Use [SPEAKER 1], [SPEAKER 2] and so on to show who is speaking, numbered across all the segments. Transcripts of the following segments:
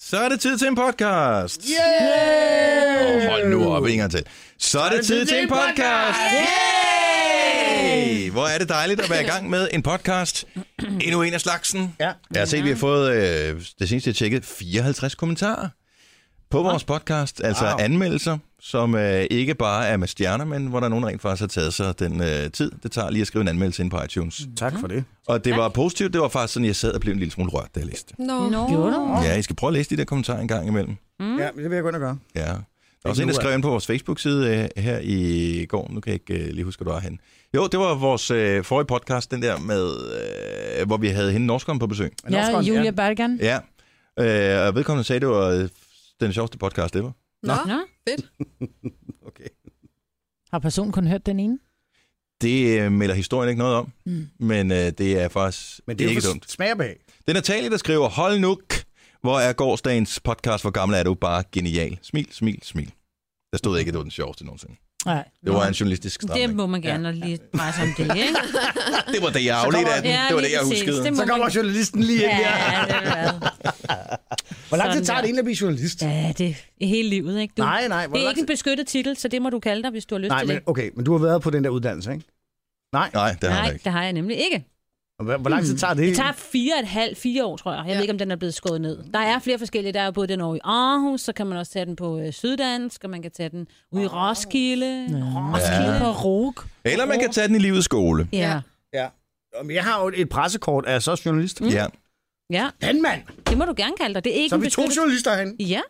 [SPEAKER 1] Så er det tid til en podcast.
[SPEAKER 2] Yeah!
[SPEAKER 1] Oh, hold nu op en gang til. Så er det tid til en podcast. Yay! Hvor er det dejligt at være i gang med en podcast. Endnu en af slagsen.
[SPEAKER 2] Ja.
[SPEAKER 1] Jeg har set, at vi har fået, øh, det seneste jeg tjekkede, 54 kommentarer på vores podcast. Altså
[SPEAKER 2] Wow.
[SPEAKER 1] anmeldelser, som øh, ikke bare er med stjerner, men hvor der er nogen der rent faktisk har taget sig den øh, tid, det tager lige at skrive en anmeldelse ind på iTunes.
[SPEAKER 2] Tak for det.
[SPEAKER 1] Og Mm-hmm. det var positivt. Det var faktisk sådan, jeg sad og blev en lille smule rørt, da jeg læste det.
[SPEAKER 3] Nå.
[SPEAKER 4] Nå.
[SPEAKER 3] Gjorde du?
[SPEAKER 1] Ja, I skal prøve at læse de der kommentarer en gang imellem.
[SPEAKER 2] Mm. Ja, det vil jeg gå ind og gøre.
[SPEAKER 1] Ja. Der er også en,
[SPEAKER 2] nu,
[SPEAKER 1] der skrev ind på vores Facebook-side øh, her i går. Nu kan jeg ikke øh, lige huske, hvor du var henne. Jo, det var vores øh, forrige podcast, den der med, øh, hvor vi havde hende norskeren på besøg.
[SPEAKER 2] Men også
[SPEAKER 4] Ja,
[SPEAKER 2] godt,
[SPEAKER 4] Julia Bergan.
[SPEAKER 1] Ja. Øh, og vedkommende sagde, det var øh, den sjoveste podcast ever.
[SPEAKER 3] Nå.
[SPEAKER 4] Nå.
[SPEAKER 2] Ja, okay.
[SPEAKER 4] Har personen kun hørt den ene?
[SPEAKER 1] Det øh, melder historien ikke noget om,
[SPEAKER 4] Mm.
[SPEAKER 1] men øh, det er faktisk
[SPEAKER 2] Men det er
[SPEAKER 1] ikke
[SPEAKER 2] jo
[SPEAKER 1] dumt.
[SPEAKER 2] for smagerbag.
[SPEAKER 1] Det er Natalie, der skriver, hold nu, k- hvor er gårdsdagens podcast, hvor gammel er du bare genial. Smil, smil, smil. Der stod ikke, at det var den sjoveste nogensinde.
[SPEAKER 4] Nej.
[SPEAKER 1] Det var en journalistisk stramning.
[SPEAKER 5] Det må man gerne ja. lige dreje sig om det, ikke?
[SPEAKER 1] Det var det, jeg afledte af den.
[SPEAKER 5] Ja,
[SPEAKER 1] det var det,
[SPEAKER 5] lige
[SPEAKER 1] jeg
[SPEAKER 5] præcis.
[SPEAKER 1] huskede.
[SPEAKER 5] Det må
[SPEAKER 2] Så kommer
[SPEAKER 5] man-
[SPEAKER 2] journalisten lige ind
[SPEAKER 5] Ja,
[SPEAKER 2] her.
[SPEAKER 5] det er det.
[SPEAKER 2] Hvor lang tid
[SPEAKER 5] Sådan
[SPEAKER 2] tager
[SPEAKER 5] der.
[SPEAKER 2] det egentlig at blive journalist?
[SPEAKER 5] Ja, det er hele livet, ikke? Du,
[SPEAKER 2] Nej, nej. Hvor
[SPEAKER 5] det er
[SPEAKER 2] lang
[SPEAKER 5] ikke en
[SPEAKER 2] tid?
[SPEAKER 5] beskyttet titel, så det må du kalde dig, hvis du har lyst
[SPEAKER 2] Nej,
[SPEAKER 5] til
[SPEAKER 2] men
[SPEAKER 5] det.
[SPEAKER 2] okay, men du har været på den der uddannelse, ikke? Nej.
[SPEAKER 1] Nej, det har jeg
[SPEAKER 5] Nej,
[SPEAKER 1] ikke.
[SPEAKER 5] det har jeg nemlig ikke.
[SPEAKER 2] Og Hvor, hvor lang tid tager det?
[SPEAKER 5] Det tager fire et halvt, fire år, tror jeg. Jeg ja. ved ikke, om den er blevet skåret ned. Der er flere forskellige. Der er jo både den over i Aarhus, så kan man også tage den på øh, Syddansk, og man kan tage den ude i Roskilde. Roskilde.
[SPEAKER 4] På Rogue.
[SPEAKER 1] Eller man kan tage den i livets skole.
[SPEAKER 5] Ja.
[SPEAKER 2] Ja. Jamen, Jeg har jo et pressekort, er jeg så også journalist?
[SPEAKER 1] Mm. Ja.
[SPEAKER 5] ja,
[SPEAKER 2] Den mand!
[SPEAKER 5] det må du gerne kalde dig. Det er ikke
[SPEAKER 2] Så er
[SPEAKER 5] en
[SPEAKER 2] vi to
[SPEAKER 5] beskyttet...
[SPEAKER 2] journalister herinde.
[SPEAKER 5] Ja.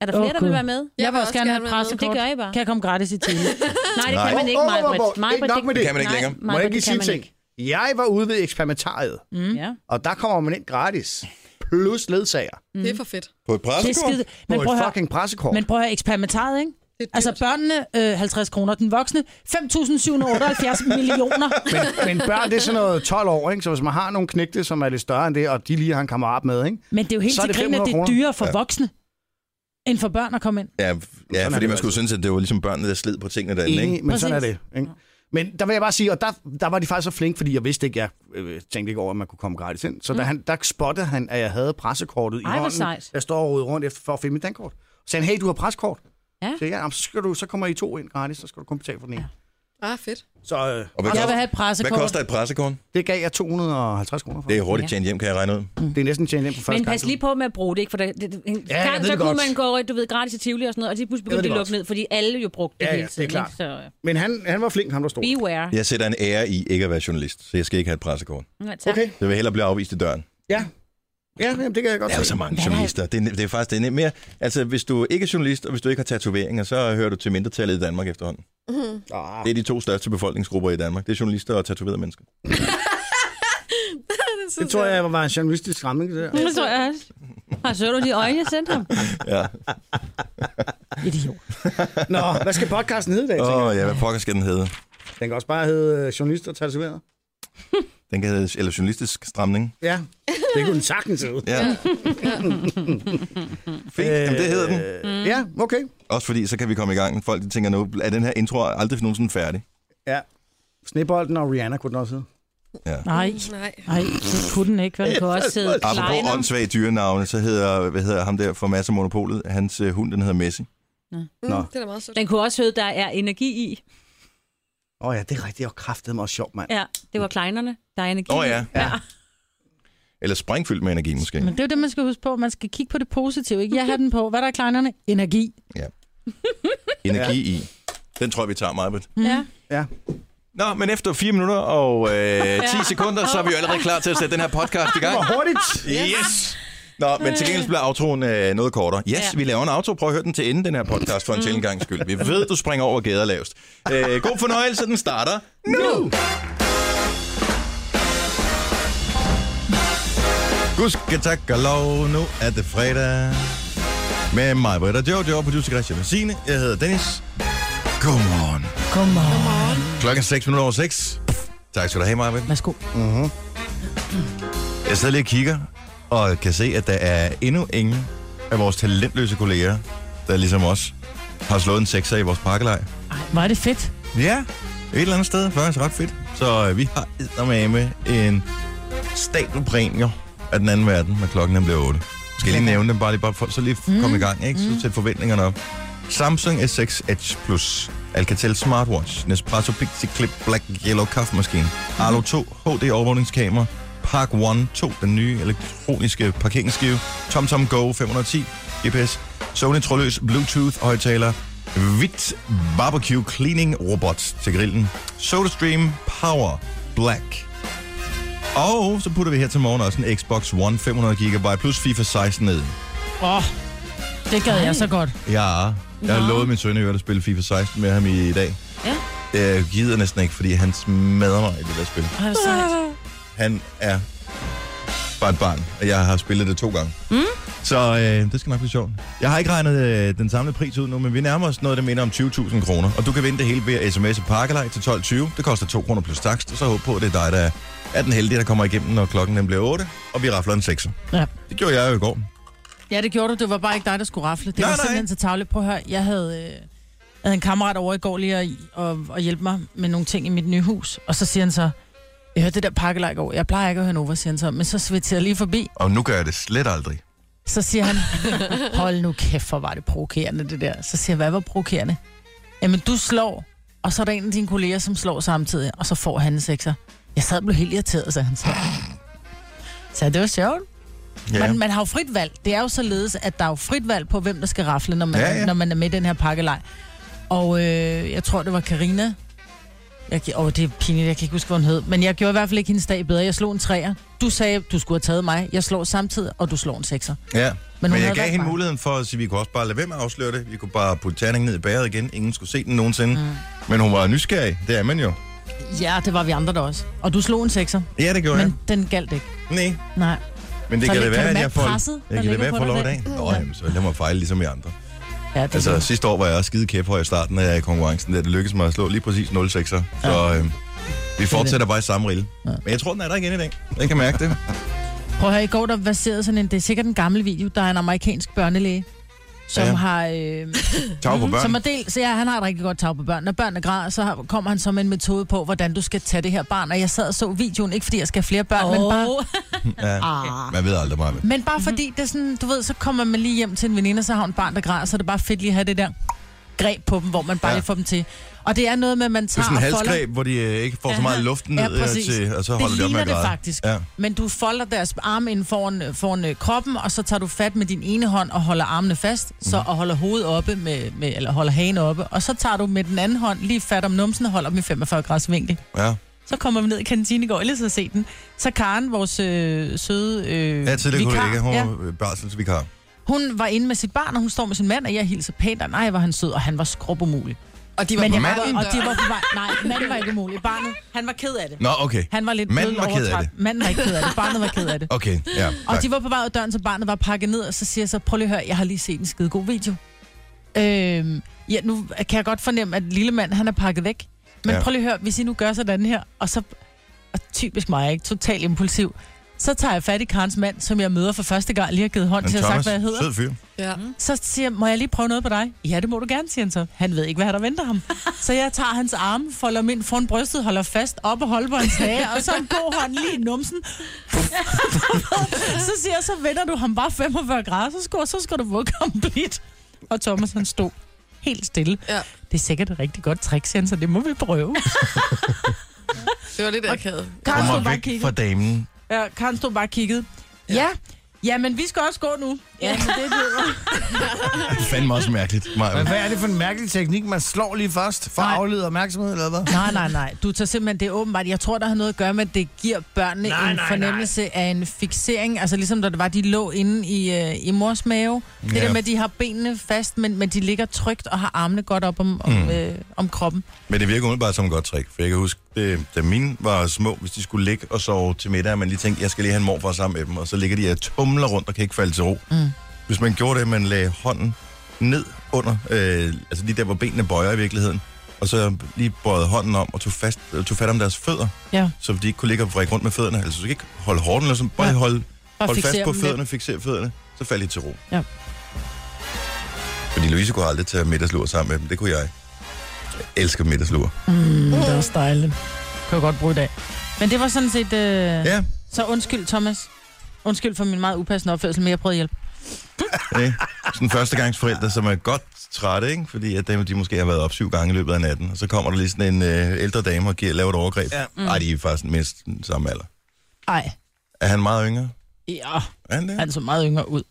[SPEAKER 5] Er der
[SPEAKER 4] Åh,
[SPEAKER 5] flere, der vil
[SPEAKER 4] Gud.
[SPEAKER 5] være med?
[SPEAKER 4] Jeg vil også gerne have et
[SPEAKER 3] være med.
[SPEAKER 4] pressekort.
[SPEAKER 5] Det gør I bare.
[SPEAKER 4] Kan jeg komme gratis i time?
[SPEAKER 5] Nej, det
[SPEAKER 1] Nej.
[SPEAKER 5] kan man ikke,
[SPEAKER 2] Åh, åh,
[SPEAKER 5] Maja.
[SPEAKER 2] hvor- hvor-
[SPEAKER 5] Maja,
[SPEAKER 2] ikke nok med det.
[SPEAKER 1] Kan man ikke længere.
[SPEAKER 2] Må jeg ikke lige sige en ting? Jeg var ude ved eksperimentariet,
[SPEAKER 5] Ja.
[SPEAKER 2] og der kommer man ind gratis. Plus ledsager.
[SPEAKER 3] Det er for fedt.
[SPEAKER 1] På et
[SPEAKER 4] Det er skide.
[SPEAKER 2] På
[SPEAKER 4] Men prøv
[SPEAKER 2] et
[SPEAKER 4] at høre,
[SPEAKER 2] fucking pressekort.
[SPEAKER 4] men prøv at høre eksperimentaret, ikke?
[SPEAKER 3] Det er
[SPEAKER 4] Altså børnene, øh, 50 kroner. Den voksne, 5.778 millioner.
[SPEAKER 2] Men, men børn, det er sådan noget 12 år, ikke? Så hvis man har nogle knægte, som er lidt større end det, og de lige har en kammerat med, ikke?
[SPEAKER 4] Men det er jo helt
[SPEAKER 2] Så er
[SPEAKER 4] til
[SPEAKER 2] det
[SPEAKER 4] grin, at
[SPEAKER 2] 500
[SPEAKER 4] det er
[SPEAKER 2] kroner.
[SPEAKER 4] dyrere for voksne, end for børn at komme ind.
[SPEAKER 1] Ja, ja
[SPEAKER 2] er
[SPEAKER 1] fordi
[SPEAKER 2] det
[SPEAKER 1] man
[SPEAKER 2] altså.
[SPEAKER 1] skulle synes, at det var ligesom børnene, der slid på tingene derinde,
[SPEAKER 2] Enig,
[SPEAKER 1] ikke?
[SPEAKER 2] men sådan er
[SPEAKER 4] Præcis.
[SPEAKER 2] det. Ikke? Men der vil jeg bare sige, og der, der var de faktisk så flinke, fordi jeg vidste ikke, jeg øh, tænkte ikke over, at man kunne komme gratis ind. Så mm. der, han, der spottede han, at jeg havde pressekortet
[SPEAKER 5] Ej,
[SPEAKER 2] i
[SPEAKER 5] hvor
[SPEAKER 2] hånden.
[SPEAKER 5] sejt.
[SPEAKER 2] Jeg står og roder rundt efter for at finde mit dankort. Så sagde han, hey, du har pressekort.
[SPEAKER 5] Ja.
[SPEAKER 2] Så, ja, jamen, så, skal du, så kommer I to ind gratis, så skal du kun betale for den ene. Ja.
[SPEAKER 3] Ah, fedt.
[SPEAKER 2] Så øh,
[SPEAKER 1] Og hvad,
[SPEAKER 4] Jeg vil
[SPEAKER 1] koster,
[SPEAKER 4] have et
[SPEAKER 1] hvad
[SPEAKER 4] pressekort.
[SPEAKER 1] koster et pressekorn?
[SPEAKER 2] det gav jeg 250 kroner for.
[SPEAKER 1] Det
[SPEAKER 2] Det,
[SPEAKER 1] er hurtigt tjent hjem, kan jeg regne ud.
[SPEAKER 2] det er næsten tjent hjem på første
[SPEAKER 5] Men pas
[SPEAKER 2] gang.
[SPEAKER 5] lige på med at bruge det, ikke? For der, det, det,
[SPEAKER 2] jeg
[SPEAKER 5] gang,
[SPEAKER 2] ved
[SPEAKER 5] så
[SPEAKER 2] det
[SPEAKER 5] kunne
[SPEAKER 2] godt.
[SPEAKER 5] man gå, du ved, gratis til Tivoli og sådan noget, og de pludselig
[SPEAKER 2] Jeg ved
[SPEAKER 5] begyndte de
[SPEAKER 2] det
[SPEAKER 5] at lukke
[SPEAKER 2] godt.
[SPEAKER 5] ned, fordi alle jo brugte det
[SPEAKER 2] Ja, ja,
[SPEAKER 5] hele
[SPEAKER 2] det er
[SPEAKER 5] tiden.
[SPEAKER 2] klart.
[SPEAKER 5] ikke? Så
[SPEAKER 2] Men han, han var flink, ham der stod.
[SPEAKER 5] beware.
[SPEAKER 1] Jeg sætter en ære i ikke at være journalist, så jeg skal ikke have et pressekort.
[SPEAKER 5] Ja, tak.
[SPEAKER 2] Okay,
[SPEAKER 1] Jeg vil hellere blive afvist i døren.
[SPEAKER 2] ja. Ja, jamen, det kan jeg godt
[SPEAKER 1] Der er jo
[SPEAKER 2] se.
[SPEAKER 1] så mange journalister. Det er, det er faktisk det er nemt mere. Altså, hvis du ikke er journalist, og hvis du ikke har tatoveringer, så hører du til mindretallet i Danmark efterhånden.
[SPEAKER 2] Ah,
[SPEAKER 1] Det er de to største befolkningsgrupper i Danmark. Det er journalister og tatoverede mennesker.
[SPEAKER 2] det tror jeg var en journalistisk ramme, det der.
[SPEAKER 5] Nu tror jeg også. Har så du de øjne, jeg sendte ham?
[SPEAKER 1] Ja.
[SPEAKER 4] Idiot.
[SPEAKER 2] Nå, hvad skal podcasten hedde i dag?
[SPEAKER 1] Åh,
[SPEAKER 2] tænker jeg?
[SPEAKER 1] oh, ja, hvad pokker skal den hedde?
[SPEAKER 2] Den kan også bare hedde øh, journalister tatoveret.
[SPEAKER 1] Den kan hedde, eller journalistisk stramning.
[SPEAKER 2] Ja, det kunne den sagtens hedde.
[SPEAKER 1] Ja. Fint, Jamen, det hedder den.
[SPEAKER 2] Mm. Ja, okay.
[SPEAKER 1] Øh. Også fordi, så kan vi komme i gang. Folk de tænker nu, er den her intro aldrig nogensinde færdig?
[SPEAKER 2] Ja. Snebolden og Rihanna kunne den også hedde.
[SPEAKER 4] Nej.
[SPEAKER 3] Nej.
[SPEAKER 4] Nej, det kunne den ikke. Vel?
[SPEAKER 5] Du kan også sidde og
[SPEAKER 1] Apropos
[SPEAKER 5] kleiner.
[SPEAKER 1] åndssvage dyrenavne, så hedder, hvad hedder ham der for masser monopolet, hans øh, hund, den hedder Messi.
[SPEAKER 3] Mm,
[SPEAKER 2] Nå.
[SPEAKER 3] det er da meget sødt.
[SPEAKER 5] Den kunne også hedde, der er energi i.
[SPEAKER 2] Åh oh, ja, det er rigtigt. Og kraftede mig også sjovt, mand.
[SPEAKER 5] Ja, det var kleinerne. Der er energi
[SPEAKER 1] Åh
[SPEAKER 5] i.
[SPEAKER 1] ja.
[SPEAKER 2] Ja.
[SPEAKER 1] Eller sprængfyldt med energi måske.
[SPEAKER 4] Men det er jo det, man skal huske på. Man skal kigge på det positive. Ikke? Jeg har den på. Hvad der er kleinerne? Energi.
[SPEAKER 1] Energi i. Den tror jeg, vi tager meget.
[SPEAKER 5] Ja.
[SPEAKER 4] Mm.
[SPEAKER 2] Ja.
[SPEAKER 1] Nå, men efter 4 minutter og øh, 10 sekunder, så er vi jo allerede klar til at sætte den her podcast i gang.
[SPEAKER 2] Hvor hurtigt!
[SPEAKER 1] Yes! Nå, men til gengæld så bliver outroen øh, noget kortere. Yes, ja. Mm.
[SPEAKER 5] Ja.
[SPEAKER 1] vi laver en outro. Prøv at høre den til ende, den her podcast, for en sjældent gang skyld. Vi ved, du springer over gader lavest. Øh, god fornøjelse, den starter nu! Gud skal tak og lov, nu er det fredag. Med mig, Britta Jojo, producer Christian og Signe. Jeg hedder Dennis. Godmorgen.
[SPEAKER 4] Kom on.
[SPEAKER 1] Klokken er 6 minutter over 6. Tak skal du have, Marvin. Mhm.
[SPEAKER 4] Værsgo.
[SPEAKER 1] Jeg sidder lige og kigger, og kan se, at der er endnu ingen af vores talentløse kolleger, der ligesom os har slået en sekser i vores pakkelej.
[SPEAKER 4] Ej, hvor er det fedt.
[SPEAKER 1] Ja, et eller andet sted. Faktisk ret fedt. Så øh, vi har eddermame en stabel præmier af den anden verden, når klokken er blevet 8. Skal jeg lige nævne dem, bare lige bare for, så lige mm. komme i gang, ikke? Så sæt forventningerne op. Samsung S6 Edge Plus, Alcatel Smartwatch, Nespresso Pixiclip Black Yellow Coffee Machine, Arlo 2 HD overvågningskamera, Park One 2, den nye elektroniske parkeringsskive, TomTom Go 510 GPS, Sony trådløs Bluetooth højttaler, Vit Barbecue Cleaning Robot til grillen, SodaStream Power Black, og så putter vi her til morgen også en Xbox One 500 GB plus FIFA 16 ned.
[SPEAKER 4] Åh, oh, det gad jeg så godt.
[SPEAKER 1] Ja, jeg har
[SPEAKER 5] Nå.
[SPEAKER 1] lovet min søn i øvrigt at spille FIFA 16 med ham i dag.
[SPEAKER 5] Ja.
[SPEAKER 1] Jeg gider næsten ikke, fordi han smadrer mig i det der spil.
[SPEAKER 4] Ej, hvor sejt.
[SPEAKER 1] Han er bare et barn, og jeg har spillet det to gange. Mm. Så øh, det skal nok blive sjovt. Jeg har ikke regnet øh, den samlede pris ud nu, men vi nærmer os noget, der minder om 20.000 kroner. Og du kan vinde det hele ved at sms'e Parkalej til 12.20. Det koster 2 kroner plus takst, og så håb på, at det er dig, der er den heldige, der kommer igennem, når klokken den bliver 8, og vi rafler en 6'er.
[SPEAKER 4] Ja.
[SPEAKER 1] Det gjorde jeg jo i går.
[SPEAKER 4] Ja, det gjorde du. Det var bare ikke dig, der skulle rafle. Det
[SPEAKER 1] Nej,
[SPEAKER 4] nej, var
[SPEAKER 1] nej.
[SPEAKER 4] simpelthen så tavligt. Prøv at høre, jeg havde, øh, jeg havde en kammerat over i går lige at, og, og hjælpe mig med nogle ting i mit nye hus. Og så siger han så, jeg hørte det der pakkelej i går. Jeg plejer ikke at høre Nova, siger han så. Men så svitser jeg lige forbi.
[SPEAKER 1] Og nu gør jeg det slet aldrig.
[SPEAKER 4] Så siger han, hold nu kæft, hvor var det provokerende det der. Så siger jeg, hvad var provokerende? Jamen, du slår, og så er der en af dine kolleger, som slår samtidig, og så får han en sekser. Jeg sad og blev helt irriteret, sagde han så. Så det var sjovt.
[SPEAKER 1] Ja.
[SPEAKER 4] Man, man har jo frit valg. Det er jo således, at der er jo frit valg på, hvem der skal rafle, når man,
[SPEAKER 1] Ja,
[SPEAKER 4] ja,
[SPEAKER 1] ja.
[SPEAKER 4] ja. Når man er med i den her pakkelej. Og øh, jeg tror, det var Karina. Jeg, gi- åh, det er pinligt, jeg kan ikke huske, hvad hun hed. Men jeg gjorde i hvert fald ikke hendes dag bedre. Jeg slog en træer. Du sagde, du skulle have taget mig. Jeg slår samtidig, og du slår en sekser.
[SPEAKER 1] Ja, men,
[SPEAKER 4] hun
[SPEAKER 1] men jeg
[SPEAKER 4] havde
[SPEAKER 1] gav
[SPEAKER 4] valgt
[SPEAKER 1] hende
[SPEAKER 4] mig.
[SPEAKER 1] muligheden for at sige, at vi kunne også bare lade være med at afsløre det. Vi kunne bare putte terningen ned i bæret igen. Ingen skulle se den nogensinde. Mm. Men hun var nysgerrig. Det er man jo.
[SPEAKER 4] Ja, det var vi andre der også. Og du slog en sekser,
[SPEAKER 1] Ja, det gjorde
[SPEAKER 4] men
[SPEAKER 1] men,
[SPEAKER 4] den galt ikke.
[SPEAKER 1] jeg. Nej,
[SPEAKER 4] Nej.
[SPEAKER 1] men det
[SPEAKER 4] Så
[SPEAKER 1] kan det
[SPEAKER 4] kan
[SPEAKER 1] være,
[SPEAKER 4] du
[SPEAKER 1] at
[SPEAKER 4] mærke
[SPEAKER 1] jeg får,
[SPEAKER 4] presset, der
[SPEAKER 1] jeg kan det
[SPEAKER 4] ligger
[SPEAKER 1] være, at jeg får
[SPEAKER 4] på
[SPEAKER 1] lov i
[SPEAKER 4] dig i
[SPEAKER 1] dag. Nå, jamen, så lad mig fejle ligesom i andre.
[SPEAKER 4] Ja, det
[SPEAKER 1] Altså,
[SPEAKER 4] altså,
[SPEAKER 1] sidste år var jeg også skide kæphøj i starten af konkurrencen, da det lykkedes mig at slå lige præcis 0 6 Så øh, vi fortsætter bare i samme rille. Men jeg tror, den er der igen i dag. Jeg kan mærke det.
[SPEAKER 4] Prøv at høre, i går der verserede sådan en, det er sikkert en gammel video, der er en amerikansk børnelæge, som
[SPEAKER 1] Ja.
[SPEAKER 4] ja. har... Øh,
[SPEAKER 1] Tag på
[SPEAKER 4] Som
[SPEAKER 1] børn.
[SPEAKER 4] er del, så ja, han har et rigtig godt tag på børn. Når børnene græder, så har- kommer han så med en metode på, hvordan du skal tage det her barn. Og jeg sad og så videoen, ikke fordi jeg skal have flere børn, oh. men, bare, Ah.
[SPEAKER 1] Ja. Man ved aldrig meget.
[SPEAKER 4] men bare fordi det er sådan, du ved, så kommer man lige hjem til en veninde, og så har hun et barn, der græder, så er det bare fedt lige at have det der greb på dem, hvor man bare
[SPEAKER 1] Ja.
[SPEAKER 4] ja. lige får dem til. Og det er noget med, at man
[SPEAKER 1] Det er
[SPEAKER 4] tager
[SPEAKER 1] sådan en
[SPEAKER 4] og folder
[SPEAKER 1] halsgreb, hvor de øh, ikke får så meget
[SPEAKER 4] Ja,
[SPEAKER 1] luft ned
[SPEAKER 4] ja,
[SPEAKER 1] øh,
[SPEAKER 4] præcis.
[SPEAKER 1] til, og så holder
[SPEAKER 4] det
[SPEAKER 1] de op med
[SPEAKER 4] ligner
[SPEAKER 1] at
[SPEAKER 4] det
[SPEAKER 1] græde.
[SPEAKER 4] faktisk.
[SPEAKER 1] Ja.
[SPEAKER 4] Ja. Men du folder deres arme ind foran, foran øh, kroppen, og så tager du fat med din ene hånd og holder armene fast, så
[SPEAKER 1] Mhm.
[SPEAKER 4] og holder hovedet oppe, med, med, eller holder hagen oppe, og så tager du med den anden hånd lige fat om numsen og holder dem i 45 graders vinkel.
[SPEAKER 1] Ja.
[SPEAKER 4] Så kommer vi ned i kantinen i går, ellers har set den. Så Karen, vores øh, søde øh,
[SPEAKER 1] Ja, tidligere
[SPEAKER 4] vikar,
[SPEAKER 1] kollega, hun var ja. barselsvikar.
[SPEAKER 4] hun var inde med sit barn, og hun står med sin mand, og jeg hilser pænt, og nej, var han sød, og han var skrubumulig.
[SPEAKER 3] Og de var
[SPEAKER 4] Men
[SPEAKER 3] på
[SPEAKER 4] jeg
[SPEAKER 3] vej ud
[SPEAKER 4] var, og de
[SPEAKER 3] døren.
[SPEAKER 4] var på vej. Nej, manden var ikke umulig. Barnet, han var ked af det.
[SPEAKER 1] Nå, okay.
[SPEAKER 4] Han var lidt
[SPEAKER 1] Manden
[SPEAKER 4] blødt
[SPEAKER 1] var ked af
[SPEAKER 4] overtræk. Manden var ikke ked af det. Barnet var ked af det.
[SPEAKER 1] Okay, ja.
[SPEAKER 4] Og
[SPEAKER 1] tak.
[SPEAKER 4] de var på vej ud af døren, så barnet var pakket ned, og så siger jeg så, prøv lige at høre, jeg har lige set en skide god video. Øhm, ja, nu kan jeg godt fornemme, at lille mand, han er pakket væk. Men
[SPEAKER 1] Ja.
[SPEAKER 4] ja. prøv lige at høre, hvis I nu gør sådan her, og så, og typisk mig, ikke? Totalt impulsiv. Så tager jeg fat i Karens mand, som jeg møder for første gang, lige har givet hånd
[SPEAKER 1] Men
[SPEAKER 4] til at sagt, hvad jeg hedder.
[SPEAKER 1] sød fyr.
[SPEAKER 3] Ja.
[SPEAKER 4] Så siger jeg, må jeg lige prøve noget på dig? Ja, det må du gerne, siger han så. Han ved ikke, hvad der venter ham. Så jeg tager hans arme, folder dem ind foran brystet, holder fast op og holder på hans hage, og så en god hånd lige i numsen. så siger jeg, så vender du ham bare 45 grader, så skal, så skal du vugge ham blidt. Og Thomas, han stod helt stille.
[SPEAKER 3] Ja.
[SPEAKER 4] Det er sikkert et rigtig godt trick, siger han, så det må vi prøve.
[SPEAKER 3] Det var lidt akavet.
[SPEAKER 4] Karen
[SPEAKER 1] Kommer
[SPEAKER 4] stod bare og
[SPEAKER 1] væk fra
[SPEAKER 4] kiggede.
[SPEAKER 1] damen.
[SPEAKER 4] Ja, Karen stod bare og kiggede. Ja. ja, men vi skal også gå nu. Ja, men det lyder.
[SPEAKER 1] Det er fandme også mærkeligt. Maja.
[SPEAKER 2] Men hvad er det for en mærkelig teknik? Man slår lige først for at
[SPEAKER 4] Nej.
[SPEAKER 2] aflede opmærksomhed, eller hvad?
[SPEAKER 4] Nej, nej, nej. Du tager simpelthen, det er åbenbart, jeg tror, der har noget at gøre med, at det giver børnene
[SPEAKER 2] Nej,
[SPEAKER 4] nej, en
[SPEAKER 2] nej,
[SPEAKER 4] nej, fornemmelse nej. af en fixering. Altså ligesom da det var, de lå inde i, øh, i mors mave. Det
[SPEAKER 1] Ja.
[SPEAKER 4] der med, at de har benene fast, men, men de ligger trygt og har armene godt op om, om,
[SPEAKER 1] Mm.
[SPEAKER 4] mm. øh, om kroppen.
[SPEAKER 1] Men det virker umiddelbart som et godt trick, for jeg kan huske, det, da mine var små, hvis de skulle ligge og sove til middag, man lige tænkte, jeg skal lige have en morfar sammen med dem, og så ligger de og tumler rundt og kan ikke falde til ro. Mm. Hvis man gjorde det, man lagde hånden ned under, øh, altså lige der, hvor benene bøjer i virkeligheden, og så lige bøjede hånden om og tog, fast, øh, tog fat om deres fødder,
[SPEAKER 4] Ja.
[SPEAKER 1] så de ikke kunne ligge og vrikke rundt med fødderne. Altså, så de ikke holde hårdt, eller sådan, bare
[SPEAKER 4] Ja.
[SPEAKER 1] ja. holde,
[SPEAKER 4] Og
[SPEAKER 1] holde fast
[SPEAKER 4] fixere
[SPEAKER 1] på
[SPEAKER 4] dem
[SPEAKER 1] fødderne, fixere fødderne, så faldt de til ro.
[SPEAKER 4] Ja.
[SPEAKER 1] Fordi Louise kunne aldrig tage middagslur sammen med dem, det kunne jeg. Jeg elsker middagslur.
[SPEAKER 4] lidt. Mm, det er også dejligt. Kan jeg godt bruge i dag. Men det var sådan set... Øh, ja.
[SPEAKER 1] Ja,
[SPEAKER 4] Så undskyld, Thomas. Undskyld for min meget upassende opførsel, men jeg prøvede at hjælpe.
[SPEAKER 1] Ikke? Sådan førstegangsforældre, som er godt trætte, ikke? fordi at dem, de måske har været op syv gange i løbet af natten, og så kommer der lige sådan en øh, ældre dame og giver, laver et overgreb. Nej, ja. mm. de er faktisk mindst den samme alder.
[SPEAKER 4] Ej,
[SPEAKER 1] Er han meget yngre?
[SPEAKER 4] ja,
[SPEAKER 1] Er han det?
[SPEAKER 4] han så meget yngre ud.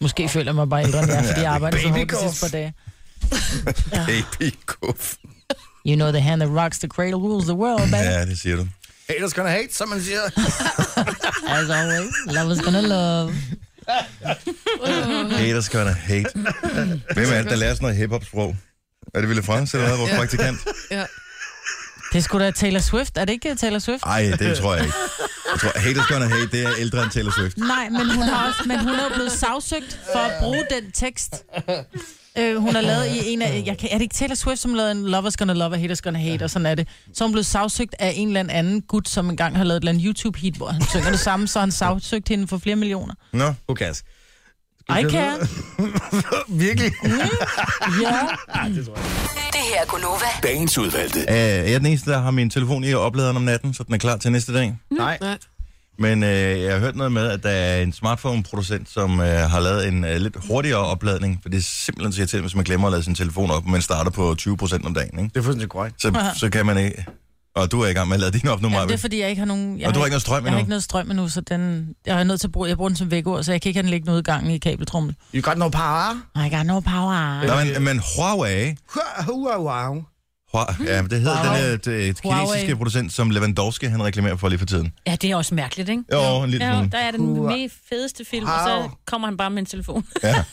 [SPEAKER 4] Måske føler jeg mig bare ældre, end jeg er, fordi jeg arbejder så hårdt de sidste par dage.
[SPEAKER 1] Baby guff.
[SPEAKER 4] You know the hand that rocks the cradle rules the world, baby.
[SPEAKER 1] Ja, det siger du.
[SPEAKER 2] Haters gonna hate, som man siger.
[SPEAKER 4] As always, love is gonna love.
[SPEAKER 1] Haters gonna hate. Hvem er det, der lærer sådan noget hiphop-sprog? Er det Ville Frans eller hvad, vores praktikant?
[SPEAKER 3] Ja.
[SPEAKER 4] Det skulle da Taylor Swift. Er det ikke Taylor Swift?
[SPEAKER 1] Nej, det tror jeg ikke. Jeg tror, haters gonna hate, det er ældre end Taylor Swift.
[SPEAKER 4] Nej, men hun, har også, men hun er jo blevet sagsøgt for at bruge den tekst. Øh, hun har lavet i en af... Jeg kan, er det ikke Taylor Swift, som lavede en Lovers Gonna Love og Haters Gonna Hate, og sådan er det. Så er hun blevet sagsøgt af en eller anden gut, som engang har lavet et eller andet YouTube-hit, hvor han synger det samme, så har han sagsøgt hende for flere millioner.
[SPEAKER 1] Nå,
[SPEAKER 2] Okay. altså.
[SPEAKER 4] I can.
[SPEAKER 2] Virkelig?
[SPEAKER 6] Mm.
[SPEAKER 4] Ja.
[SPEAKER 6] Det her er Gunova.
[SPEAKER 7] Dagens udvalgte.
[SPEAKER 1] øh, jeg er den eneste, der har min telefon i opladeren om natten, så den er klar til næste dag.
[SPEAKER 2] Nej.
[SPEAKER 3] Nej.
[SPEAKER 1] Men øh, jeg har hørt noget med, at der er en smartphone-producent, som øh, har lavet en øh, lidt hurtigere opladning, for det er simpelthen så irriterende, hvis man glemmer at lade sin telefon op, men starter på 20% om dagen, ikke?
[SPEAKER 2] Det er fuldstændig korrekt.
[SPEAKER 1] Så, så kan man ikke... Og du er i gang med at lade din op nu,
[SPEAKER 4] Jamen, det
[SPEAKER 1] Maja.
[SPEAKER 4] er fordi, jeg ikke har nogen... Jeg
[SPEAKER 1] Og du har ikke
[SPEAKER 4] ikke
[SPEAKER 1] noget strøm
[SPEAKER 4] jeg har
[SPEAKER 1] endnu.
[SPEAKER 4] ikke noget strøm endnu, så den, jeg er nødt til at bruge, jeg bruger den som vækord, så jeg kan ikke have den liggende ude i gangen i kabeltrummet.
[SPEAKER 2] You got no power?
[SPEAKER 4] I got no power.
[SPEAKER 1] Nå, men, men Huawei...
[SPEAKER 2] Wow, wow.
[SPEAKER 1] Hua, ja, men det hedder
[SPEAKER 4] Huawei.
[SPEAKER 1] den her det, kinesiske
[SPEAKER 4] Huawei.
[SPEAKER 1] producent, som Lewandowski han reklamerer for lige for tiden.
[SPEAKER 5] Ja, det er også mærkeligt, ikke?
[SPEAKER 1] Jo, en lille
[SPEAKER 5] Ja,
[SPEAKER 1] smule.
[SPEAKER 5] der er den mest fedeste film, og
[SPEAKER 2] Wow.
[SPEAKER 5] så kommer han bare med en telefon.
[SPEAKER 1] Ja.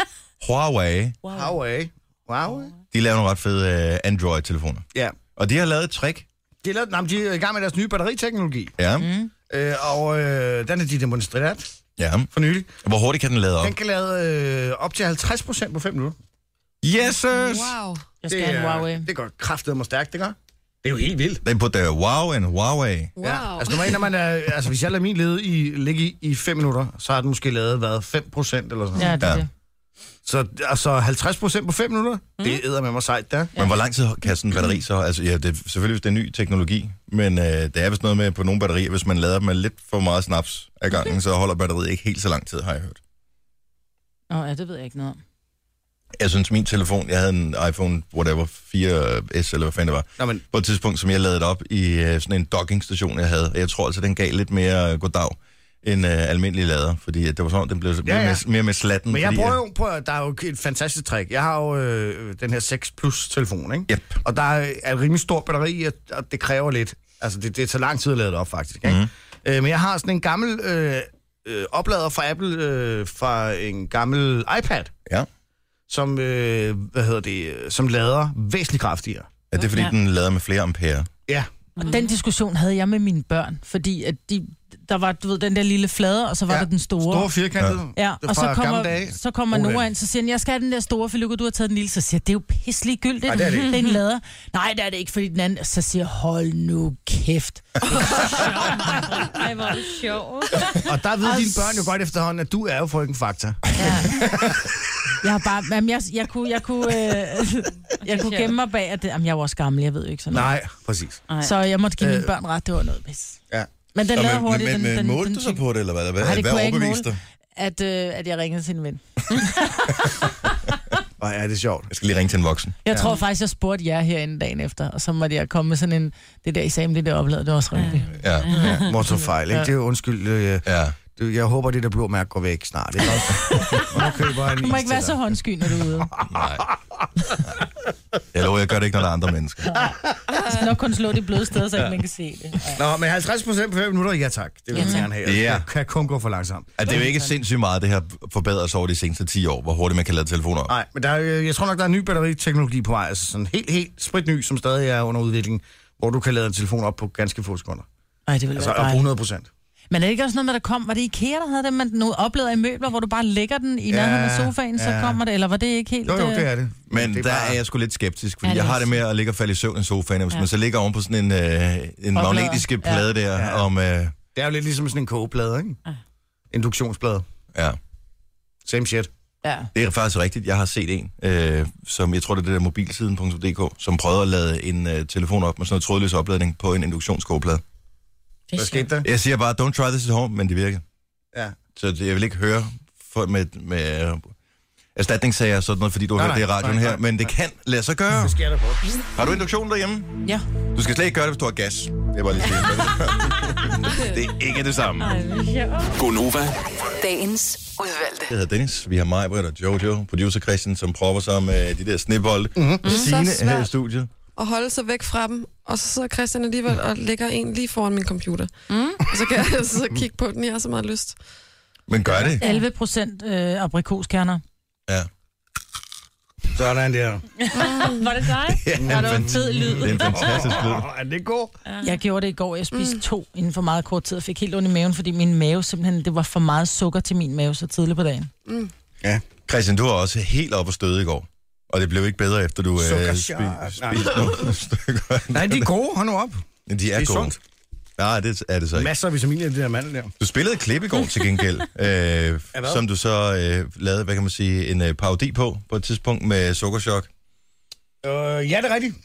[SPEAKER 1] Huawei,
[SPEAKER 2] Wow, eh? Wow, eh?
[SPEAKER 1] de laver nogle ret fede øh, Android-telefoner.
[SPEAKER 2] Ja.
[SPEAKER 1] Og de har lavet et trick.
[SPEAKER 2] De er, lavet, nej, de er i gang med deres nye batteriteknologi,
[SPEAKER 1] Ja. Mm.
[SPEAKER 2] øh, og øh, den er de demonstreret
[SPEAKER 1] ja.
[SPEAKER 2] for nylig.
[SPEAKER 1] Hvor hurtigt kan den lade op?
[SPEAKER 2] Den kan lade øh, op til 50 procent på 5 minutter.
[SPEAKER 1] Yes, sirs!
[SPEAKER 3] Wow.
[SPEAKER 4] Jeg skal have en
[SPEAKER 2] er-
[SPEAKER 4] Huawei.
[SPEAKER 2] Det går kraftedeme stærkt, det gør.
[SPEAKER 1] Den putter der wow en Huawei.
[SPEAKER 3] Wow.
[SPEAKER 2] Altså normalt, når man er, altså hvis jeg lader min lede i, ligge i, i 5 minutter, så har den måske lavet været 5 procent eller sådan
[SPEAKER 4] Ja,
[SPEAKER 2] noget.
[SPEAKER 4] det er
[SPEAKER 1] Ja.
[SPEAKER 4] det.
[SPEAKER 2] Så altså 50 procent på 5 minutter, mm. det æder med mig sejt der.
[SPEAKER 1] Men hvor lang tid kan sådan en batteri så? Altså, ja, det er selvfølgelig, hvis det er ny teknologi, men øh, det er vist noget med på nogle batterier, hvis man lader dem med lidt for meget snaps ad gangen, så holder batteriet ikke helt så lang tid, har jeg hørt.
[SPEAKER 4] Nå, ja, det ved jeg ikke noget om.
[SPEAKER 1] Jeg synes, min telefon, jeg havde en iPhone, whatever, 4S, eller hvad fanden det var,
[SPEAKER 2] Nå, men
[SPEAKER 1] på et tidspunkt, som jeg ladede op i øh, sådan en dockingstation, jeg havde. Og jeg tror altså, den gav lidt mere øh, goddag end øh, almindelig lader, fordi at det var sådan, den blev mere,
[SPEAKER 2] ja.
[SPEAKER 1] Med, mere med slatten.
[SPEAKER 2] Men jeg
[SPEAKER 1] Mm, fordi,
[SPEAKER 2] prøver jo, prøver, der er jo et fantastisk trick. Jeg har jo øh, den her 6 plus telefon, ikke?
[SPEAKER 1] Yep.
[SPEAKER 2] Og der er er et rimelig stor batteri, og- og det kræver lidt. Altså, det, det tager lang tid at lade det op, faktisk.
[SPEAKER 1] Mhm.
[SPEAKER 2] Ikke? Mm. Øh, men jeg har sådan en gammel øh, øh, oplader fra Apple, øh, fra en gammel iPad,
[SPEAKER 1] Ja.
[SPEAKER 2] som, øh, hvad hedder det, øh, som lader væsentligt kraftigere.
[SPEAKER 1] Er det, fordi
[SPEAKER 5] Ja.
[SPEAKER 1] den lader med flere ampere?
[SPEAKER 2] Ja.
[SPEAKER 4] Og den diskussion havde jeg med mine børn, fordi at de, der var, du ved, den der lille flade, og så var ja.
[SPEAKER 2] Ja,
[SPEAKER 4] der den store.
[SPEAKER 2] Store firkantede.
[SPEAKER 4] Ja,
[SPEAKER 2] Det er
[SPEAKER 4] og så
[SPEAKER 2] fra gamle
[SPEAKER 4] kommer,
[SPEAKER 2] dage.
[SPEAKER 4] så kommer
[SPEAKER 2] Brug
[SPEAKER 4] Nora
[SPEAKER 2] den.
[SPEAKER 4] ind, så siger han, jeg skal have den der store, for Lykke, du har taget den lille. Så siger jeg, det er jo pisselig gyldigt.
[SPEAKER 2] Nej, det er det ikke.
[SPEAKER 4] Den lader. Nej, det er det ikke, fordi den anden... Så siger jeg, hold nu kæft.
[SPEAKER 5] Ej, hvor er det sjovt.
[SPEAKER 2] Og der ved dine børn jo godt efterhånden, at du er jo frøken Fakta.
[SPEAKER 4] Ja. Jeg har bare... Jamen, jeg, jeg kunne, jeg kunne, øh, jeg kunne gemme mig bag, at det, jamen, jeg var også gammel, jeg ved jo ikke sådan noget.
[SPEAKER 2] Nej, præcis. Øh,
[SPEAKER 4] Så jeg måtte give mine børn ret, det var noget pis.
[SPEAKER 2] Ja.
[SPEAKER 4] Men den lader
[SPEAKER 1] men,
[SPEAKER 4] hurtigt.
[SPEAKER 1] men,
[SPEAKER 4] den, den,
[SPEAKER 1] men målte
[SPEAKER 4] den,
[SPEAKER 1] du så på det, eller hvad? Hvad,
[SPEAKER 4] Nej, det
[SPEAKER 1] hvad
[SPEAKER 4] kunne jeg ikke
[SPEAKER 1] overbeviste dig?
[SPEAKER 4] måle. At, øh, at jeg ringede til en ven.
[SPEAKER 2] Og ja, det er sjovt.
[SPEAKER 1] Jeg skal lige ringe til en voksen.
[SPEAKER 4] Jeg ja. tror faktisk, jeg spurgte jer herinde dagen efter, og så måtte jeg komme med sådan en, det der, I sagde om det der oplevet, det var også rigtigt. Ja.
[SPEAKER 1] Ja.
[SPEAKER 2] Motorfejl, ikke? Det er jo undskyld. Øh,
[SPEAKER 1] ja.
[SPEAKER 2] Du, Jeg håber, det der blå mærke går væk snart. Ikke? også? Og nu køber jeg en
[SPEAKER 4] Du må ikke være så håndsky, når du er ude.
[SPEAKER 1] Nej. Jeg lover, jeg gør det ikke, når der er andre mennesker.
[SPEAKER 4] Du skal nok kun slå det bløde sted, så ikke man kan se det. Ja.
[SPEAKER 2] Nå, men 50 procent på 5 minutter? Ja tak. Det vil jeg gerne have.
[SPEAKER 1] Ja.
[SPEAKER 2] Det kan kun gå for langsomt.
[SPEAKER 1] At det er jo ikke sindssygt meget, det her forbedret sig over de seneste 10 år, hvor hurtigt man kan lade telefoner op.
[SPEAKER 2] Nej, men der, er, øh, jeg tror nok, der er en ny batteriteknologi på vej. Altså sådan helt, helt spritny, som stadig er under udvikling. Hvor du kan lade en telefon op på ganske få sekunder.
[SPEAKER 4] Ej, det ville
[SPEAKER 2] Altså
[SPEAKER 4] være
[SPEAKER 2] op på
[SPEAKER 4] dejligt.
[SPEAKER 2] 100 procent.
[SPEAKER 4] Men er det ikke også noget med, der kom, var det IKEA, der havde det, man nu oplevede i møbler, hvor du bare lægger den i nærheden af sofaen, så
[SPEAKER 2] ja.
[SPEAKER 4] kommer det, eller var det ikke helt...
[SPEAKER 2] Jo, jo,
[SPEAKER 4] øh,
[SPEAKER 2] det er det.
[SPEAKER 1] Men
[SPEAKER 2] det
[SPEAKER 1] der er jeg sgu lidt skeptisk, fordi
[SPEAKER 5] Ja, det
[SPEAKER 1] jeg
[SPEAKER 5] er
[SPEAKER 1] har det med at ligge og falde i søvn i sofaen, og hvis man så ligger oven på sådan en, øh, en magnetiske
[SPEAKER 4] Ja.
[SPEAKER 1] plade der,
[SPEAKER 2] Ja.
[SPEAKER 1] om... Øh,
[SPEAKER 2] Det er jo lidt ligesom sådan en kogeplade, ikke?
[SPEAKER 5] Ja.
[SPEAKER 2] Induktionsplade.
[SPEAKER 1] ja.
[SPEAKER 2] Same shit.
[SPEAKER 4] Ja.
[SPEAKER 1] Det er faktisk rigtigt. Jeg har set en, øh, som jeg tror, det er det der mobilsiden.dk, som prøvede at lade en øh, telefon op med sådan noget trådløs opladning på en induktionskogeplade.
[SPEAKER 2] Hvad skete der?
[SPEAKER 1] Jeg siger bare, don't try this at home, men det virker.
[SPEAKER 2] Ja.
[SPEAKER 1] Så det- jeg vil ikke høre for, med, med erstatningssager og sådan noget, fordi du
[SPEAKER 2] Nej,
[SPEAKER 1] har hørt det i
[SPEAKER 2] nej,
[SPEAKER 1] radioen
[SPEAKER 2] nej,
[SPEAKER 1] her,
[SPEAKER 2] nej,
[SPEAKER 1] men det kan lade sig gøre.
[SPEAKER 2] Det sker der for.
[SPEAKER 1] Har du induktion derhjemme?
[SPEAKER 4] Ja.
[SPEAKER 1] Du skal slet ikke gøre det, hvis du har gas. Det var lige sige. det er ikke det samme.
[SPEAKER 7] Gonova,
[SPEAKER 6] Dagens udvalgte.
[SPEAKER 1] Jeg hedder Dennis, vi har mig, Britt og Jojo, producer Christian, som propper sig med de der snebolde.
[SPEAKER 2] Mhm.
[SPEAKER 1] Mm-hmm. Signe
[SPEAKER 3] Så
[SPEAKER 1] er her i
[SPEAKER 3] svært.
[SPEAKER 1] studiet.
[SPEAKER 8] og holde sig væk fra dem, og så sidder Christian alligevel og lægger en lige foran min computer. Mm. Og så kan jeg sidde og kigge på den, jeg har så meget lyst.
[SPEAKER 1] Men gør det.
[SPEAKER 4] 11 procent øh, aprikoskerner.
[SPEAKER 1] Ja.
[SPEAKER 2] Sådan der.
[SPEAKER 5] Ah, Var det dig?
[SPEAKER 1] Ja,
[SPEAKER 5] det var en fed lyd.
[SPEAKER 1] Det er en fantastisk lyd.
[SPEAKER 2] Åh, er det god?
[SPEAKER 4] Jeg gjorde det i går. Jeg spiste mm. to inden for meget kort tid og fik helt ondt i maven, fordi min mave simpelthen, det var for meget sukker til min mave så tidligt på dagen.
[SPEAKER 2] Ja.
[SPEAKER 1] Christian, du var også helt op og støde i går. Og det blev ikke bedre, efter du øh, spi-
[SPEAKER 2] Sukkerchok. Nej.
[SPEAKER 1] spiste nogle stykker.
[SPEAKER 2] Nej, de er gode. Hold nu op.
[SPEAKER 1] Men de er,
[SPEAKER 2] Det er
[SPEAKER 1] gode.
[SPEAKER 2] sundt.
[SPEAKER 1] Nej, det er det så ikke.
[SPEAKER 2] Masser af vitaminer i det der mandel der.
[SPEAKER 1] Du spillede et klip i går til gengæld, øh,
[SPEAKER 2] hvad?
[SPEAKER 1] som du så øh, lavede, hvad kan man sige, en øh, parodi på, på et tidspunkt med sukkerchok.
[SPEAKER 2] Øh, ja, det er rigtigt.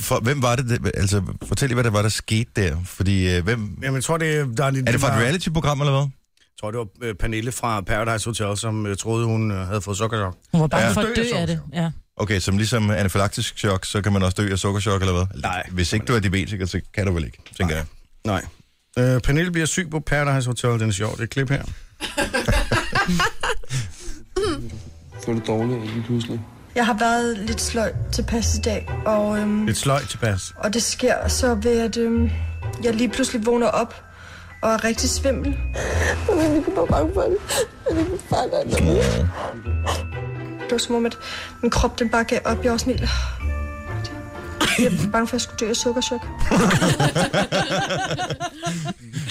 [SPEAKER 1] For, hvem var det, det, altså fortæl lige, hvad der var, der skete der, fordi øh, hvem,
[SPEAKER 2] Jamen, jeg tror, det, der er,
[SPEAKER 1] er det fra
[SPEAKER 2] var-
[SPEAKER 1] et reality-program eller hvad?
[SPEAKER 2] Jeg tror, det var øh, Pernille fra Paradise Hotel, som øh, troede, hun øh, havde fået sukkerchok.
[SPEAKER 4] Hun var bare
[SPEAKER 1] Ja.
[SPEAKER 4] ja. for at dø
[SPEAKER 2] Dø af
[SPEAKER 4] af det. Ja.
[SPEAKER 1] Okay, som ligesom anafylaktisk chok, så kan man også dø af sukkerchok eller hvad?
[SPEAKER 2] Nej.
[SPEAKER 1] Hvis ikke du er diabetiker, så kan du vel ikke, tænker jeg.
[SPEAKER 2] Nej. Øh, Pernille bliver syg på Paradise Hotel. Den er sjov. Det er et klip her.
[SPEAKER 9] Får det dårligt lige pludselig.
[SPEAKER 10] Jeg har været lidt sløj tilpas i dag, og, øhm,
[SPEAKER 2] Lidt sløjt tilpas.
[SPEAKER 10] og det sker så ved, at øhm, jeg lige pludselig vågner op og er rigtig svimmel. Det var som om, at min krop den bare gav op. Jeg var sådan helt... Jeg var bange for, at jeg skulle dø af sukkerchok.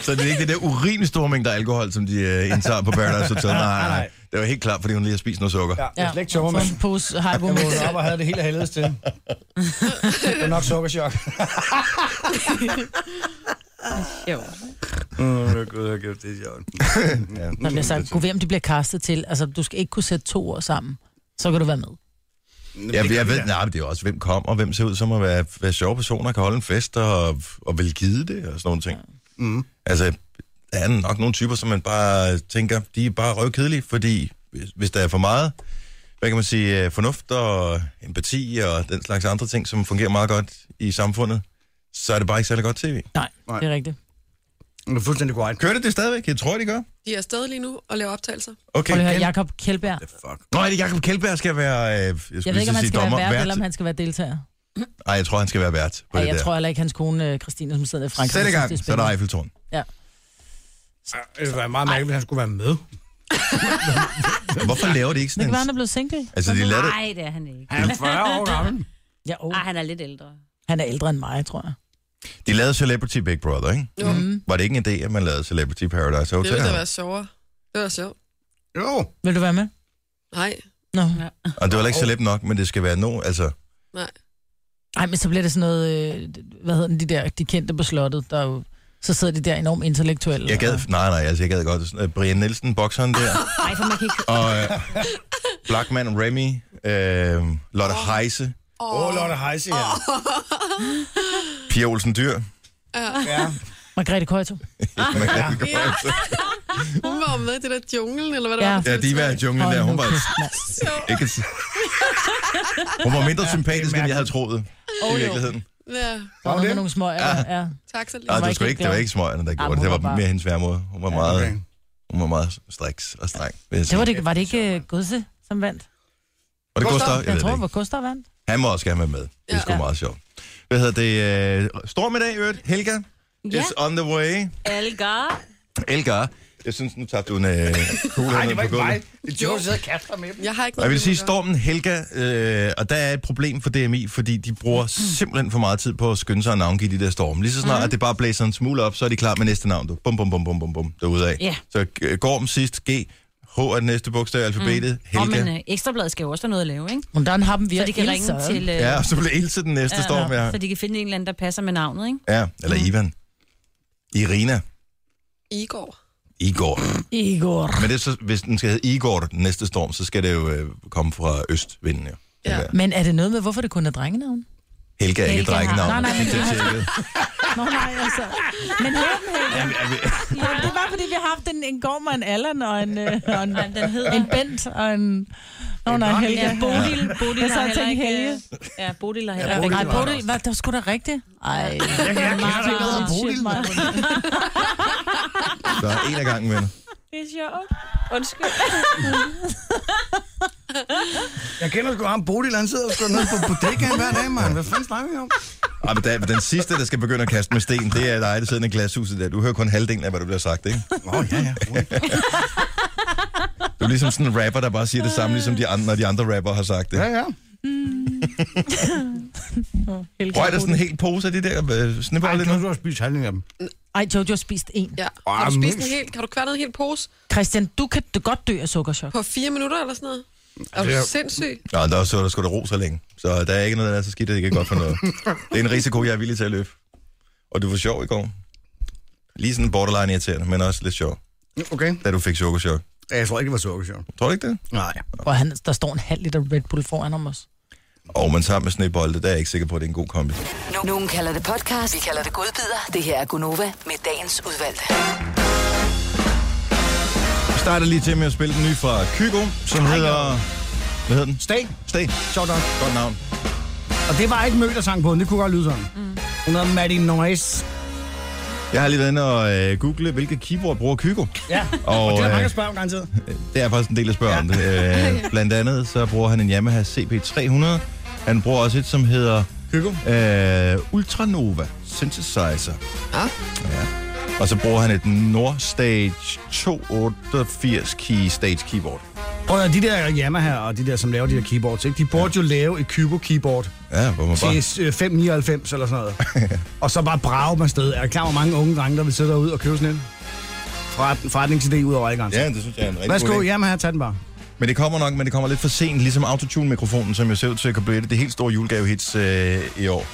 [SPEAKER 1] Så det er ikke det der urimelig store mængder alkohol, som de øh, indtager på Paradise Hotel? Nej, nej, det var helt klart, fordi hun lige har spist noget sukker.
[SPEAKER 2] Ja,
[SPEAKER 4] Ja. For en pose
[SPEAKER 2] Jeg
[SPEAKER 4] haribo
[SPEAKER 2] vågnede op og havde det hele helvedes til. det var nok sukkerchok.
[SPEAKER 5] Jo.
[SPEAKER 2] Åh, oh, gud, det er sjovt. ja.
[SPEAKER 4] Man bliver sagt, gud altså, ved, om de bliver kastet til. Altså, du skal ikke kunne sætte to år sammen. Så kan du være med.
[SPEAKER 1] Ja, jeg, jeg ved, nej, men det er jo også, hvem kommer, hvem ser ud som at være, være sjove personer, kan holde en fest og, og vil give det og sådan nogle ting.
[SPEAKER 2] Mm.
[SPEAKER 1] Altså, der er nok nogle typer, som man bare tænker, de er bare røvkedelige, fordi hvis- hvis der er for meget, hvad kan man sige, øh, fornuft og empati og den slags andre ting, som fungerer meget godt i samfundet, så er det bare ikke særlig godt tv.
[SPEAKER 4] Nej,
[SPEAKER 2] Nej.
[SPEAKER 4] Nej. det er rigtigt.
[SPEAKER 2] Det er fuldstændig korrekt.
[SPEAKER 1] Kører det det stadigvæk? Jeg tror, de gør.
[SPEAKER 8] De er afsted lige nu og laver optagelser.
[SPEAKER 1] Okay.
[SPEAKER 4] Prøv lige at høre,
[SPEAKER 1] Ken-
[SPEAKER 4] Jakob Kjeldberg.
[SPEAKER 2] Fuck.
[SPEAKER 1] Nå, er det Jacob Kjeldberg skal være... Øh, jeg, skulle
[SPEAKER 4] Jeg ved
[SPEAKER 1] lige
[SPEAKER 4] ikke, om han
[SPEAKER 1] sige
[SPEAKER 4] skal være
[SPEAKER 1] dommer,
[SPEAKER 4] vært, eller om han skal være deltager.
[SPEAKER 1] Ej, jeg tror, han skal være vært på
[SPEAKER 4] Ja,
[SPEAKER 1] det
[SPEAKER 4] jeg
[SPEAKER 1] der.
[SPEAKER 4] tror heller ikke, hans kone øh, Christine, som sidder i Frankrig.
[SPEAKER 1] Sæt i
[SPEAKER 4] synes,
[SPEAKER 1] gang,
[SPEAKER 4] det
[SPEAKER 1] så er der
[SPEAKER 4] spændende.
[SPEAKER 1] Eiffeltårn.
[SPEAKER 2] Det ville være meget mærkeligt, hvis han skulle være med.
[SPEAKER 1] Hvorfor laver de ikke
[SPEAKER 4] Det
[SPEAKER 1] sådan
[SPEAKER 4] kan være, han
[SPEAKER 1] en...
[SPEAKER 4] er blevet single.
[SPEAKER 1] Altså, de lader det...
[SPEAKER 5] Nej, det er han ikke.
[SPEAKER 2] Han er 40 år gammel.
[SPEAKER 4] Ja, oh.
[SPEAKER 5] Ej, han er lidt ældre.
[SPEAKER 4] Han er ældre end mig, tror jeg.
[SPEAKER 1] De lavede Celebrity Big Brother, ikke?
[SPEAKER 8] Jo, mm.
[SPEAKER 1] Var det ikke en idé, at man lavede Celebrity Paradise
[SPEAKER 8] det
[SPEAKER 1] Hotel?
[SPEAKER 8] ville da være sjovere. Det var sjovt.
[SPEAKER 2] Jo.
[SPEAKER 4] Vil du være med?
[SPEAKER 8] Nej,
[SPEAKER 4] Nå.
[SPEAKER 1] Og det var heller ikke celeb nok, men det skal være nogen... Altså,
[SPEAKER 8] nej.
[SPEAKER 4] Nej, men så bliver det sådan noget, øh, hvad hedder den, de der, de kendte på slottet, der er jo, så sidder de der enormt intellektuelle.
[SPEAKER 1] jeg gad...
[SPEAKER 4] og-
[SPEAKER 1] Nej, nej, altså, jeg gad godt. Sådan, øh, Brian Nielsen, bokseren der.
[SPEAKER 5] Nej, for man kan ikke...
[SPEAKER 1] og øh, Blackman Remy. Øh, Lotte Heise.
[SPEAKER 2] Åh, oh, Lotte Heise, ja.
[SPEAKER 1] Pia Olsen Dyr.
[SPEAKER 2] ja.
[SPEAKER 4] Margrethe Køjto.
[SPEAKER 8] Hun var jo med i det der junglen, eller hvad det
[SPEAKER 4] Ja.
[SPEAKER 8] var. på
[SPEAKER 1] Ja,
[SPEAKER 8] TV3.
[SPEAKER 1] de var i junglen der.
[SPEAKER 4] Hold
[SPEAKER 1] Hun
[SPEAKER 4] nu
[SPEAKER 1] var...
[SPEAKER 4] kæft, mand.
[SPEAKER 1] Ikke, hun var mindre sympatisk, end jeg havde troet. I
[SPEAKER 5] jo.
[SPEAKER 1] virkeligheden.
[SPEAKER 8] Ja,
[SPEAKER 4] Der var noget med nogle små ærter, ja.
[SPEAKER 8] tak så lidt.
[SPEAKER 1] Nej, det
[SPEAKER 4] var
[SPEAKER 1] var,
[SPEAKER 4] ikke
[SPEAKER 1] sgu
[SPEAKER 4] helt
[SPEAKER 1] ikke, det var
[SPEAKER 4] glad.
[SPEAKER 1] ikke smøgerne, der gjorde det.
[SPEAKER 4] men
[SPEAKER 1] Det
[SPEAKER 4] hun
[SPEAKER 1] var
[SPEAKER 4] var bare-
[SPEAKER 1] mere hendes værmod. Hun var meget,
[SPEAKER 2] Okay.
[SPEAKER 1] hun var meget striks og streng. Vil jeg
[SPEAKER 4] Det
[SPEAKER 1] sige.
[SPEAKER 4] var, det, var det ikke øh, Gudse, som vandt?
[SPEAKER 1] var det Gustav? Jeg
[SPEAKER 4] Jeg
[SPEAKER 1] ved
[SPEAKER 4] tror,
[SPEAKER 1] det
[SPEAKER 4] det
[SPEAKER 1] ikke.
[SPEAKER 4] var Gustav vandt.
[SPEAKER 1] Han må også gerne være med. Det er sgu
[SPEAKER 8] Ja.
[SPEAKER 1] meget sjovt. Hvad hedder det? Øh, Storm i dag, i øvrigt. Helga
[SPEAKER 5] Ja,
[SPEAKER 1] is on the way.
[SPEAKER 5] Algar.
[SPEAKER 1] Elga. Jeg synes, nu tabte hun øh,
[SPEAKER 2] Nej,
[SPEAKER 1] kuglen
[SPEAKER 2] det var
[SPEAKER 1] ned på
[SPEAKER 2] ikke mig.
[SPEAKER 1] gulvet.
[SPEAKER 2] Det er Joe, der sidder og kaster med dem.
[SPEAKER 8] Jeg har ikke
[SPEAKER 1] Og jeg vil
[SPEAKER 8] med
[SPEAKER 1] sige,
[SPEAKER 8] det at gøre.
[SPEAKER 1] stormen Helga, øh, og der er et problem for DMI, fordi de bruger simpelthen for meget tid på at skynde sig at navngive de der storme. Lige så
[SPEAKER 5] Mhm.
[SPEAKER 1] snart, at det bare blæser en smule op, så er de klar med næste navn. Du. Bum, bum, bum, bum, bum, bum, derude af.
[SPEAKER 5] Ja.
[SPEAKER 1] Så øh, Gorm sidst, G, H er den næste bogstav i alfabetet,
[SPEAKER 5] Og
[SPEAKER 1] Helga.
[SPEAKER 5] men øh, ekstrabladet skal jo også have noget at lave, ikke?
[SPEAKER 4] Men der har dem
[SPEAKER 5] Så
[SPEAKER 4] virkelig
[SPEAKER 5] de kan ringe til... Øh,
[SPEAKER 1] Ja, og så bliver Ilse den næste storm, ja.
[SPEAKER 5] Så de kan finde en eller anden, der passer med navnet, ikke?
[SPEAKER 1] Ja,
[SPEAKER 5] mm.
[SPEAKER 1] eller Ivan. Irina.
[SPEAKER 8] Igor.
[SPEAKER 1] Igor.
[SPEAKER 4] Igor.
[SPEAKER 1] Men det er så, hvis den skal hedde Igor, den næste storm, så skal det jo øh, komme fra østvinden, jo.
[SPEAKER 8] Ja.
[SPEAKER 1] Ja.
[SPEAKER 4] Men er det noget med, hvorfor det kun er drengenavn?
[SPEAKER 1] Helga er ikke
[SPEAKER 5] Helga har-
[SPEAKER 1] drengenavn.
[SPEAKER 4] Nej, nej, men-
[SPEAKER 1] Det er tjekket.
[SPEAKER 4] Nå nej, altså. Men Copenhagen,
[SPEAKER 1] Jamen, er vi,
[SPEAKER 4] ja. det var fordi, vi har haft en, en Gorm og en Allan og en, øh, og en,
[SPEAKER 3] Jamen, den hedder...
[SPEAKER 4] en Bent og en... Nå, nej, en Helga.
[SPEAKER 3] Ja, Bodil. Bodil
[SPEAKER 4] Jeg sad
[SPEAKER 3] har
[SPEAKER 4] og
[SPEAKER 3] heller
[SPEAKER 4] tænkte
[SPEAKER 3] ikke...
[SPEAKER 4] Helge.
[SPEAKER 3] øh, Ja, Bodil har heller
[SPEAKER 2] Ja,
[SPEAKER 3] ikke...
[SPEAKER 4] Ej,
[SPEAKER 2] Bodil var der
[SPEAKER 4] Bodil,
[SPEAKER 2] også.
[SPEAKER 4] var, det var sgu da rigtigt. Ej,
[SPEAKER 2] Jeg kan ikke kende ikke noget om Bodil.
[SPEAKER 1] der er en af gangen, venner.
[SPEAKER 3] Det er sjovt. Undskyld.
[SPEAKER 2] Jeg kender sgu ham. Bodil, han sidder sgu nede på bodegaen hver dag, mand. Hvad fanden snakker vi om?
[SPEAKER 1] Ej, men der, den sidste, der skal begynde at kaste med sten, det er dig, der sidder i glashuset der. Du hører kun halvdelen af, hvad der bliver sagt, ikke?
[SPEAKER 2] Åh, oh, ja, ja. rolig.
[SPEAKER 1] Du er ligesom sådan en rapper, der bare siger det samme, ligesom de andre, når de andre rapper har sagt det.
[SPEAKER 2] Ja, ja.
[SPEAKER 1] Hvor er der sådan en hel pose af de der øh,
[SPEAKER 2] Ej,
[SPEAKER 1] snibbolle
[SPEAKER 2] kan
[SPEAKER 1] nu?
[SPEAKER 2] du også spise halvdelen af dem?
[SPEAKER 4] Ej, Jojo har spist en.
[SPEAKER 8] Ja.
[SPEAKER 2] Åh,
[SPEAKER 8] Har du spist en
[SPEAKER 2] mindst.
[SPEAKER 8] hel, har du kværnet en hel pose
[SPEAKER 4] Christian, du kan du godt dø af sukkerchok.
[SPEAKER 8] på fire minutter eller sådan noget? Er
[SPEAKER 2] Det er-
[SPEAKER 8] du sindssyg?
[SPEAKER 1] Nå, der er så der skulle der ro så længe. Så der er ikke noget, der er så skidt, at det ikke er godt for noget. Det er en risiko, jeg er villig til at løbe. Og du var sjov i går. Lige sådan borderline irriterende, men også lidt sjov,
[SPEAKER 2] Okay.
[SPEAKER 1] da du fik sukkerchok.
[SPEAKER 2] Ja, Jeg tror ikke, det var sukkersjov.
[SPEAKER 1] Tror du ikke det?
[SPEAKER 2] Nej.
[SPEAKER 4] Og han, der står en halv liter Red Bull foran ham også.
[SPEAKER 1] Og man sammen med snebolde, der er jeg ikke sikker på, at det er en god kombi.
[SPEAKER 6] Nu- Nogen kalder det podcast, vi kalder det godbider. Det her er Gunova med dagens udvalgte.
[SPEAKER 1] Vi starter lige til med at spille den nye fra Kygo, som hedder... Hvad hedder den?
[SPEAKER 2] Stag.
[SPEAKER 1] Stay.
[SPEAKER 2] Sjovt nok.
[SPEAKER 1] Godt navn.
[SPEAKER 2] Og det var ikke Mø, der sang på den. Det kunne godt lyde sådan. Hun hedder Maddie Noise.
[SPEAKER 1] Jeg har lige været inde og øh, google, hvilke keyboard bruger Kygo.
[SPEAKER 2] Ja,
[SPEAKER 1] Og,
[SPEAKER 2] og, og det er der
[SPEAKER 1] øh,
[SPEAKER 2] mange, der spørger om garanteret.
[SPEAKER 1] Det er faktisk en del af spørgsmålet. Ja. Øh, blandt andet så bruger han en Yamaha CP300. Han bruger også et, som hedder
[SPEAKER 2] Kygo.
[SPEAKER 1] øh, Ultranova Synthesizer.
[SPEAKER 8] Ja.
[SPEAKER 1] ja. Og så bruger han et Nordstage 288 key stage keyboard.
[SPEAKER 2] Prøv at høre, de der Yamaha og de der, som laver de der keyboards, ikke? de burde jo lave et Kygo-keyboard
[SPEAKER 1] Ja, hvor man bare...
[SPEAKER 2] til øh, 599 eller sådan noget. og så bare brage dem afsted. Er der klar, hvor mange unge drenge, der vil sidde derude og købe sådan en? Forret, forretningsidé ud over alle grænser.
[SPEAKER 1] Ja, det synes jeg er en rigtig god
[SPEAKER 2] Værsgo,
[SPEAKER 1] idé.
[SPEAKER 2] Yamaha, tag den bare.
[SPEAKER 1] Men det kommer nok, men det kommer lidt for sent, ligesom autotune-mikrofonen, som jeg ser ud til at kunne blive det helt store julegavehits øh, i år.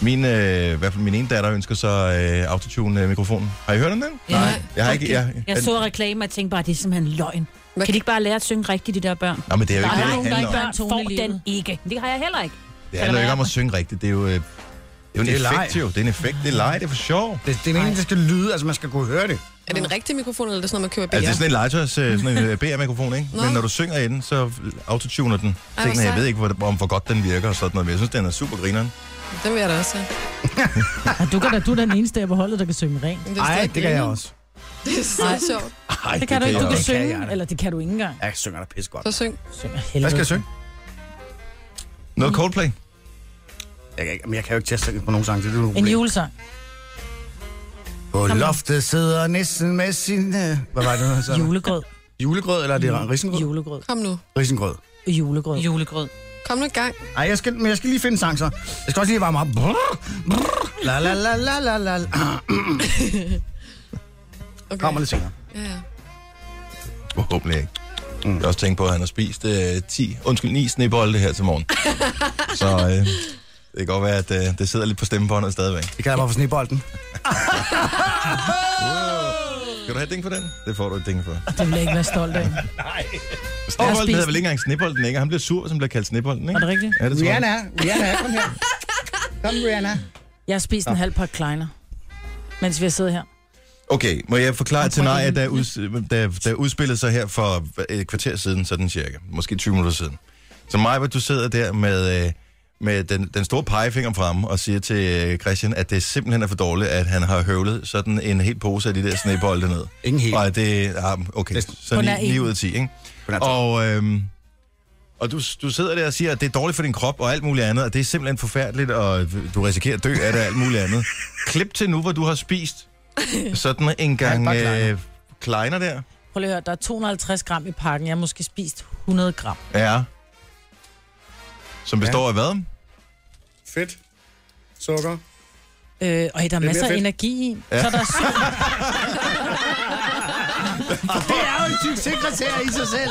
[SPEAKER 1] Min, øh, i hvert fald min ene datter ønsker så øh, autotune-mikrofonen. Har I hørt om den?
[SPEAKER 8] Ja.
[SPEAKER 1] Jeg har ikke... Jeg,
[SPEAKER 5] Jeg så reklamer og tænkte bare, det er simpelthen løgn.
[SPEAKER 8] Hvad-
[SPEAKER 5] Kan de ikke bare lære at synge rigtigt, de der børn?
[SPEAKER 1] Nå, men det er jo
[SPEAKER 5] Der
[SPEAKER 1] ikke
[SPEAKER 5] er
[SPEAKER 1] det,
[SPEAKER 5] nogen,
[SPEAKER 1] det
[SPEAKER 5] der ikke
[SPEAKER 1] handler om.
[SPEAKER 5] børn
[SPEAKER 3] Tone
[SPEAKER 5] får
[SPEAKER 3] i livet.
[SPEAKER 5] den ikke. Det har jeg heller ikke.
[SPEAKER 1] Det handler jo ikke om at synge rigtigt. Det er jo, øh, det er jo en
[SPEAKER 2] Det er leg.
[SPEAKER 1] effekt, jo. Det er en effekt. Det er leg. Det er for sjov.
[SPEAKER 2] Det, det er meningen, det skal lyde, altså man skal kunne høre det.
[SPEAKER 8] Er det en rigtig mikrofon, eller er det sådan noget, man køber i BR?
[SPEAKER 1] Altså, det er sådan en legetøjs, øh, sådan en øh, BR-mikrofon, ikke?
[SPEAKER 8] Nå.
[SPEAKER 1] Men når du synger i den, så autotuner den.
[SPEAKER 8] hvor
[SPEAKER 1] Tingene, jeg
[SPEAKER 8] sejt.
[SPEAKER 1] ved ikke, hvor, om hvor godt den virker og sådan noget, men jeg synes, den er super grineren.
[SPEAKER 8] Den vil jeg da også have.
[SPEAKER 4] Ja, du, kan da, du er da den eneste af holdet, der kan synge rent.
[SPEAKER 8] Men
[SPEAKER 2] Nej,
[SPEAKER 8] stadig
[SPEAKER 2] det, det kan jeg
[SPEAKER 8] grineren.
[SPEAKER 2] også.
[SPEAKER 8] Det er så sjovt.
[SPEAKER 1] Ej,
[SPEAKER 4] Det kan du ikke. Du
[SPEAKER 1] jeg
[SPEAKER 4] kan
[SPEAKER 1] også.
[SPEAKER 2] synge,
[SPEAKER 4] synge, eller det kan du ikke engang.
[SPEAKER 2] Jeg synger da pisse godt.
[SPEAKER 8] Så syng.
[SPEAKER 4] Synger
[SPEAKER 2] Hvad
[SPEAKER 4] helvede.
[SPEAKER 2] skal jeg synge?
[SPEAKER 1] Noget Coldplay?
[SPEAKER 2] Jeg kan, ikke, men jeg kan jo ikke teste på nogen sang, det er jo et
[SPEAKER 4] En
[SPEAKER 2] problem.
[SPEAKER 4] julesang.
[SPEAKER 2] På loftet sidder nissen med sin... øh, Hvad var det nu, han sagde?
[SPEAKER 4] Julegrød.
[SPEAKER 2] Julegrød, eller er det risengrød?
[SPEAKER 4] Julegrød.
[SPEAKER 8] Kom nu.
[SPEAKER 2] Risengrød.
[SPEAKER 4] Julegrød.
[SPEAKER 3] Julegrød.
[SPEAKER 8] Kom nu i gang.
[SPEAKER 2] Ej, jeg skal, men jeg skal lige finde en sang så. Jeg skal også lige varme op. Brrr, brrr, la la la la la la.
[SPEAKER 8] Okay.
[SPEAKER 2] Kommer lidt senere.
[SPEAKER 8] Ja, ja.
[SPEAKER 1] Forhåbentlig ikke. Mm. Jeg har også tænkt på, at han har spist øh, 10, undskyld, 9 snebolde her til morgen. så øh, det kan godt være, at øh, det sidder lidt på stemmebåndet stadigvæk.
[SPEAKER 2] Det kalder jeg bare for snebolden.
[SPEAKER 1] Skal du have et ding for den? Det får du et ding for.
[SPEAKER 4] Det vil jeg ikke være stolt af. Jeg har
[SPEAKER 1] Snebolden
[SPEAKER 4] spist
[SPEAKER 1] hedder vel ikke engang snebolden, ikke? Og Han bliver sur, som bliver kaldt snebolden, ikke?
[SPEAKER 4] Er det rigtigt?
[SPEAKER 1] Ja, det tror jeg.
[SPEAKER 2] Rihanna, Rihanna, kom her. Kom, Rihanna.
[SPEAKER 4] Jeg har spist en halv pakke kleiner, mens vi har siddet her.
[SPEAKER 1] Okay, må jeg forklare et scenarie, der, uds- der, der udspillede sig her for et kvarter siden, sådan cirka. Måske 20 minutter siden. Så Maja, du sidder der med, øh, med den, den store pegefinger fremme og siger til øh, Christian, at det simpelthen er for dårligt, at han har høvlet sådan en hel pose af de der snebolde ned.
[SPEAKER 2] Ingen helt.
[SPEAKER 1] Og at det ah, okay,
[SPEAKER 2] Næsten.
[SPEAKER 1] så
[SPEAKER 4] Kun er
[SPEAKER 1] 9, 9
[SPEAKER 4] en.
[SPEAKER 1] ud af 10, ikke?
[SPEAKER 2] Kun er to.
[SPEAKER 1] Og, øhm, og du, du sidder der og siger, at det er dårligt for din krop og alt muligt andet, og det er simpelthen forfærdeligt, og du risikerer at dø af det og alt muligt andet. Klip til nu, hvor du har spist sådan en gang
[SPEAKER 2] bare
[SPEAKER 1] ja,
[SPEAKER 2] kleiner.
[SPEAKER 1] øh, kleiner der.
[SPEAKER 4] Prøv lige at høre, der er 250 gram i pakken. Jeg har måske spist 100 gram.
[SPEAKER 1] Ja. Som består af hvad?
[SPEAKER 2] Fedt. Sukker.
[SPEAKER 4] Øh, og der er masser af
[SPEAKER 2] fedt.
[SPEAKER 4] energi i. Ja. Så er der syv,
[SPEAKER 2] Det er jo en succeskriterie i sig
[SPEAKER 3] Ej,
[SPEAKER 2] selv.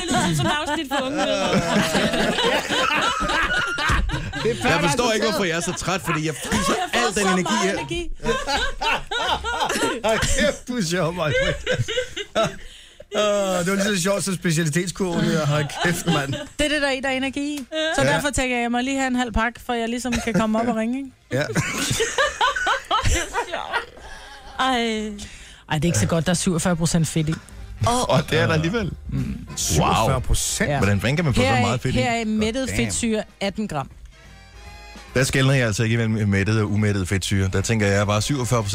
[SPEAKER 3] det lyder som et afsnit for unge.
[SPEAKER 2] Det er
[SPEAKER 1] Jeg forstår ikke, hvorfor jeg er så træt, fordi altså- jeg fiser al den energi her.
[SPEAKER 4] energi.
[SPEAKER 2] Ej, kæft, du er sjov, mig. Åh, det var lige så sjovt som specialitetskurven her. Hold kæft, mand.
[SPEAKER 4] Det er det, der er i, der er energi i. Så ja. derfor tænker jeg, at jeg må lige have en halv pakke, for jeg ligesom kan komme op og ringe. Ikke?
[SPEAKER 2] Ja.
[SPEAKER 5] Ej.
[SPEAKER 4] Ej, det er ikke så godt. Der er 47 procent fedt i.
[SPEAKER 1] Og det er der alligevel. Wow.
[SPEAKER 2] 40 procent.
[SPEAKER 4] Ja.
[SPEAKER 1] Hvordan fanden kan man få så
[SPEAKER 4] Her er,
[SPEAKER 1] meget fedt i?
[SPEAKER 4] her er mættet
[SPEAKER 2] Damn.
[SPEAKER 4] fedtsyre 18 gram.
[SPEAKER 1] Der skældner jeg altså ikke mellem mættet og umættet fedtsyre. Der tænker jeg bare,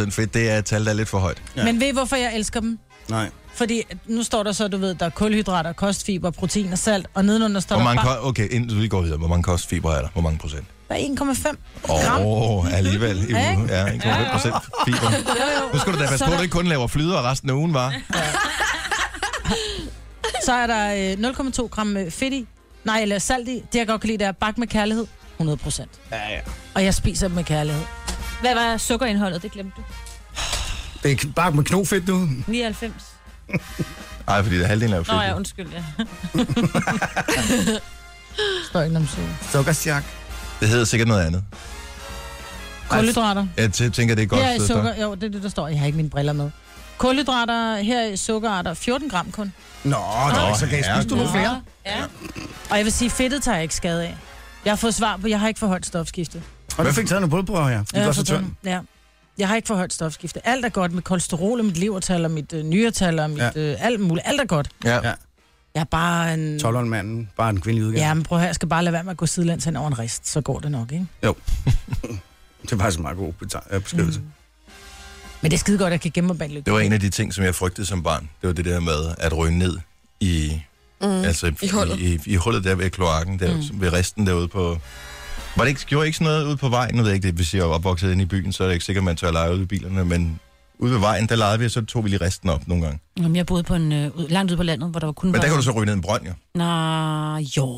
[SPEAKER 1] 47% fedt, det er et tal, der er lidt for højt.
[SPEAKER 4] Ja. Men ved I, hvorfor jeg elsker dem?
[SPEAKER 2] Nej.
[SPEAKER 4] Fordi nu står der så, du ved, der er kulhydrater, kostfiber, protein og salt, og nedenunder står
[SPEAKER 1] Hvor
[SPEAKER 4] der
[SPEAKER 1] mange
[SPEAKER 4] bare,
[SPEAKER 1] ko- okay, inden vi går videre, hvor mange kostfibre er der? Hvor mange procent?
[SPEAKER 4] der er 1,5
[SPEAKER 1] Åh,
[SPEAKER 4] gram.
[SPEAKER 1] oh, alligevel. I
[SPEAKER 4] Ja,
[SPEAKER 1] uge. Ja, 1,5 procent fiber. Nu skal du da passe
[SPEAKER 4] Så
[SPEAKER 1] på,
[SPEAKER 4] er
[SPEAKER 1] at du
[SPEAKER 4] der-
[SPEAKER 1] ikke kun laver flyder og resten af ugen, var.
[SPEAKER 4] Så er der øh, 0,2 gram øh, fedt i. Nej, eller salt i. Det jeg godt kan lide, det er bagt med kærlighed. 100 procent.
[SPEAKER 2] Ja, ja.
[SPEAKER 4] Og jeg spiser dem med kærlighed.
[SPEAKER 5] Hvad var sukkerindholdet? Det glemte du.
[SPEAKER 2] Det er k- bare med knofedt nu.
[SPEAKER 5] 99.
[SPEAKER 1] Nej, fordi det er halvdelen af
[SPEAKER 5] Nå ja,
[SPEAKER 1] flyder.
[SPEAKER 5] undskyld, ja.
[SPEAKER 4] Står ikke om suge.
[SPEAKER 2] Sukkersjak.
[SPEAKER 1] Det hedder sikkert noget andet.
[SPEAKER 4] Kulhydrater.
[SPEAKER 1] Jeg tæ- tænker, det er et godt
[SPEAKER 4] Her er
[SPEAKER 1] sted.
[SPEAKER 4] sukker.
[SPEAKER 1] for-
[SPEAKER 4] Jo, det er det, der står. Jeg har ikke mine briller med. Kulhydrater, her er sukkerarter. 14 gram kun.
[SPEAKER 2] Nå, nå, så kan jeg spise du nogle flere.
[SPEAKER 5] Ja.
[SPEAKER 4] Og jeg vil sige, fedtet tager jeg ikke skade af. Jeg har fået svar på, jeg har ikke for højt stofskifte.
[SPEAKER 2] Og du fik taget nogle blodprøver her. De
[SPEAKER 4] Jeg
[SPEAKER 2] var
[SPEAKER 4] har
[SPEAKER 2] så
[SPEAKER 4] fået
[SPEAKER 2] tynde.
[SPEAKER 4] den. Ja. Jeg har ikke for højt stofskifte. Alt er godt med kolesterol og mit levertal og mit øh, nyretal og mit
[SPEAKER 2] Ja.
[SPEAKER 4] ja. øh, alt muligt. Alt er godt.
[SPEAKER 1] Ja.
[SPEAKER 2] Ja.
[SPEAKER 4] Jeg er bare en...
[SPEAKER 2] 12 manden, bare en kvindelig udgave.
[SPEAKER 4] Ja, men prøv at høre, jeg skal bare lade være med at gå sidelæns hen over en rist, så går det nok, ikke?
[SPEAKER 2] Det er faktisk en meget god bete- øh, beskrivelse.
[SPEAKER 4] Men det er skide godt, at jeg kan gemme mig bag en lykke.
[SPEAKER 1] Mm. Det var en af de ting, som jeg frygtede som barn. Det var det der med at ryge ned i, mm. altså,
[SPEAKER 8] I hullet.
[SPEAKER 1] I, i, hullet der ved kloakken, der, mm. ved resten derude på... Var det ikke, gjorde I ikke sådan noget ude på vejen? Nu ved jeg ikke, det, hvis jeg er opvokset inde i byen, så er det ikke sikkert, man tør lege ude i bilerne, men ude ved vejen, der legede vi, og så tog vi lige resten op nogle gange.
[SPEAKER 5] Jamen, jeg boede på en, øh, ud- langt ude på landet, hvor der var kun...
[SPEAKER 1] Men der
[SPEAKER 5] var-
[SPEAKER 1] kan du så ryge ned i en brønd, jo.
[SPEAKER 5] Nå, jo.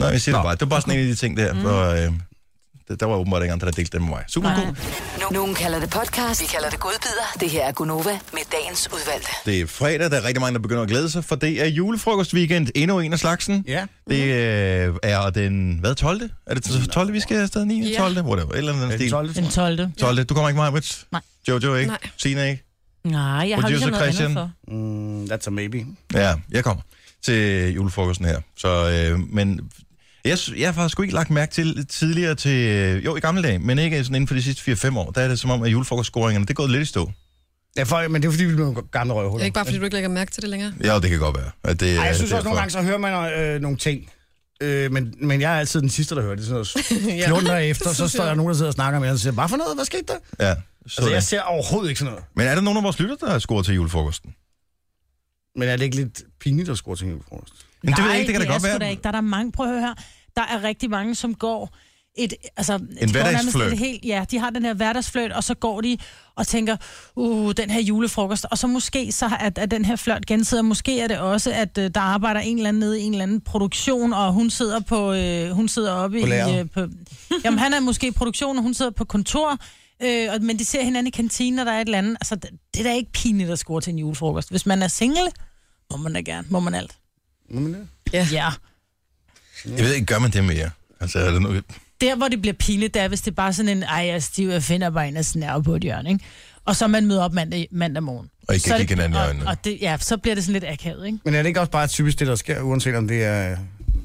[SPEAKER 1] Nej, jeg siger det bare. Det var bare sådan en af de ting der, mm. hvor, øh, der, der var åbenbart ikke andre, der delte dem med mig. Super
[SPEAKER 5] Nej.
[SPEAKER 1] cool.
[SPEAKER 6] Nu- Nogen kalder det podcast, vi kalder det godbider. Det her er Gunova med dagens udvalgte.
[SPEAKER 1] Det er fredag, der er rigtig mange, der begynder at glæde sig, for det er julefrokostweekend. Endnu en af slagsen.
[SPEAKER 2] Ja.
[SPEAKER 1] Det øh, er den, hvad, 12. Er det den 12. vi skal afsted? 9.
[SPEAKER 8] Ja.
[SPEAKER 1] 12. Whatever. Et eller andet den
[SPEAKER 2] Den
[SPEAKER 1] stil.
[SPEAKER 2] 12. tror jeg.
[SPEAKER 4] Den 12.
[SPEAKER 1] 12. Du kommer ikke meget, Rich?
[SPEAKER 4] Nej.
[SPEAKER 1] Jojo ikke?
[SPEAKER 8] Nej.
[SPEAKER 1] Sina ikke?
[SPEAKER 5] Nej, jeg har
[SPEAKER 1] Producer
[SPEAKER 5] ligesom noget
[SPEAKER 1] Christian.
[SPEAKER 5] andet for.
[SPEAKER 2] Mm, that's a maybe.
[SPEAKER 1] Ja, jeg kommer til julefrokosten her. Så, øh, men jeg, s- jeg har sgu ikke lagt mærke til tidligere til, øh, jo i gamle dage, men ikke sådan inden for de sidste 4-5 år, der er det som om, at julefrokostscoringerne, det er gået lidt i stå.
[SPEAKER 2] Ja, for, men det er fordi, vi er nogle gamle
[SPEAKER 8] Det
[SPEAKER 2] røvhuller.
[SPEAKER 8] er ikke bare, fordi du ikke lægger mærke til det længere.
[SPEAKER 1] Ja, det kan godt være. At det,
[SPEAKER 2] Ej,
[SPEAKER 1] er
[SPEAKER 2] jeg synes også,
[SPEAKER 1] derfor.
[SPEAKER 2] nogle gange, så hører man øh, nogle ting. Øh, men, men jeg er altid den sidste, der hører det. Sådan noget 14 dage efter, så står der nogen, der sidder og snakker med jer, og siger, hvad for noget? Hvad skete der?
[SPEAKER 1] Ja,
[SPEAKER 2] Altså, jeg
[SPEAKER 1] så
[SPEAKER 2] ser overhovedet ikke sådan noget.
[SPEAKER 1] men er der nogen af vores lytter, der har scoret til julefrokosten?
[SPEAKER 2] Men er det ikke lidt pinligt at score til en julefrokost?
[SPEAKER 1] Men det ved jeg
[SPEAKER 4] Nej,
[SPEAKER 1] ikke, det kan da
[SPEAKER 4] er
[SPEAKER 1] godt
[SPEAKER 4] sgu
[SPEAKER 1] være.
[SPEAKER 4] Da ikke. Der er der mange, prøv at høre her. Der er rigtig mange, som går et, altså, de går nærmest
[SPEAKER 1] hverdagsflirt.
[SPEAKER 4] et helt, ja, de har den her hverdagsfløjt, og så går de og tænker, uh, den her julefrokost, og så måske så er, er den her fløjt gensidig, og måske er det også, at øh, der arbejder en eller anden nede i en eller anden produktion, og hun sidder på, øh, hun sidder oppe
[SPEAKER 2] På
[SPEAKER 4] i,
[SPEAKER 2] lageret.
[SPEAKER 4] øh, på, jamen han er måske i produktion, og hun sidder på kontor, øh, og, men de ser hinanden i kantinen, og der er et eller andet, altså det, det er da ikke pinligt at score til en julefrokost. Hvis man er single, må man da gerne, må man alt.
[SPEAKER 8] Ja.
[SPEAKER 4] Ja.
[SPEAKER 1] Jeg ved ikke, gør man det mere? Altså, er det nu...
[SPEAKER 4] der, hvor det bliver pinligt, det er, hvis det er bare sådan en, ej, jeg er stiv, jeg finder bare en og snærve på et hjørne, ikke? Og så man møder op mandag, mandag morgen.
[SPEAKER 1] Og I kan
[SPEAKER 4] Så er det-
[SPEAKER 1] kigge hinanden i
[SPEAKER 4] og-
[SPEAKER 1] øjnene.
[SPEAKER 4] Og det, ja, så bliver det sådan lidt akavet, ikke?
[SPEAKER 2] Men er det ikke også bare typisk det, der sker, uanset om det er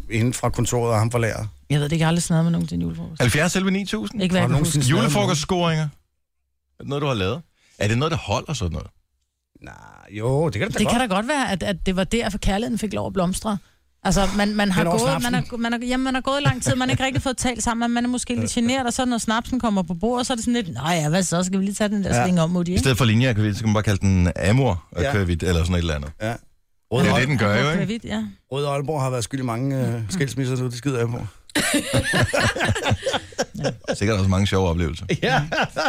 [SPEAKER 2] inden fra kontoret og ham fra lageret?
[SPEAKER 4] Jeg ved det ikke, jeg har aldrig snart med nogen til en julefrokost.
[SPEAKER 1] 70 selv 9000?
[SPEAKER 4] Ikke hvad jeg
[SPEAKER 2] Har du
[SPEAKER 4] kan huske.
[SPEAKER 2] nogensinde snakket med
[SPEAKER 1] Julefrokostscoringer. Er det noget, du har lavet? Er det noget, der holder sådan noget?
[SPEAKER 2] Nej, jo, det kan det da
[SPEAKER 4] Det
[SPEAKER 2] godt.
[SPEAKER 4] kan da godt være, at, at det var derfor, kærligheden fik lov at blomstre. Altså, man, man, har
[SPEAKER 2] Hen over
[SPEAKER 4] gået, man,
[SPEAKER 2] snapsen.
[SPEAKER 4] har, man, har, jamen, man har gået lang tid, man har ikke rigtig fået talt sammen, man er måske lidt generet, og så når snapsen kommer på bordet, så er det sådan lidt, nej, ja, hvad så, skal vi lige tage den der
[SPEAKER 2] Ja.
[SPEAKER 4] ja. sling altså, om mod de,
[SPEAKER 1] I
[SPEAKER 4] ikke?
[SPEAKER 1] stedet for linjer, kan vi- så kan man bare kalde den Amor og
[SPEAKER 2] Ja.
[SPEAKER 1] ja. vidt, eller sådan et eller andet.
[SPEAKER 2] Ja.
[SPEAKER 1] Det
[SPEAKER 2] Røde,
[SPEAKER 1] er jo
[SPEAKER 2] Aal-
[SPEAKER 1] det, den gør jo, ikke?
[SPEAKER 4] Vidt, ja. Mm.
[SPEAKER 2] Røde Aalborg har været skyld i mange øh, skilsmisser, så det skider jeg på.
[SPEAKER 1] Sikkert også mange sjove oplevelser,
[SPEAKER 2] Ja,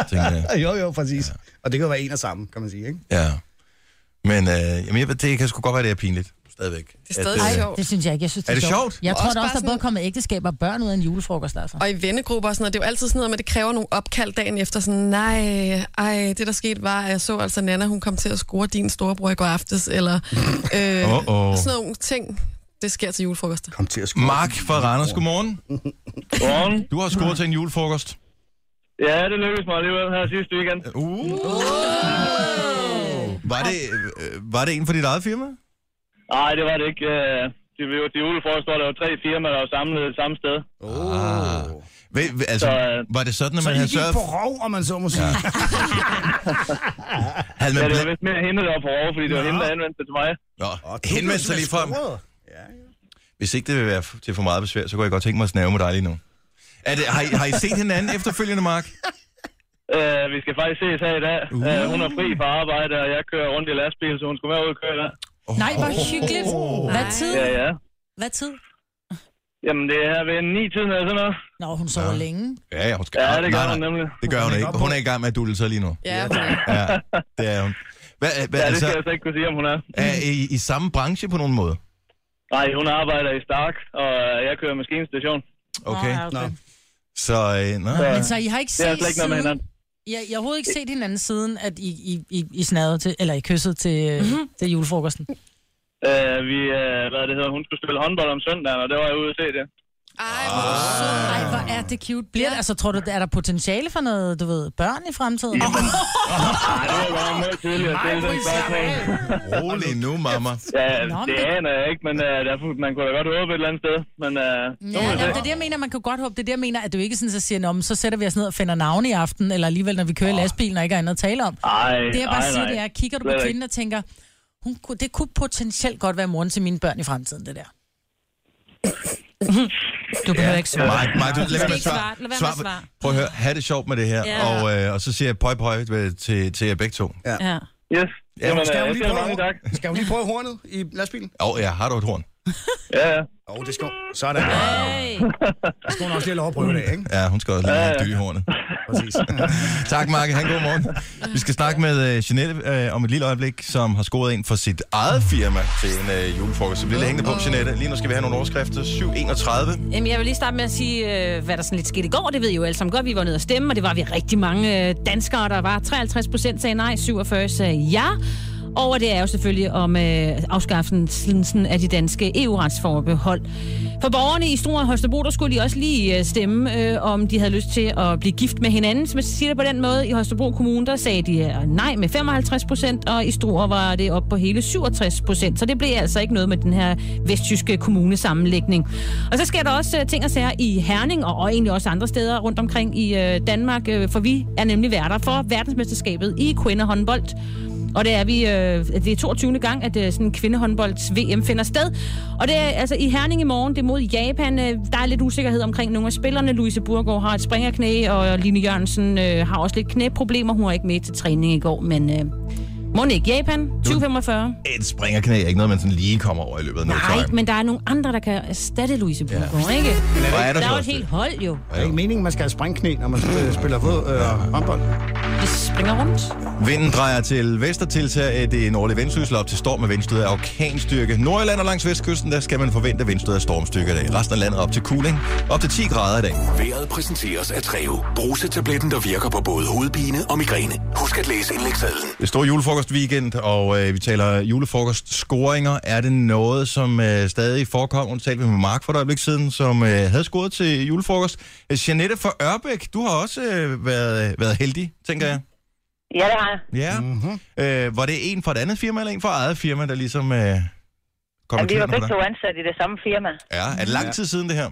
[SPEAKER 1] tænker jeg.
[SPEAKER 2] jo, jo, præcis. Og det kan jo være en og samme, kan man sige, ikke?
[SPEAKER 1] Ja. Men øh, jamen, jeg ved, det kan sgu godt være, det er pinligt. Stadigvæk.
[SPEAKER 8] Det er stadig
[SPEAKER 1] At, øh,
[SPEAKER 8] sjovt.
[SPEAKER 4] Det synes jeg ikke. Jeg synes, det
[SPEAKER 1] Er
[SPEAKER 4] er,
[SPEAKER 1] det sjovt?
[SPEAKER 4] Jeg
[SPEAKER 8] Og
[SPEAKER 4] tror
[SPEAKER 8] også
[SPEAKER 4] da
[SPEAKER 8] bare
[SPEAKER 4] også, der både
[SPEAKER 8] sådan-
[SPEAKER 4] kommer ægteskaber og børn ud af en julefrokost, altså.
[SPEAKER 8] Og i vennegrupper og sådan noget, det er jo altid sådan noget med, at det kræver nogle opkald dagen efter. Sådan, nej, ej, det der skete var, at jeg så altså Nana, hun kom til at score din storebror i går aftes, eller øh,
[SPEAKER 1] Åh, åh.
[SPEAKER 8] sådan nogle ting. Det sker til julefrokoster.
[SPEAKER 2] Kom til at score.
[SPEAKER 1] Mark fra Randers, godmorgen.
[SPEAKER 7] Godmorgen.
[SPEAKER 1] Du har scoret til en julefrokost.
[SPEAKER 7] Ja, det lykkedes mig alligevel her sidste weekend.
[SPEAKER 1] Uh. Var det, øh, var det en for dit eget firma?
[SPEAKER 7] Ah. Nej, det var det ikke. Øh, Det var jo til julefrokost, hvor der var tre firmaer, der var samlet et samme sted.
[SPEAKER 1] Oh. Ved, ved, altså,
[SPEAKER 7] Så, øh,
[SPEAKER 1] var det sådan, at
[SPEAKER 2] Så
[SPEAKER 1] man
[SPEAKER 2] I
[SPEAKER 1] havde
[SPEAKER 2] gik
[SPEAKER 1] sørget...
[SPEAKER 2] på rov, om man så må sige. Ja.
[SPEAKER 1] Havde man
[SPEAKER 7] Ja, det var
[SPEAKER 1] bla-
[SPEAKER 7] vist mere hende, der var på over, fordi det var hende, der anvendte det til mig.
[SPEAKER 1] Nå, henvendte sig lige frem. Hvis ikke det vil være f- til for meget besvær, så kunne jeg godt tænke mig at snæve med dig lige nu. Er det, har, I, har I set hinanden efterfølgende, Mark?
[SPEAKER 7] Øh, vi skal faktisk ses her i dag.
[SPEAKER 1] Uh.
[SPEAKER 7] Øh, hun er fri fra arbejde, og jeg kører rundt i lastbil, så hun skulle med ud og køre der.
[SPEAKER 3] Nej, hvor hyggeligt. Hvad tid?
[SPEAKER 7] Ja, ja.
[SPEAKER 3] Hvad tid?
[SPEAKER 7] Jamen, det er ved 9 tiden eller sådan noget.
[SPEAKER 4] Nå, hun sover ja. længe.
[SPEAKER 1] Ja, ja, hun skal...
[SPEAKER 7] Ja, det gør
[SPEAKER 1] nej,
[SPEAKER 7] hun
[SPEAKER 1] nej,
[SPEAKER 7] nemlig.
[SPEAKER 1] det gør hun ikke. Hun er i gang med at dulle sig lige nu.
[SPEAKER 8] Ja, okay.
[SPEAKER 1] Ja, det er hun. Hvad, øh, hvad,
[SPEAKER 7] Ja, det
[SPEAKER 1] altså,
[SPEAKER 7] skal jeg så ikke kunne sige, om hun er.
[SPEAKER 1] er I i samme branche på nogen måde?
[SPEAKER 7] Nej, hun arbejder i Stark, og øh, jeg kører maskinstation.
[SPEAKER 1] Okay.
[SPEAKER 3] Ah,
[SPEAKER 4] Nå, okay.
[SPEAKER 1] Så, øh, nå.
[SPEAKER 4] Men så I har ikke
[SPEAKER 7] Det er
[SPEAKER 4] set
[SPEAKER 7] slet ikke noget med
[SPEAKER 4] siden...
[SPEAKER 7] hinanden.
[SPEAKER 4] Ja, jeg har overhovedet ikke set hinanden siden, at I, I, I, I snadede til, eller I kyssede til, mm-hmm. til julefrokosten.
[SPEAKER 7] Øh, vi, øh, hvad det hedder, hun skulle spille håndbold om søndagen, og det var jeg ude at se det.
[SPEAKER 8] Ej, hvor er du sød.
[SPEAKER 4] Ej, hvor er det cute. Bliver det, altså, tror du, er der potentiale for noget, du ved, børn i fremtiden? Oh,
[SPEAKER 7] Ej, det var godt nok meget tidligt at stille den spørgsmål.
[SPEAKER 1] Rolig nu, mamma.
[SPEAKER 7] Ja,
[SPEAKER 4] Nå, men
[SPEAKER 7] det
[SPEAKER 4] det-
[SPEAKER 7] aner jeg ikke, men øh, der, man kunne da godt håbe et eller andet sted. Men øh,
[SPEAKER 4] ja, jamen, det er det, jeg mener. Man kan godt håbe, det er det, jeg mener, at du ikke sådan, så siger, Nå, men så sætter vi os ned og finder navne i aften, eller alligevel, når vi kører i lastbilen og ikke har andet at tale om.
[SPEAKER 7] ej,
[SPEAKER 4] Det jeg bare
[SPEAKER 7] ej,
[SPEAKER 4] siger,
[SPEAKER 7] nej.
[SPEAKER 4] det er, kigger du på
[SPEAKER 7] Slet ikke.
[SPEAKER 4] kvinden og tænker, hun, kunne- det kunne potentielt godt være moren til mine børn i fremtiden, det der. Du behøver ikke svare.
[SPEAKER 1] Mark, Mark, du, lad være med at
[SPEAKER 3] ikke svare.
[SPEAKER 1] svare.
[SPEAKER 3] Lad være med at
[SPEAKER 1] Svar på-
[SPEAKER 3] svare.
[SPEAKER 1] Prøv at høre, have det sjovt med det her,
[SPEAKER 3] Ja.
[SPEAKER 1] og, øh, og så siger jeg pøj pøj ved- til, til jer begge to.
[SPEAKER 3] Ja.
[SPEAKER 7] Yes.
[SPEAKER 1] Ja,
[SPEAKER 7] Jamen,
[SPEAKER 2] Skal
[SPEAKER 7] øh,
[SPEAKER 2] hun
[SPEAKER 7] jeg
[SPEAKER 2] lige
[SPEAKER 7] siger mange tak.
[SPEAKER 2] prøve, skal hun lige prøve hornet i lastbilen?
[SPEAKER 1] Åh, oh, ja, har du et horn?
[SPEAKER 7] Ja, ja.
[SPEAKER 2] Åh, oh, det skal hun. Sådan.
[SPEAKER 3] Hey.
[SPEAKER 2] Der skal hun også lige have lov at prøve det, ikke?
[SPEAKER 1] Ja, hun skal også lige
[SPEAKER 7] Ja,
[SPEAKER 1] have
[SPEAKER 7] ja.
[SPEAKER 1] dyt i hornet.
[SPEAKER 2] Præcis.
[SPEAKER 1] Tak, Mark. Han god morgen. Vi skal snakke med uh, Jeanette uh, om et lille øjeblik, som har scoret en for sit eget firma til en uh, julefrokost. Så bliv lidt hængende på, Jeanette. Lige nu skal vi have nogle overskrifter. 7.31.
[SPEAKER 5] Jamen, jeg vil lige starte med at sige, øh, hvad der sådan lidt skete i går. Det ved I jo alle sammen godt. Vi var nede og stemme, og det var vi rigtig mange øh, danskere, der var. 53 procent sagde nej, 47 sagde ja. Og det er jo selvfølgelig om øh, afskaffelsen af de danske EU-retsforbehold. For borgerne i Stor Holstebro, der skulle de også lige øh, stemme, øh, om de havde lyst til at blive gift med hinanden. Hvis man siger det på den måde, i Holstebro Kommune, der sagde de øh, nej med 55 procent, og i Stor var det op på hele 67 procent. Så det blev altså ikke noget med den her vestjyske kommunesammenlægning. Og så sker der også øh, ting og sager i Herning, og, og egentlig også andre steder rundt omkring i øh, Danmark, øh, for vi er nemlig værter for verdensmesterskabet i kvindehåndbold. Og det er vi øh, det er 22. gang, at øh, sådan kvindehåndbolds VM finder sted. Og det er altså i Herning i morgen, det er mod Japan. Øh, der er lidt usikkerhed omkring nogle af spillerne. Louise Burgaard har et springerknæ, og Line Jørgensen øh, har også lidt knæproblemer. Hun var ikke med til træning i går, men øh, må ikke Japan 2045.
[SPEAKER 1] Et springerknæ er ikke noget, man sådan lige kommer over i løbet af noget
[SPEAKER 5] Nej,
[SPEAKER 1] time.
[SPEAKER 5] men der er nogle andre, der kan erstatte Louise Burgaard, ja. ikke?
[SPEAKER 1] Hvor er der så
[SPEAKER 5] Der er jo et
[SPEAKER 1] også
[SPEAKER 5] helt
[SPEAKER 1] det?
[SPEAKER 5] hold jo.
[SPEAKER 2] Det er ikke meningen, man skal have springknæ, når man øh, spiller fod, øh, håndbold.
[SPEAKER 5] De springer rundt.
[SPEAKER 1] Vinden drejer til vest og tiltager øh, det nordlige vindstød op til storm med vindstød af orkanstyrke. Nordjylland og langs vestkysten, der skal man forvente vindstød af stormstyrke i dag. Resten af landet er op til cooling, op til 10 grader i dag.
[SPEAKER 11] Været præsenteres af Treo. Brusetabletten, der virker på både hovedpine og migræne. Husk at læse indlægssedlen.
[SPEAKER 1] Det er stor julefrokostweekend, og øh, vi taler julefrokostscoringer. Er det noget, som øh, stadig forekommer? Nu talte vi med Mark for et øjeblik siden, som øh, havde scoret til julefrokost. Øh, Jeanette fra Ørbæk, du har også øh, været, været heldig, tænker jeg.
[SPEAKER 7] Ja, det har jeg.
[SPEAKER 1] Ja. Mm. Mm-hmm. Øh, var det en fra et andet firma, eller en fra eget firma, der ligesom øh, kom i kløerne på dig?
[SPEAKER 7] ansat i det samme firma.
[SPEAKER 1] Ja, er det lang tid siden det her?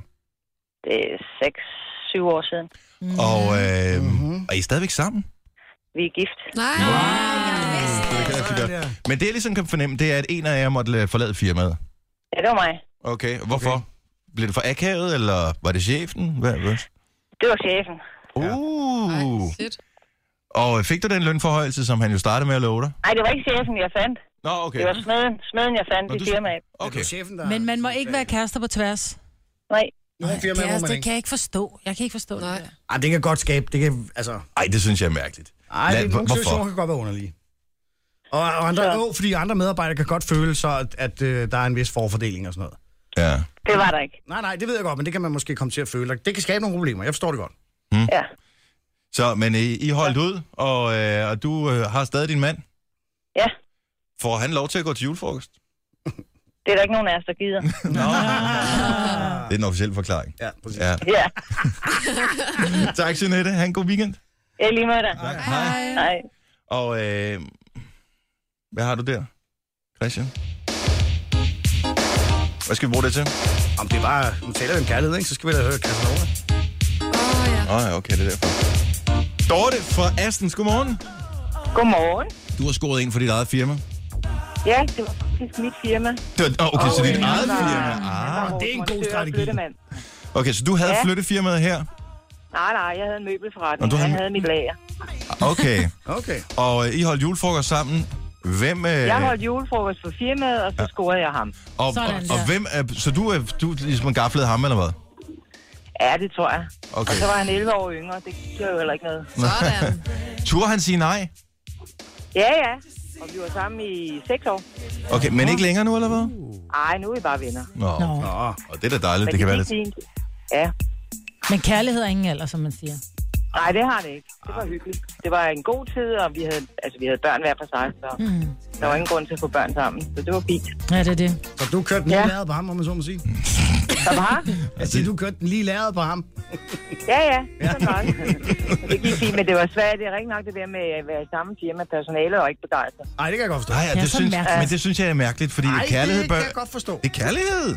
[SPEAKER 7] Det er 6-7 år siden.
[SPEAKER 1] Og, øh, mm-hmm. og I er stadigvæk sammen?
[SPEAKER 7] Vi er gift.
[SPEAKER 8] Nej.
[SPEAKER 1] Det kan jeg rigtig godt. Men det, jeg ligesom kan fornemme, det er, at en af jer måtte øh, forlade firmaet.
[SPEAKER 7] Ja, det var mig.
[SPEAKER 1] Okay, hvorfor? Okay. Blev det for akavet, eller var det chefen? Hvad, hvad?
[SPEAKER 7] Det var chefen.
[SPEAKER 1] Uh.
[SPEAKER 8] Ej, shit.
[SPEAKER 1] Og fik du den lønforhøjelse, som han jo startede med at love dig?
[SPEAKER 7] Nej, det var ikke chefen, jeg fandt.
[SPEAKER 1] Nå, okay.
[SPEAKER 7] Det var smeden, smeden jeg fandt
[SPEAKER 1] Nå,
[SPEAKER 7] i
[SPEAKER 1] du-
[SPEAKER 7] firmaet.
[SPEAKER 1] okay.
[SPEAKER 2] Chefen, der
[SPEAKER 4] Men man må ikke være kærester på tværs.
[SPEAKER 7] Nej.
[SPEAKER 2] Nogle firmaer må man
[SPEAKER 4] Kærester
[SPEAKER 2] ikke.
[SPEAKER 4] kan jeg ikke forstå. Jeg kan ikke forstå Nej.
[SPEAKER 8] Nej.
[SPEAKER 4] det der.
[SPEAKER 2] Ej, det kan godt skabe. Det kan, altså...
[SPEAKER 1] Ej, det synes jeg er mærkeligt.
[SPEAKER 2] Ej,
[SPEAKER 1] Lad-
[SPEAKER 2] det, nogle situationer
[SPEAKER 1] hvorfor?
[SPEAKER 2] kan godt være underlige. Og, og andre,
[SPEAKER 7] Så-
[SPEAKER 2] jo, fordi andre medarbejdere kan godt føle så, at, at øh, der er en vis forfordeling og sådan noget.
[SPEAKER 1] Ja.
[SPEAKER 7] Det var der ikke.
[SPEAKER 2] Nej, nej, det ved jeg godt, men det kan man måske komme til at føle. og Det kan skabe nogle problemer, jeg forstår det godt.
[SPEAKER 7] Ja.
[SPEAKER 1] Hm? Så, men I, I holdt ud, og, øh, og du øh, har stadig din mand.
[SPEAKER 7] Ja,
[SPEAKER 1] Får han lov til at gå til julefrokost?
[SPEAKER 7] det er der ikke nogen af os, der gider.
[SPEAKER 1] Nå. Det er den officielle forklaring.
[SPEAKER 2] Ah. Ja, præcis.
[SPEAKER 1] Ja.
[SPEAKER 7] Ja,
[SPEAKER 1] Tak, Jeanette. Ha' en god weekend.
[SPEAKER 7] jeg lige med dig.
[SPEAKER 1] Hej.
[SPEAKER 7] Nej.
[SPEAKER 1] Og øh, Hvad har du der, Christian? Hvad skal vi bruge det til?
[SPEAKER 2] Om det er bare, nu taler vi om kærlighed, ikke? Så skal vi da høre Casanova.
[SPEAKER 1] Åh oh, ja, okay, det er derfor. Dorte fra Astens, godmorgen.
[SPEAKER 12] Godmorgen.
[SPEAKER 1] Du har scoret en for dit eget firma.
[SPEAKER 12] Ja, det var faktisk mit firma.
[SPEAKER 1] Det var, oh, okay, oh, så dit eget
[SPEAKER 12] Han var-
[SPEAKER 1] firma.
[SPEAKER 12] han var
[SPEAKER 1] Ah, det er en
[SPEAKER 12] vores
[SPEAKER 1] god
[SPEAKER 12] montør og
[SPEAKER 1] strategi.
[SPEAKER 12] flyttemand.
[SPEAKER 1] Okay, så du havde
[SPEAKER 12] Ja.
[SPEAKER 1] flyttefirmaet her.
[SPEAKER 12] Nej, nej, jeg havde en
[SPEAKER 1] Nå,
[SPEAKER 12] møbelforretning.
[SPEAKER 1] du
[SPEAKER 12] Havde...
[SPEAKER 1] havde
[SPEAKER 12] Jeg
[SPEAKER 1] en-
[SPEAKER 12] havde mit lager.
[SPEAKER 1] Okay.
[SPEAKER 2] okay.
[SPEAKER 1] Og øh, I holdt julefrokost sammen. Hvem, øh,
[SPEAKER 12] Jeg holdt julefrokost for firmaet, og så scorede jeg ham.
[SPEAKER 1] og, og, og hvem er, så du, er, du ligesom gaflede ham, eller hvad?
[SPEAKER 12] Ja, det tror jeg.
[SPEAKER 1] Okay.
[SPEAKER 12] Og så var han 11 år yngre. Det gjorde jo heller ikke noget.
[SPEAKER 1] Sådan. Turde han sige nej?
[SPEAKER 12] Ja, ja. Og vi var sammen i 6 år.
[SPEAKER 1] Okay, men ikke længere nu, eller hvad?
[SPEAKER 12] Ej, nu er vi bare venner.
[SPEAKER 1] Nå, Nå. og det er da
[SPEAKER 12] Men
[SPEAKER 1] dejligt, Uh. det kan være lidt.
[SPEAKER 12] fint. Ja.
[SPEAKER 4] Men kærlighed er ingen alder, som man siger.
[SPEAKER 12] Nej, det har det ikke. Det
[SPEAKER 1] Ah.
[SPEAKER 12] var hyggeligt. Det var en god tid, og vi havde, altså, vi havde børn hver for sig, så
[SPEAKER 4] Mm.
[SPEAKER 12] der var ingen grund til at få børn sammen. Så det var fint.
[SPEAKER 2] Altså,
[SPEAKER 4] Ja, det er det.
[SPEAKER 2] Så du kørte den
[SPEAKER 12] Ja.
[SPEAKER 2] lige ja. på ham, om man så må sige.
[SPEAKER 12] Så var
[SPEAKER 2] Jeg siger, du kørte den lige læret på ham.
[SPEAKER 12] Ja, ja. Sådan var det. det gik fint, men det var svært. Det er rigtig nok det der med at være i samme firma. Personale og ikke begejstret.
[SPEAKER 2] Nej, det kan jeg godt forstå.
[SPEAKER 1] Nej, det synes, men det synes jeg er mærkeligt, fordi
[SPEAKER 2] Ej,
[SPEAKER 1] kærlighed
[SPEAKER 2] det
[SPEAKER 1] bør...
[SPEAKER 2] kan jeg godt forstå.
[SPEAKER 1] Det er kærlighed.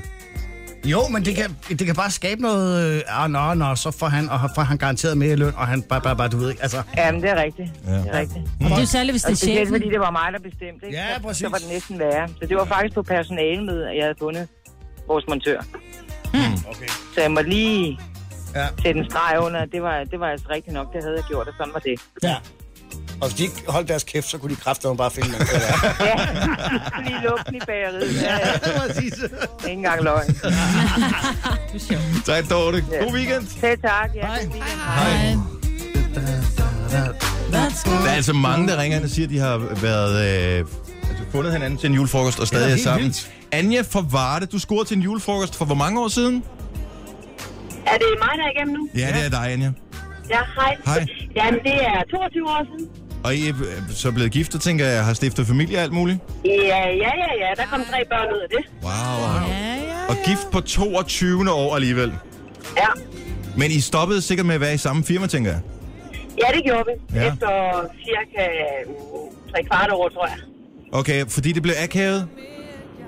[SPEAKER 2] Jo, men det kan, det kan bare skabe noget... øh, Ah, nå, nå, så får han, og får han garanteret mere i løn, og han bare, bare, bare, du ved ikke, altså...
[SPEAKER 12] Jamen, det er rigtigt.
[SPEAKER 2] Ja. Mm.
[SPEAKER 12] Det er rigtigt.
[SPEAKER 2] Og det er jo særligt, hvis det er
[SPEAKER 12] Og specielt,
[SPEAKER 2] chefen.
[SPEAKER 12] fordi det var mig, der bestemte. Ikke?
[SPEAKER 2] Ja,
[SPEAKER 12] Så-
[SPEAKER 2] præcis.
[SPEAKER 12] Så var det næsten værre. Så det var faktisk på personalemødet, at jeg havde fundet vores montør.
[SPEAKER 1] Hmm.
[SPEAKER 12] Hmm.
[SPEAKER 2] Okay.
[SPEAKER 12] Så jeg måtte lige
[SPEAKER 2] ja.
[SPEAKER 12] sætte en streg under. at Det var, det var altså rigtigt nok, det havde jeg gjort, og sådan var det.
[SPEAKER 2] Ja. Og hvis de ikke holdt deres kæft, så kunne de kræfter bare finde noget.
[SPEAKER 12] Lige lugten i bageriet. Ja, ja.
[SPEAKER 2] præcis.
[SPEAKER 12] Ikke engang løgn.
[SPEAKER 1] Tak, Dorte. God weekend.
[SPEAKER 12] Selv tak. Ja, hej.
[SPEAKER 1] Hej. Der er altså mange, der ringer ind og siger, at de har været... Øh, altså fundet hinanden til en julefrokost og
[SPEAKER 2] Ja,
[SPEAKER 1] stadig er
[SPEAKER 2] helt
[SPEAKER 1] sammen. Anja fra Varde, du scorede til en julefrokost for hvor mange år siden?
[SPEAKER 13] Er det mig, der er igennem nu?
[SPEAKER 1] Ja, det er dig, Anja.
[SPEAKER 13] Ja, hej.
[SPEAKER 1] Hej.
[SPEAKER 13] Jamen, det er 22 år siden.
[SPEAKER 1] Og I er øh, så blevet gift, og tænker jeg, har stiftet familie og alt muligt?
[SPEAKER 13] Ja, ja, ja, ja. Der kom tre børn ud af det.
[SPEAKER 1] Wow. Og gift på 22. år alligevel.
[SPEAKER 13] Ja.
[SPEAKER 1] Men I stoppede sikkert med at være i samme firma, tænker jeg.
[SPEAKER 13] Ja, det gjorde vi.
[SPEAKER 1] Ja.
[SPEAKER 13] Ja. Efter cirka mm, tre kvart år, tror jeg.
[SPEAKER 1] Okay, fordi det blev akavet?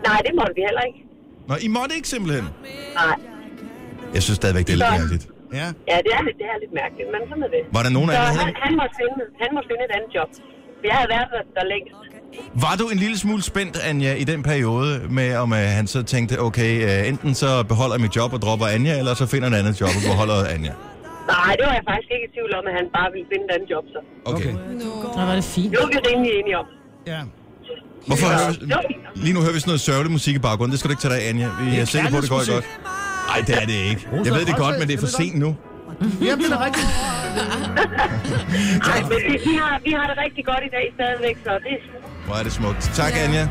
[SPEAKER 13] Nej, det måtte vi heller ikke.
[SPEAKER 1] Nå, I måtte ikke simpelthen.
[SPEAKER 13] Nej.
[SPEAKER 1] Jeg synes stadigvæk, det er lidt
[SPEAKER 13] Så-
[SPEAKER 1] mærkeligt.
[SPEAKER 2] Ja.
[SPEAKER 13] Ja, det er, lidt- det er lidt mærkeligt, men sådan er det.
[SPEAKER 1] Var der nogen af
[SPEAKER 13] Så
[SPEAKER 1] jer, der-
[SPEAKER 13] han, han, måtte finde, han måtte finde et andet job. For Jeg havde været der, der længst.
[SPEAKER 1] Var du en lille smule spændt, Anja, i den periode med, om øh, han så tænkte, okay, øh, enten så beholder jeg mit job og dropper Anja, eller så finder jeg et andet job og beholder Anja?
[SPEAKER 13] Nej, det var jeg faktisk ikke i tvivl om, at han bare ville finde et andet job, så.
[SPEAKER 1] Okay.
[SPEAKER 4] Nå, var det fint.
[SPEAKER 13] Det var vi rimelig enige om.
[SPEAKER 2] Ja.
[SPEAKER 1] Hvorfor
[SPEAKER 13] Ja.
[SPEAKER 1] hører, vi- lige nu hører vi sådan noget sørgelig musik i baggrunden. Det skal du ikke tage dig af, Anja. Vi er sikre på, at det går godt. Nej, det er det ikke. Jeg ved det godt, men det er for sent nu.
[SPEAKER 2] Jamen, det er da rigtigt.
[SPEAKER 13] Nej, men vi, vi, har, vi har det rigtig godt i dag stadigvæk, så det er
[SPEAKER 1] Hvor er det smukt. Tak, Anja.
[SPEAKER 13] Tak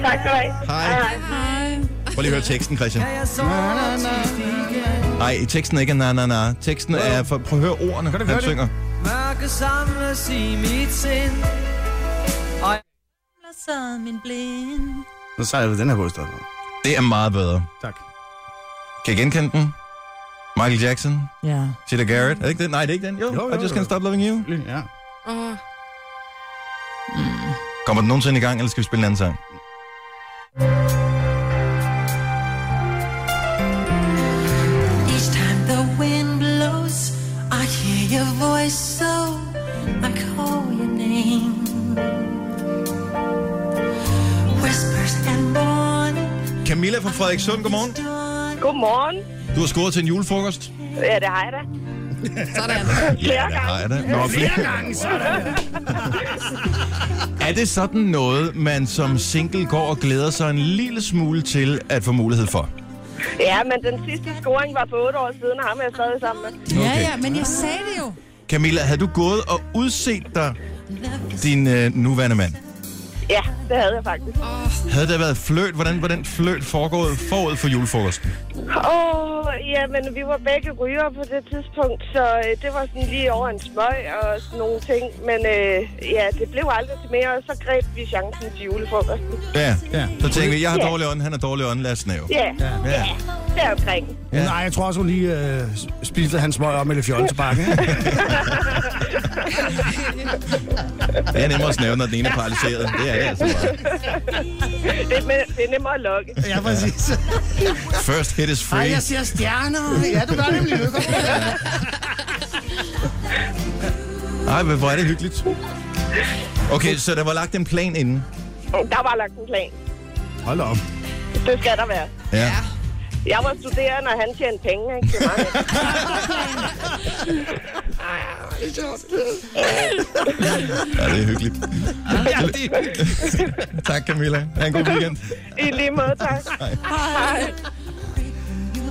[SPEAKER 13] skal du have.
[SPEAKER 1] Hej. Prøv lige at høre teksten, Christian. Nej, teksten er ikke na na na. Teksten er, for, prøv at høre ordene,
[SPEAKER 14] du høre
[SPEAKER 1] han
[SPEAKER 14] det?
[SPEAKER 1] synger.
[SPEAKER 14] Mørke samles i mit sind. Og
[SPEAKER 3] sad min blind.
[SPEAKER 2] Så sejler vi den her på i stedet for.
[SPEAKER 1] Det er meget bedre.
[SPEAKER 2] Tak.
[SPEAKER 1] Kan I genkende den? Michael Jackson,
[SPEAKER 4] Ja.
[SPEAKER 1] Sheila Garrett. Er det ikke den? Nej, det er ikke den. Jo,
[SPEAKER 2] Jo,
[SPEAKER 1] jo,
[SPEAKER 2] jo,
[SPEAKER 1] jo I just
[SPEAKER 2] jo.
[SPEAKER 1] can't stop loving you.
[SPEAKER 2] Ja.
[SPEAKER 8] Åh,
[SPEAKER 1] Kommer den nogensinde i gang, eller skal vi spille en anden sang?
[SPEAKER 15] Each time the wind blows, I hear your voice, so I call your name. Whispers and morning.
[SPEAKER 1] Camilla fra Frederikssund, godmorgen.
[SPEAKER 15] Godmorgen.
[SPEAKER 1] Du har scoret til en julefrokost.
[SPEAKER 15] Ja, det har jeg da. Sådan.
[SPEAKER 1] Ja, det har jeg da. Nå, flere gange,
[SPEAKER 15] sådan.
[SPEAKER 1] Er det sådan noget, man som single går og glæder sig en lille smule til at få mulighed for?
[SPEAKER 15] Ja, men den sidste scoring var for otte år siden, og ham er jeg stadig sammen med.
[SPEAKER 1] Ja, Okay. ja,
[SPEAKER 15] men jeg sagde det jo.
[SPEAKER 1] Camilla, havde du gået og udset dig din øh, nuværende mand?
[SPEAKER 15] Ja, det havde jeg faktisk. Åh,
[SPEAKER 1] Havde der været fløt? Hvordan var den fløt foregået forud for julefrokosten?
[SPEAKER 15] oh. ja, men vi var begge ryger på det tidspunkt, så øh, det var sådan lige over en smøg og sådan nogle ting. Men øh, ja, det blev aldrig til mere, og så greb vi chancen til julefrokosten.
[SPEAKER 1] Ja, ja. så tænkte vi, jeg har
[SPEAKER 15] Ja.
[SPEAKER 1] dårlig ånd, han har dårlig ånd, lad os snæve.
[SPEAKER 15] Ja.
[SPEAKER 1] ja.
[SPEAKER 15] deromkring.
[SPEAKER 2] Ja. Nej, jeg tror også, hun lige øh, spiste hans smøg om eller fjollet til bakken.
[SPEAKER 1] Det er nemmere at snæve, når den ene er paralyseret. Det er det altså bare.
[SPEAKER 15] det, er, med- det er nemmere at lokke.
[SPEAKER 2] Ja, præcis.
[SPEAKER 1] First hit is free.
[SPEAKER 2] Ej, jeg ser stjerner. Ja, du gør nemlig lykke.
[SPEAKER 1] Ej, men hvor er det hyggeligt. Okay, så der var lagt en plan inden.
[SPEAKER 15] Oh, Der var lagt en plan.
[SPEAKER 1] Hold op.
[SPEAKER 15] Det skal der være.
[SPEAKER 1] Ja.
[SPEAKER 15] Jeg var studerende, og han tjente penge, ikke? Det er meget.
[SPEAKER 1] Ja, det er hyggeligt.
[SPEAKER 15] Ja,
[SPEAKER 1] tak, Camilla. Ha' en god weekend.
[SPEAKER 15] I lige måde, tak. Hej.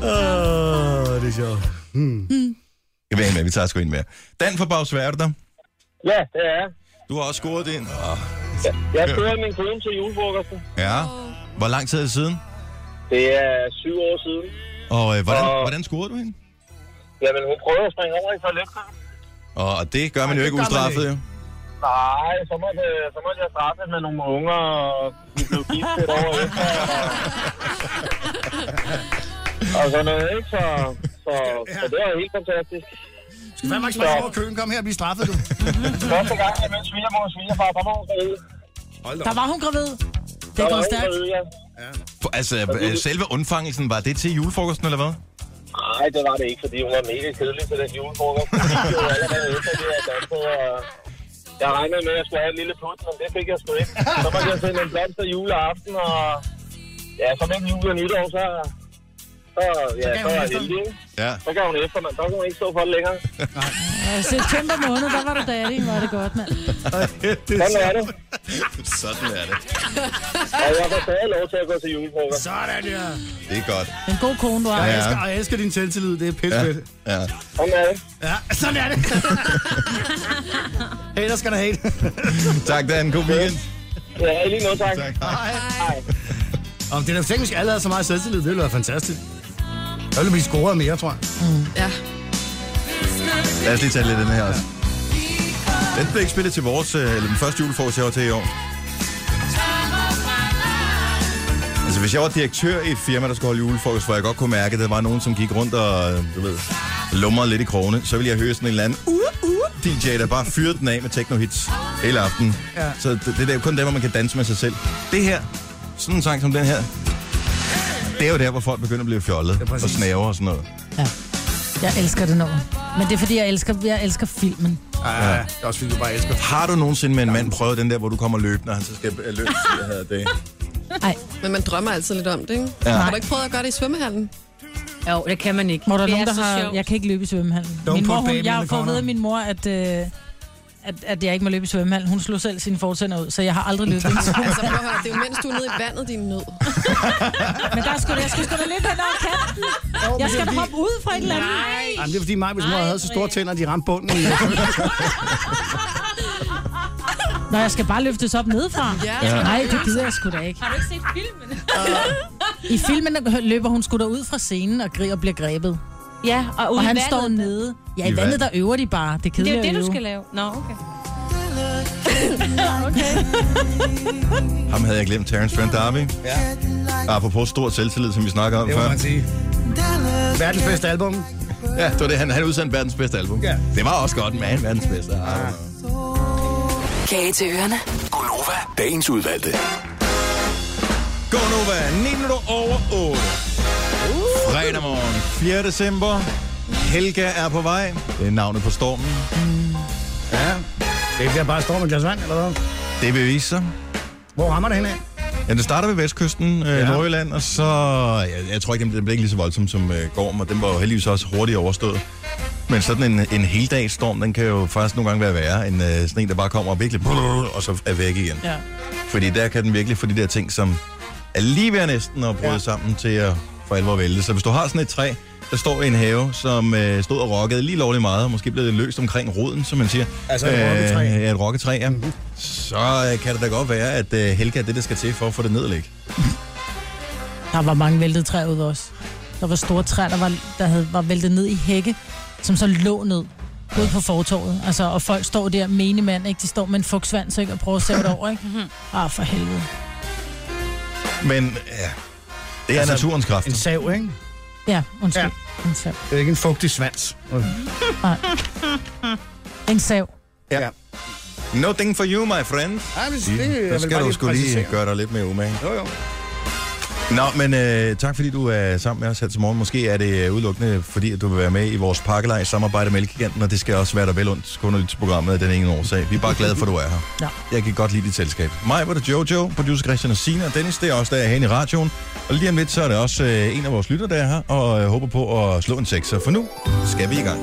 [SPEAKER 1] Åh, oh, det er sjovt. Hmm. Jeg ved ikke, hvad vi tager sgu ind med. Dan fra Bagsvær, er du der?
[SPEAKER 7] Ja, det er jeg.
[SPEAKER 1] Du har også scoret det ind. Oh,
[SPEAKER 7] Jeg kører min kone til julefrokosten.
[SPEAKER 1] ja. Hvor lang tid er det siden?
[SPEAKER 7] Det er syv år siden.
[SPEAKER 1] Og øh, hvordan,
[SPEAKER 7] Og-
[SPEAKER 1] hvordan scorede du hende?
[SPEAKER 7] Jamen, hun prøvede at springe over i toilettet.
[SPEAKER 1] Og, og det gør man
[SPEAKER 7] Nej,
[SPEAKER 1] jo
[SPEAKER 7] det
[SPEAKER 1] ikke
[SPEAKER 7] gør man
[SPEAKER 1] ustraffet,
[SPEAKER 7] ikke.
[SPEAKER 1] jo.
[SPEAKER 7] Nej, så måtte, så måtte jeg straffe med nogle unger, og vi blev gift et år efter. Og, og sådan noget, ikke? Så, så, så det var helt fantastisk.
[SPEAKER 2] Skal fandme ikke springe over køen. Kom her og blive straffet, du.
[SPEAKER 7] Første gang, jeg mødte svigermor og svigerfar, der var hun gravid.
[SPEAKER 4] Der var hun gravid.
[SPEAKER 7] Der
[SPEAKER 4] Det
[SPEAKER 7] var
[SPEAKER 4] går
[SPEAKER 7] hun
[SPEAKER 4] stærkt.
[SPEAKER 7] gravid, ja.
[SPEAKER 1] For, altså, øh, selve undfangelsen, var det til julefrokosten, eller hvad?
[SPEAKER 7] Nej, det var det ikke, fordi hun var mega kedelig til den julefrokost. Vi gik jo allerede efter det her danset, og jeg regnede med, at jeg skulle have et lille put, men det fik jeg sgu ikke. Så måtte jeg sende en blomster juleaften, og ja, så mellem jul og nytår, så, så, ja,
[SPEAKER 4] Så gav
[SPEAKER 7] så
[SPEAKER 4] hun
[SPEAKER 7] var jeg
[SPEAKER 4] efter.
[SPEAKER 7] heldig. ikke?
[SPEAKER 1] Ja.
[SPEAKER 7] Så gav hun efter, men så kunne hun ikke stå for det længere.
[SPEAKER 4] Ja, Altså, september måned, der var du daddy. Var det godt, mand.
[SPEAKER 7] Sådan er det.
[SPEAKER 1] Sådan er det.
[SPEAKER 7] Og jeg får stadig lov til at gå til julefrokost.
[SPEAKER 2] Sådan, ja.
[SPEAKER 1] Det er godt.
[SPEAKER 4] En god kone, du har.
[SPEAKER 2] Jeg
[SPEAKER 1] Ja.
[SPEAKER 2] elsker, og jeg elsker din selvtillid. Det er pisse
[SPEAKER 1] Ja.
[SPEAKER 7] Sådan er det.
[SPEAKER 2] ja. ja, sådan er det. Hater skal der hate.
[SPEAKER 1] Tak, Dan. God weekend.
[SPEAKER 7] Ja, i lige noget, tak.
[SPEAKER 1] tak.
[SPEAKER 2] Hej. Om det er da teknisk, alle havde så meget selvtillid. Det ville være fantastisk. Jeg ville blive scoret mere, tror jeg.
[SPEAKER 8] Mm. Ja.
[SPEAKER 1] Lad os lige tage lidt af den her også. Den blev ikke spillet til vores, øh, eller den første julefrokost, jeg var til i år. Altså, hvis jeg var direktør i et firma, der skulle holde julefrokost, hvor jeg godt kunne mærke, at der var nogen, som gik rundt og, øh, du ved, lumrede lidt i krogene, så ville jeg høre sådan en eller anden uh, uh, DJ, der bare fyrede den af med techno-hits hele aftenen.
[SPEAKER 2] Ja.
[SPEAKER 1] Så det, det er jo kun der, hvor man kan danse med sig selv. Det her, sådan en sang som den her, det er jo der, hvor folk begynder at blive fjollet ja, og snæver og sådan noget.
[SPEAKER 4] Jeg elsker det nummer. Men det er fordi, jeg elsker, jeg elsker filmen.
[SPEAKER 1] Ja. Det
[SPEAKER 2] er også fordi, du bare elsker.
[SPEAKER 1] Har du nogensinde med en mand prøvet den der, hvor du kommer løbende, og han så skal øh, løbe jeg havde det?
[SPEAKER 4] Ej.
[SPEAKER 8] Men man drømmer altid lidt om det, ikke?
[SPEAKER 1] Ja.
[SPEAKER 8] Har du ikke prøvet at gøre det i svømmehallen?
[SPEAKER 5] Jo, det kan man ikke.
[SPEAKER 4] Hvor der er
[SPEAKER 5] Det
[SPEAKER 4] nogen,
[SPEAKER 5] er
[SPEAKER 4] der
[SPEAKER 5] så
[SPEAKER 4] har...
[SPEAKER 5] sjovt.
[SPEAKER 4] Jeg kan ikke løbe i svømmehallen.
[SPEAKER 5] Don't
[SPEAKER 4] min
[SPEAKER 5] put
[SPEAKER 4] mor,
[SPEAKER 5] baby
[SPEAKER 4] hun,
[SPEAKER 5] in the
[SPEAKER 4] jeg har fået at vide af min mor, at, øh, at, at jeg ikke må løbe i svømmehallen. Hun slog selv sine fortænder ud, så jeg har aldrig løbet i en
[SPEAKER 8] Altså, prøv
[SPEAKER 4] svømmehal.
[SPEAKER 8] at høre, det er jo mens du er nede i vandet, din nød.
[SPEAKER 4] Men der skulle jeg skulle sgu da lidt hen over kanten. Jeg skal da hoppe ud fra et eller andet.
[SPEAKER 2] Jamen, det er fordi mig, hvis mor havde så store tænder, de ramte bunden.
[SPEAKER 4] Nå, jeg skal bare løftes op nedefra.
[SPEAKER 1] Ja.
[SPEAKER 4] Nej, det gider jeg sgu da ikke.
[SPEAKER 3] Har du ikke set filmen?
[SPEAKER 4] I filmen der løber hun sgu da ud fra scenen og, gri- og bliver grebet.
[SPEAKER 5] Ja, og, ude
[SPEAKER 4] og
[SPEAKER 5] i
[SPEAKER 4] han
[SPEAKER 5] vandet.
[SPEAKER 4] står nede. Ja,
[SPEAKER 5] I
[SPEAKER 4] i vandet,
[SPEAKER 5] vand.
[SPEAKER 4] der øver de bare. Det er
[SPEAKER 5] Det er
[SPEAKER 4] kedeligt
[SPEAKER 5] jo det,
[SPEAKER 4] at
[SPEAKER 5] du
[SPEAKER 4] øve.
[SPEAKER 5] skal lave. Nå, okay.
[SPEAKER 1] Ham havde jeg glemt, Terence Friend Darby. Ja. Apropos stor selvtillid, som vi snakker om
[SPEAKER 2] Det må
[SPEAKER 1] før.
[SPEAKER 2] man sige. Verdens bedste album.
[SPEAKER 1] Ja, det var det. Han, han udsendte verdens bedste album. Ja. Det var også godt, man. Verdens bedste.
[SPEAKER 2] Ah.
[SPEAKER 1] Ja.
[SPEAKER 6] Kage til ørerne.
[SPEAKER 11] Gonova, dagens udvalgte.
[SPEAKER 1] Gå nu, hvad? 9 minutter over 8. Fredag morgen, 4. december. Helga er på vej. Det er navnet på stormen.
[SPEAKER 2] Mm. Ja. Det bliver bare storm med glas vand, eller hvad?
[SPEAKER 1] Det vil vise sig.
[SPEAKER 2] Hvor rammer det hen af?
[SPEAKER 1] Ja, det starter ved vestkysten, øh, ja. Nordjylland, og så... Jeg, jeg tror ikke, den blev, den blev ikke lige så voldsom som øh, Gorm, og den var jo heldigvis også hurtigt overstået. Men sådan en, en heldagsstorm, den kan jo faktisk nogle gange være værre end øh, sådan en, der bare kommer og virkelig... Og så er væk igen.
[SPEAKER 4] Ja.
[SPEAKER 1] Fordi der kan den virkelig få de der ting, som er lige ved næsten at bryde ja. sammen til at for alvor vælte. Så hvis du har sådan et træ, der står i en have, som øh, stod og rokkede lige lovligt meget, og måske blev det løst omkring roden, som man siger.
[SPEAKER 2] Altså et rokketræ.
[SPEAKER 1] Ja, et rokketræ, ja. Mm-hmm. Så øh, kan det da godt være, at øh, Helga er det, der skal til for at få det ned og ligge.
[SPEAKER 4] Der var mange væltede træer ude også. Der var store træer, der var, der havde, var væltet ned i hække, som så lå ned ude på fortorvet. Altså, og folk står der, mene mand, ikke? De står med en fugtsvans, ikke? Og prøver at sæve det over, ikke?
[SPEAKER 5] Mhm.
[SPEAKER 4] Ah, for helvede.
[SPEAKER 1] Men ja, det er altså, naturens kræfter.
[SPEAKER 2] En sav, ikke?
[SPEAKER 4] Ja, undskyld. Ja. En sav.
[SPEAKER 2] Det er ikke en fugtig svans.
[SPEAKER 4] Nej. En sav.
[SPEAKER 2] Ja.
[SPEAKER 1] Nothing for you, my friend.
[SPEAKER 2] Ej, men det-
[SPEAKER 1] Sig den.
[SPEAKER 2] jeg
[SPEAKER 1] Der
[SPEAKER 2] vil
[SPEAKER 1] skal
[SPEAKER 2] bare
[SPEAKER 1] du
[SPEAKER 2] lige
[SPEAKER 1] skulle lige
[SPEAKER 2] præcisere.
[SPEAKER 1] gøre dig lidt mere umage.
[SPEAKER 2] Jo, jo.
[SPEAKER 1] Nå, men øh, tak fordi du er sammen med os her til morgen. Måske er det øh, udelukkende, fordi at du vil være med i vores pakkelej samarbejde med Elgiganten, og det skal også være dig vel ondt, kun at lytte til programmet af den ene årsag. Vi er bare glade for, at du er her.
[SPEAKER 4] Ja.
[SPEAKER 1] Jeg kan godt lide dit selskab. Mig var det Jojo, producer Christian og Sina, og Dennis, det er også der er herinde i radioen. Og lige om lidt, så er det også øh, en af vores lytter, der er her, og øh, håber på at slå en sekser. For nu skal vi i gang.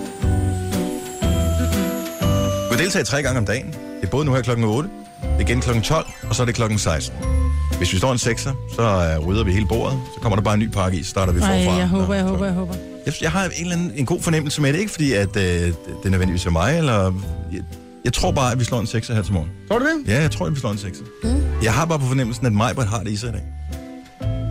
[SPEAKER 1] Du kan deltage tre gange om dagen. Det er både nu her klokken 8, det er igen klokken 12, og så er det klokken 16. Hvis vi står en sekser, så øh, rydder vi hele bordet. Så kommer der bare en ny pakke i, så starter vi
[SPEAKER 4] Ej,
[SPEAKER 1] forfra.
[SPEAKER 4] jeg
[SPEAKER 1] Nå.
[SPEAKER 4] håber, jeg håber, jeg håber.
[SPEAKER 1] Jeg, jeg har en, eller anden, en god fornemmelse med det, ikke fordi at, øh, det er nødvendigvis er mig, eller... Jeg, jeg tror bare, at vi slår en sekser her til morgen.
[SPEAKER 2] Tror du det?
[SPEAKER 1] Ja, jeg tror, at vi slår en sekser. Mm. Jeg har bare på fornemmelsen, at Majbert har det i sig i dag.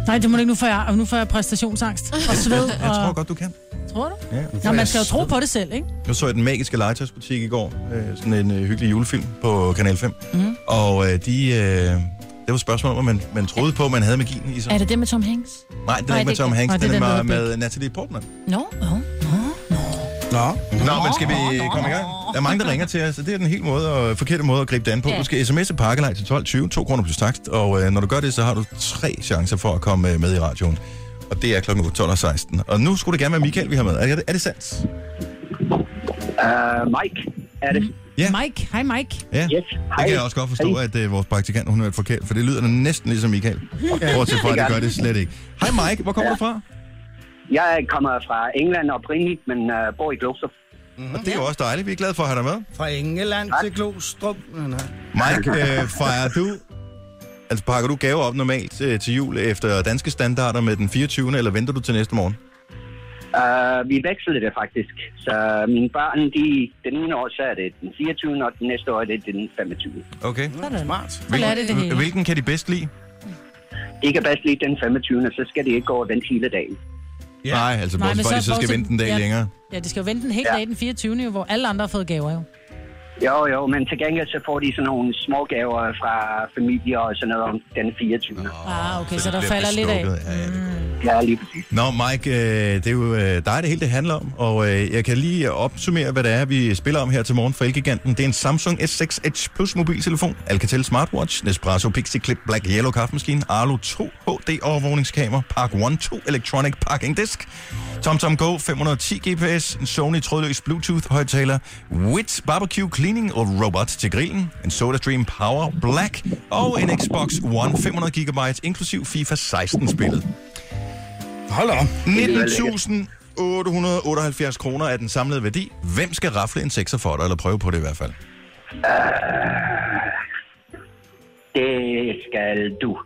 [SPEAKER 4] Nej, det må du ikke. Nu får jeg, nu får jeg præstationsangst og sved.
[SPEAKER 1] Jeg tror
[SPEAKER 4] og...
[SPEAKER 1] godt, du kan.
[SPEAKER 4] Tror du?
[SPEAKER 1] Ja.
[SPEAKER 4] Nå, man skal jo tro på det selv, ikke?
[SPEAKER 1] Nu så jeg den magiske legetøjsbutik i går, øh, sådan en øh, hyggelig julefilm på Kanal 5.
[SPEAKER 5] Mhm.
[SPEAKER 1] Og øh, de, øh, det var et spørgsmål om, man, man troede på, at man havde magien i sig.
[SPEAKER 5] Er det det med Tom Hanks?
[SPEAKER 1] Nej, den er
[SPEAKER 5] Nej,
[SPEAKER 1] ikke med
[SPEAKER 5] det-
[SPEAKER 1] Tom Hanks,
[SPEAKER 5] Nej, det
[SPEAKER 1] den
[SPEAKER 5] er
[SPEAKER 1] er
[SPEAKER 5] den, der
[SPEAKER 1] med,
[SPEAKER 5] hedder
[SPEAKER 1] med Natalie Portman.
[SPEAKER 5] Nå, no.
[SPEAKER 2] Nå.
[SPEAKER 1] Nå, men skal vi komme i gang? Der er mange, der ringer til os, og det er den helt måde og forkerte måde at gribe det an på.
[SPEAKER 11] Ja.
[SPEAKER 1] Du skal sms'e pakkelej til 12.20, 2 kroner plus takst, og øh, når du gør det, så har du tre chancer for at komme øh, med i radioen. Og det er kl. 12.16. Og nu skulle det gerne være Michael, vi har med. Er det, er det sandt?
[SPEAKER 16] Uh, Mike, er det?
[SPEAKER 1] Ja.
[SPEAKER 4] Mike, hej Mike.
[SPEAKER 1] Ja, yes. det
[SPEAKER 16] Hej.
[SPEAKER 1] kan jeg også godt forstå, at øh, vores praktikant, hun har været forkert, for det lyder næsten ligesom Michael.
[SPEAKER 16] Ja.
[SPEAKER 1] Bortset fra, at
[SPEAKER 16] Det
[SPEAKER 1] det
[SPEAKER 16] gør
[SPEAKER 1] gør det
[SPEAKER 16] det.
[SPEAKER 1] slet ikke. Hej Mike, hvor kommer ja. du fra?
[SPEAKER 16] Jeg kommer fra England oprindeligt, men uh, bor i Glostrup.
[SPEAKER 1] Mm-hmm. Og det er jo også dejligt. Vi er glade for at have dig med.
[SPEAKER 2] Fra Engeland til Glostrup. Nå, nej.
[SPEAKER 1] Mike, øh, fejrer du... Altså, pakker du gaver op normalt øh, til jul efter danske standarder med den 24. eller venter du til næste morgen?
[SPEAKER 16] Uh, vi vekslede det faktisk, så øh, mine børn, de, den ene år, så er det den 24. og den næste år er det den 25.
[SPEAKER 1] Okay.
[SPEAKER 2] Smart.
[SPEAKER 1] hvil- Hvilken kan de bedst lide?
[SPEAKER 16] De kan bedst lige den 25. så skal de ikke gå og vente hele dagen.
[SPEAKER 1] Ja. Nej, altså,
[SPEAKER 4] Nej,
[SPEAKER 1] Nej,
[SPEAKER 4] men
[SPEAKER 1] så, så skal
[SPEAKER 4] bortset-
[SPEAKER 1] vente en dag
[SPEAKER 4] ja,
[SPEAKER 1] ja. længere.
[SPEAKER 4] Ja, de skal jo vente en hel ja. dag den 24. Jo, hvor alle andre har fået gaver jo.
[SPEAKER 16] Jo, jo, men til gengæld så får de sådan nogle små gaver fra familier og sådan noget om den 24.
[SPEAKER 4] Ah, okay, så der
[SPEAKER 1] Altså, bliver
[SPEAKER 4] falder lidt af.
[SPEAKER 1] bestukket. Ja, ja,
[SPEAKER 16] Ja, lige præcis.
[SPEAKER 1] Nå, Mike, øh, det er jo øh, dig, det hele det handler om, og øh, jeg kan lige opsummere, hvad det er, vi spiller om her til morgen for Elgiganten. Det er en Samsung S6 Edge Plus mobiltelefon, Alcatel Smartwatch, Nespresso Pixie Clip Black Yellow Kaffemaskine, Arlo 2 HD overvågningskamera, Park One 2 Electronic Parking Disk, TomTom Go 510 GPS, en Sony trådløs Bluetooth højttaler, Wit Barbecue Cleaning og Robot til grillen, en SodaStream Power Black og en Xbox One 500 GB inklusiv FIFA 16 spillet.
[SPEAKER 2] Hold op.
[SPEAKER 1] 19.878 kroner er den samlede værdi. Hvem skal rafle en sekser for dig, eller prøve på det i hvert fald?
[SPEAKER 16] Det skal du.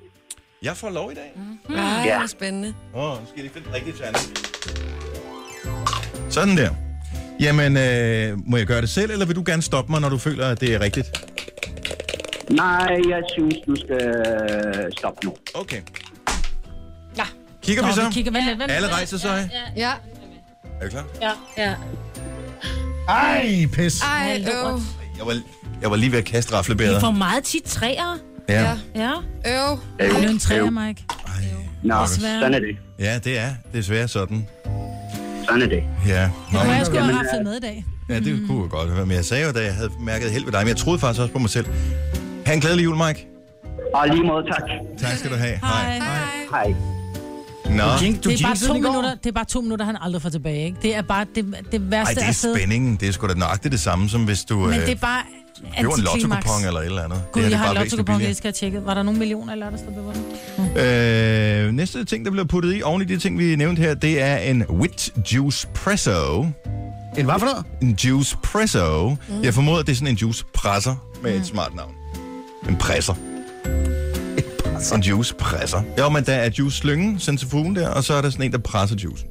[SPEAKER 1] Jeg får lov i dag.
[SPEAKER 8] Ej, det er spændende.
[SPEAKER 1] Åh, oh, nu skal jeg lige finde den rigtige terning. Sådan der. Jamen, øh, må jeg gøre det selv, eller vil du gerne stoppe mig, når du føler, at det er rigtigt?
[SPEAKER 16] Nej, jeg synes, du skal stoppe nu.
[SPEAKER 1] Okay. Kigger vi
[SPEAKER 4] Nå,
[SPEAKER 1] så?
[SPEAKER 4] vi kigger, vent lidt, vent lidt.
[SPEAKER 1] Alle rejser sig. Ja,
[SPEAKER 8] Ja.
[SPEAKER 1] Er du klar?
[SPEAKER 4] Ja.
[SPEAKER 5] ja.
[SPEAKER 2] Ej, pis.
[SPEAKER 8] Ej, øv.
[SPEAKER 1] Jeg var, jeg var lige ved at kaste
[SPEAKER 5] Det er for
[SPEAKER 1] raflebæret.
[SPEAKER 5] meget tit træer.
[SPEAKER 1] Ja.
[SPEAKER 5] Ja.
[SPEAKER 8] Øv.
[SPEAKER 1] Øv.
[SPEAKER 4] Har du en
[SPEAKER 1] Øv.
[SPEAKER 4] træer, Mike?
[SPEAKER 16] Nå,
[SPEAKER 4] Desværre.
[SPEAKER 16] sådan er det.
[SPEAKER 1] Ja, det er desværre sådan.
[SPEAKER 16] Sådan er det.
[SPEAKER 1] Ja. Nå,
[SPEAKER 4] Det kunne jeg sgu have
[SPEAKER 1] men-
[SPEAKER 4] haft med i dag.
[SPEAKER 1] Ja,
[SPEAKER 4] Mm.
[SPEAKER 1] det kunne jeg godt være. Men jeg sagde jo, da jeg havde mærket held ved dig, men jeg troede faktisk også på mig selv. Ha' en glædelig jul, Mike.
[SPEAKER 16] Og lige måde, tak.
[SPEAKER 1] Tak skal du have.
[SPEAKER 4] Hej.
[SPEAKER 16] Hej.
[SPEAKER 1] Nå.
[SPEAKER 4] det, er bare to minutter, det er bare to minutter, han aldrig får tilbage. Ikke? Det er bare det, det værste
[SPEAKER 1] Ej, det er
[SPEAKER 4] at sidde.
[SPEAKER 1] spændingen. Det er sgu da nøjagtigt det samme, som hvis du øh,
[SPEAKER 4] Altså, Men det er bare
[SPEAKER 1] køber en
[SPEAKER 4] antiklimaks.
[SPEAKER 1] lottokupon eller et eller andet.
[SPEAKER 4] Gud,
[SPEAKER 1] her,
[SPEAKER 4] jeg
[SPEAKER 1] er
[SPEAKER 4] har en
[SPEAKER 1] bare væsentligt
[SPEAKER 4] lottokupon,
[SPEAKER 1] billigere.
[SPEAKER 4] jeg skal have tjekket. Var der nogle millioner eller der stod på den?
[SPEAKER 1] Øh, næste ting, der bliver puttet i oven i de ting, vi nævnte her, det er en Wit Juice Presso.
[SPEAKER 2] En hvad for noget?
[SPEAKER 1] En Juice Presso. Mm. Jeg formoder, det er sådan en juice presser med mm. et smart navn. En presser. En juice presser. Jo, men der er juice slyngen, centrifugen der, og så er der sådan en, der presser juicen.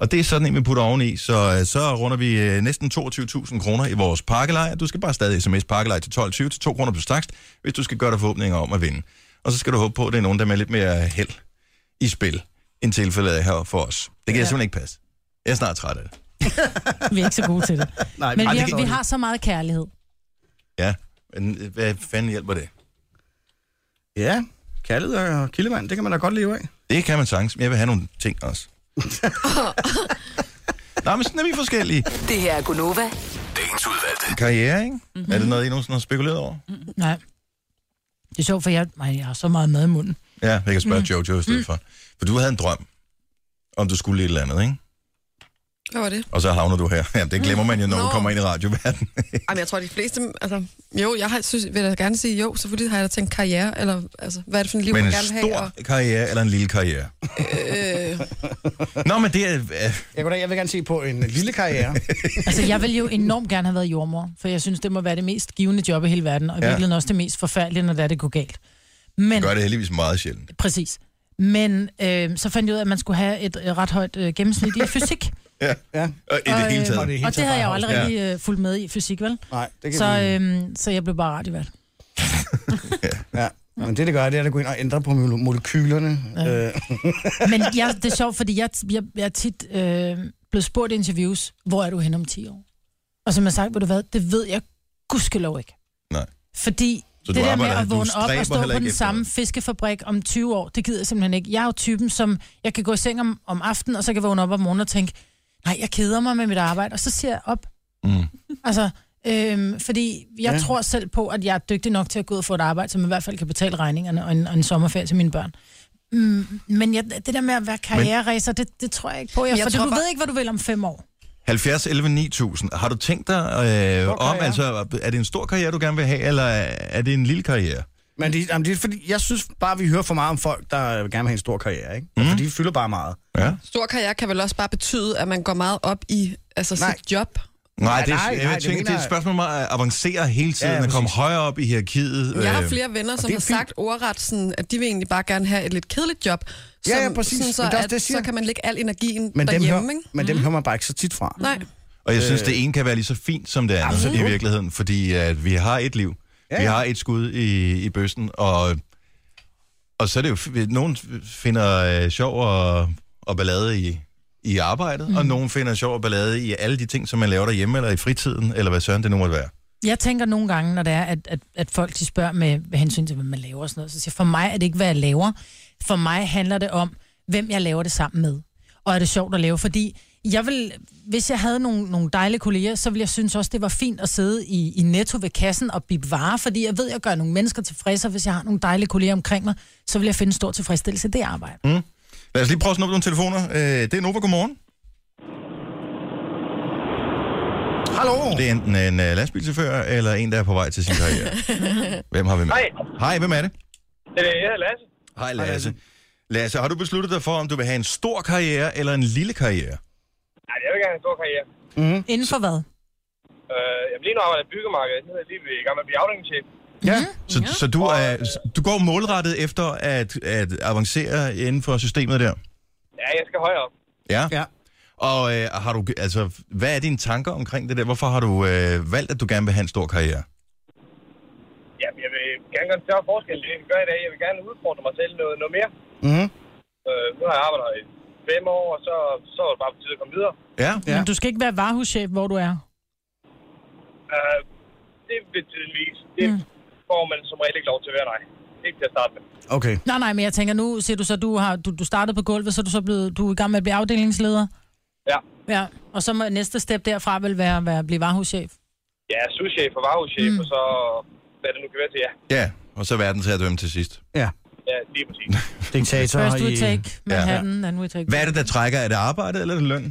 [SPEAKER 1] Og det er sådan en, vi putter oveni, så, øh, så runder vi øh, næsten 22.000 kroner i vores pakkelej. Du skal bare stadig sms pakkelej til 12.20 til 2 kroner plus takst, hvis du skal gøre dig forhåbninger om at vinde. Og så skal du håbe på, at det er nogen, der er med lidt mere held i spil, end tilfældet er her for os. Det kan ja. jeg simpelthen ikke passe. Jeg er snart træt af det.
[SPEAKER 4] Vi er ikke så gode til det.
[SPEAKER 1] Nej,
[SPEAKER 4] Men
[SPEAKER 1] ej,
[SPEAKER 4] vi
[SPEAKER 1] det
[SPEAKER 4] har,
[SPEAKER 1] kan-
[SPEAKER 4] vi har så meget kærlighed.
[SPEAKER 1] Ja, men øh, hvad fanden hjælper det?
[SPEAKER 2] Ja, kaldet og kildevand, det kan man da godt leve af.
[SPEAKER 1] Det kan man sagtens, men jeg vil have nogle ting også. Nå, men sådan er vi forskellige.
[SPEAKER 6] Det her er Gunova.
[SPEAKER 1] Dagens udvalgte. Karriere, ikke?
[SPEAKER 2] Mhm.
[SPEAKER 1] Mm-hmm. Er det noget, I nogensinde har spekuleret over?
[SPEAKER 4] Nej. Det er sjovt, for jeg, nej, jeg har så meget mad i munden.
[SPEAKER 1] Ja, jeg kan
[SPEAKER 2] Mhm.
[SPEAKER 1] spørge
[SPEAKER 4] Mm.
[SPEAKER 1] mm. Jojo i stedet mm. for. For du havde en drøm, om du skulle et eller andet, ikke?
[SPEAKER 8] Hvad var det?
[SPEAKER 1] Og så havner du her. Ja, det glemmer man jo, når
[SPEAKER 8] Nå.
[SPEAKER 1] man kommer ind i radioverdenen.
[SPEAKER 8] Jamen, jeg tror, de fleste... Altså, jo, jeg har, synes, vil da gerne sige jo, selvfølgelig har jeg da tænkt karriere, eller altså, hvad er det for en liv,
[SPEAKER 1] Men
[SPEAKER 8] jeg
[SPEAKER 1] en
[SPEAKER 8] gerne vil have? Og,
[SPEAKER 1] stor karriere eller en lille karriere?
[SPEAKER 8] øh,
[SPEAKER 1] Nå, men det er... øh,
[SPEAKER 2] Jeg, kunne da, jeg vil gerne se på en lille karriere.
[SPEAKER 4] Altså, jeg ville jo enormt gerne have været jordmor, for jeg synes, det må være det mest givende job i hele verden, og i
[SPEAKER 1] Ja.
[SPEAKER 4] virkeligheden også det mest forfærdelige, når det, er, det går galt. Men,
[SPEAKER 1] Det gør det heldigvis meget sjældent.
[SPEAKER 4] præcis. Men øh, så fandt jeg ud af, at man skulle have et øh, ret højt øh, gennemsnit i fysik.
[SPEAKER 1] Ja.
[SPEAKER 2] ja.
[SPEAKER 1] Og i det hele
[SPEAKER 4] øh,
[SPEAKER 1] taget.
[SPEAKER 4] Og det, og det havde jeg jo aldrig rigtig øh, fulgt med i fysik, vel?
[SPEAKER 2] Nej, det kan
[SPEAKER 4] Så,
[SPEAKER 2] vi-
[SPEAKER 4] øh, så jeg blev bare radiovært.
[SPEAKER 2] Ja. Men det, det gør, det er at gå ind og ændre på mole- molekylerne.
[SPEAKER 4] Ja.
[SPEAKER 2] Øh,
[SPEAKER 4] Men jeg, det er sjovt, fordi jeg, jeg, jeg er tit øh, blevet spurgt i interviews, hvor er du hen om 10 år? Og som jeg har sagt, ved du hvad, det ved jeg gudskelov ikke.
[SPEAKER 1] Nej.
[SPEAKER 4] Fordi
[SPEAKER 1] Så
[SPEAKER 4] så
[SPEAKER 1] du
[SPEAKER 4] det der med
[SPEAKER 1] arbejder-
[SPEAKER 4] at
[SPEAKER 1] du
[SPEAKER 4] vågne op
[SPEAKER 1] stræber
[SPEAKER 4] og stå
[SPEAKER 1] heller
[SPEAKER 4] på
[SPEAKER 1] ikke
[SPEAKER 4] den
[SPEAKER 1] efter
[SPEAKER 4] samme fiskefabrik om 20 år, det gider jeg simpelthen ikke. Jeg er jo typen, som jeg kan gå i seng om, om aftenen, og så kan jeg vågne op om morgenen og tænke, nej, jeg keder mig med mit arbejde, og så ser jeg op. Mm. Altså, øhm, fordi jeg
[SPEAKER 17] Ja.
[SPEAKER 4] ja. tror selv på, at jeg er dygtig nok til at gå ud og få et arbejde, som i hvert fald kan betale regningerne og en, og en sommerferie til mine børn. Mm, men jeg, det der med at være karriereræser, det, det tror jeg ikke på. Jeg,
[SPEAKER 8] Men
[SPEAKER 4] jeg
[SPEAKER 8] jeg
[SPEAKER 4] for
[SPEAKER 8] tror
[SPEAKER 4] du
[SPEAKER 8] bare-
[SPEAKER 4] ved ikke, hvad du vil om fem år.
[SPEAKER 1] 70, 11, 9000. Har du tænkt dig øh, om,
[SPEAKER 2] karriere.
[SPEAKER 1] altså, er det en stor karriere, du gerne vil have, eller er det en lille karriere?
[SPEAKER 2] men det, jamen, det er fordi, jeg synes bare, vi hører for meget om folk, der gerne vil have en stor karriere, ikke? Mm. Fordi de fylder bare meget.
[SPEAKER 1] Mhm. Ja.
[SPEAKER 8] stor karriere kan vel også bare betyde, at man går meget op i altså,
[SPEAKER 2] Nej.
[SPEAKER 8] sit job.
[SPEAKER 1] Nej, det, er,
[SPEAKER 2] nej,
[SPEAKER 1] jeg
[SPEAKER 2] nej,
[SPEAKER 1] nej,
[SPEAKER 2] det
[SPEAKER 1] tænker, det,
[SPEAKER 2] mener
[SPEAKER 1] det er et
[SPEAKER 2] jeg-
[SPEAKER 1] spørgsmål om at avancere hele tiden,
[SPEAKER 2] Ja,
[SPEAKER 1] ja, at komme
[SPEAKER 2] præcis.
[SPEAKER 1] højere op i hierarkiet.
[SPEAKER 8] Jeg har
[SPEAKER 1] øh,
[SPEAKER 8] flere venner, som
[SPEAKER 1] det er
[SPEAKER 8] har sagt ordret, sådan, at de vil egentlig bare gerne have et lidt kedeligt job.
[SPEAKER 2] Ja, ja,
[SPEAKER 8] som-
[SPEAKER 2] præcis.
[SPEAKER 8] Sådan, så,
[SPEAKER 2] Men det er også
[SPEAKER 8] at,
[SPEAKER 2] det, jeg siger.
[SPEAKER 8] så kan man lægge al energien
[SPEAKER 2] Men dem, hører,
[SPEAKER 8] derhjemme, ikke? Mhm.
[SPEAKER 2] men dem hører man bare ikke så tit fra.
[SPEAKER 8] Nej.
[SPEAKER 1] Og jeg synes,
[SPEAKER 2] Øh.
[SPEAKER 1] det ene kan være lige så fint som det andet
[SPEAKER 2] Absolut.
[SPEAKER 1] i virkeligheden, fordi at vi har et liv.
[SPEAKER 2] Ja,
[SPEAKER 1] Ja,
[SPEAKER 2] ja.
[SPEAKER 1] Vi har et skud i, i bøssen, og, og så er det jo... f- Nogen finder øh, sjov og, og ballade i, i arbejdet, mm. og nogen finder sjov og ballade i alle de ting, som man laver derhjemme, eller i fritiden, eller hvad søren det nu måtte være.
[SPEAKER 4] Jeg tænker nogle gange, når det er, at, at, at folk de spørger med, med hensyn til, hvad man laver og sådan noget, så siger jeg, for mig er det ikke, hvad jeg laver. For mig handler det om, hvem jeg laver det sammen med. Og er det sjovt at lave, fordi jeg vil, hvis jeg havde nogle, nogle dejlige kolleger, så ville jeg synes også, det var fint at sidde i, i netto ved kassen og bippe varer, fordi jeg ved, jeg gør nogle mennesker tilfredse, og hvis jeg har nogle dejlige kolleger omkring mig, så vil jeg finde stor tilfredsstillelse i det arbejde.
[SPEAKER 1] Mm. Lad os lige prøve at snuppe nogle telefoner. Øh, det er Nova, godmorgen.
[SPEAKER 2] Hallo.
[SPEAKER 1] Det er enten en øh, lastbilchauffør, eller en, der er på vej til sin karriere. Hvem har vi med?
[SPEAKER 7] Hej.
[SPEAKER 1] Hej, hvem er det?
[SPEAKER 7] Det er Øh, jeg, Lasse.
[SPEAKER 1] Hej Lasse. Lasse, har du besluttet dig for, om du vil have en stor karriere eller en lille karriere?
[SPEAKER 7] Nej, det er jo ikke en stor karriere.
[SPEAKER 1] Mm.
[SPEAKER 4] Inden for hvad?
[SPEAKER 7] Øh, jamen, lige nu arbejder jeg i byggemarkedet. Nu er jeg lige ved i gang med at blive afdelingschef.
[SPEAKER 1] Ja.
[SPEAKER 4] Mhm.
[SPEAKER 1] Så, så du, er, du går målrettet efter at, at avancere inden for systemet der?
[SPEAKER 7] Ja, jeg skal højere op.
[SPEAKER 1] Ja.
[SPEAKER 2] ja.
[SPEAKER 1] Og øh, har du, altså, hvad er dine tanker omkring det der? Hvorfor har du øh, valgt, at du gerne vil have en stor karriere?
[SPEAKER 7] Jamen, jeg vil gerne gøre en større forskel, end det jeg kan gøre i dag. Jeg vil gerne udfordre mig selv noget, noget mere.
[SPEAKER 1] Mhm.
[SPEAKER 2] Mm-hmm.
[SPEAKER 7] Øh, nu har jeg arbejdet her i fem år, og så, så er det bare på tide at komme videre.
[SPEAKER 1] Ja.
[SPEAKER 4] ja. Men du skal ikke være varehuschef, hvor du er.
[SPEAKER 7] Øh, det vil tiden vise. Det mm. får man som regel ikke lov til at være nej. Ikke til at starte med.
[SPEAKER 2] Okay.
[SPEAKER 4] Nej, nej, men jeg tænker nu, siger du så, du, har, du, du startede på gulvet, så er du så blevet, du er i gang med at blive afdelingsleder.
[SPEAKER 7] Ja.
[SPEAKER 4] Ja, og så må næste step derfra vel være, være at blive varehuschef.
[SPEAKER 7] Ja, souschef og varehuschef, mm. og så hvad det nu kan være til, ja.
[SPEAKER 1] Ja, og så verden til at dømme til sidst.
[SPEAKER 7] Ja, lige præcis.
[SPEAKER 2] Diktator
[SPEAKER 4] First we
[SPEAKER 1] i-
[SPEAKER 4] take Manhattan, ja. and we take...
[SPEAKER 1] Hvad er det, der trækker? Er det arbejdet eller er det løn?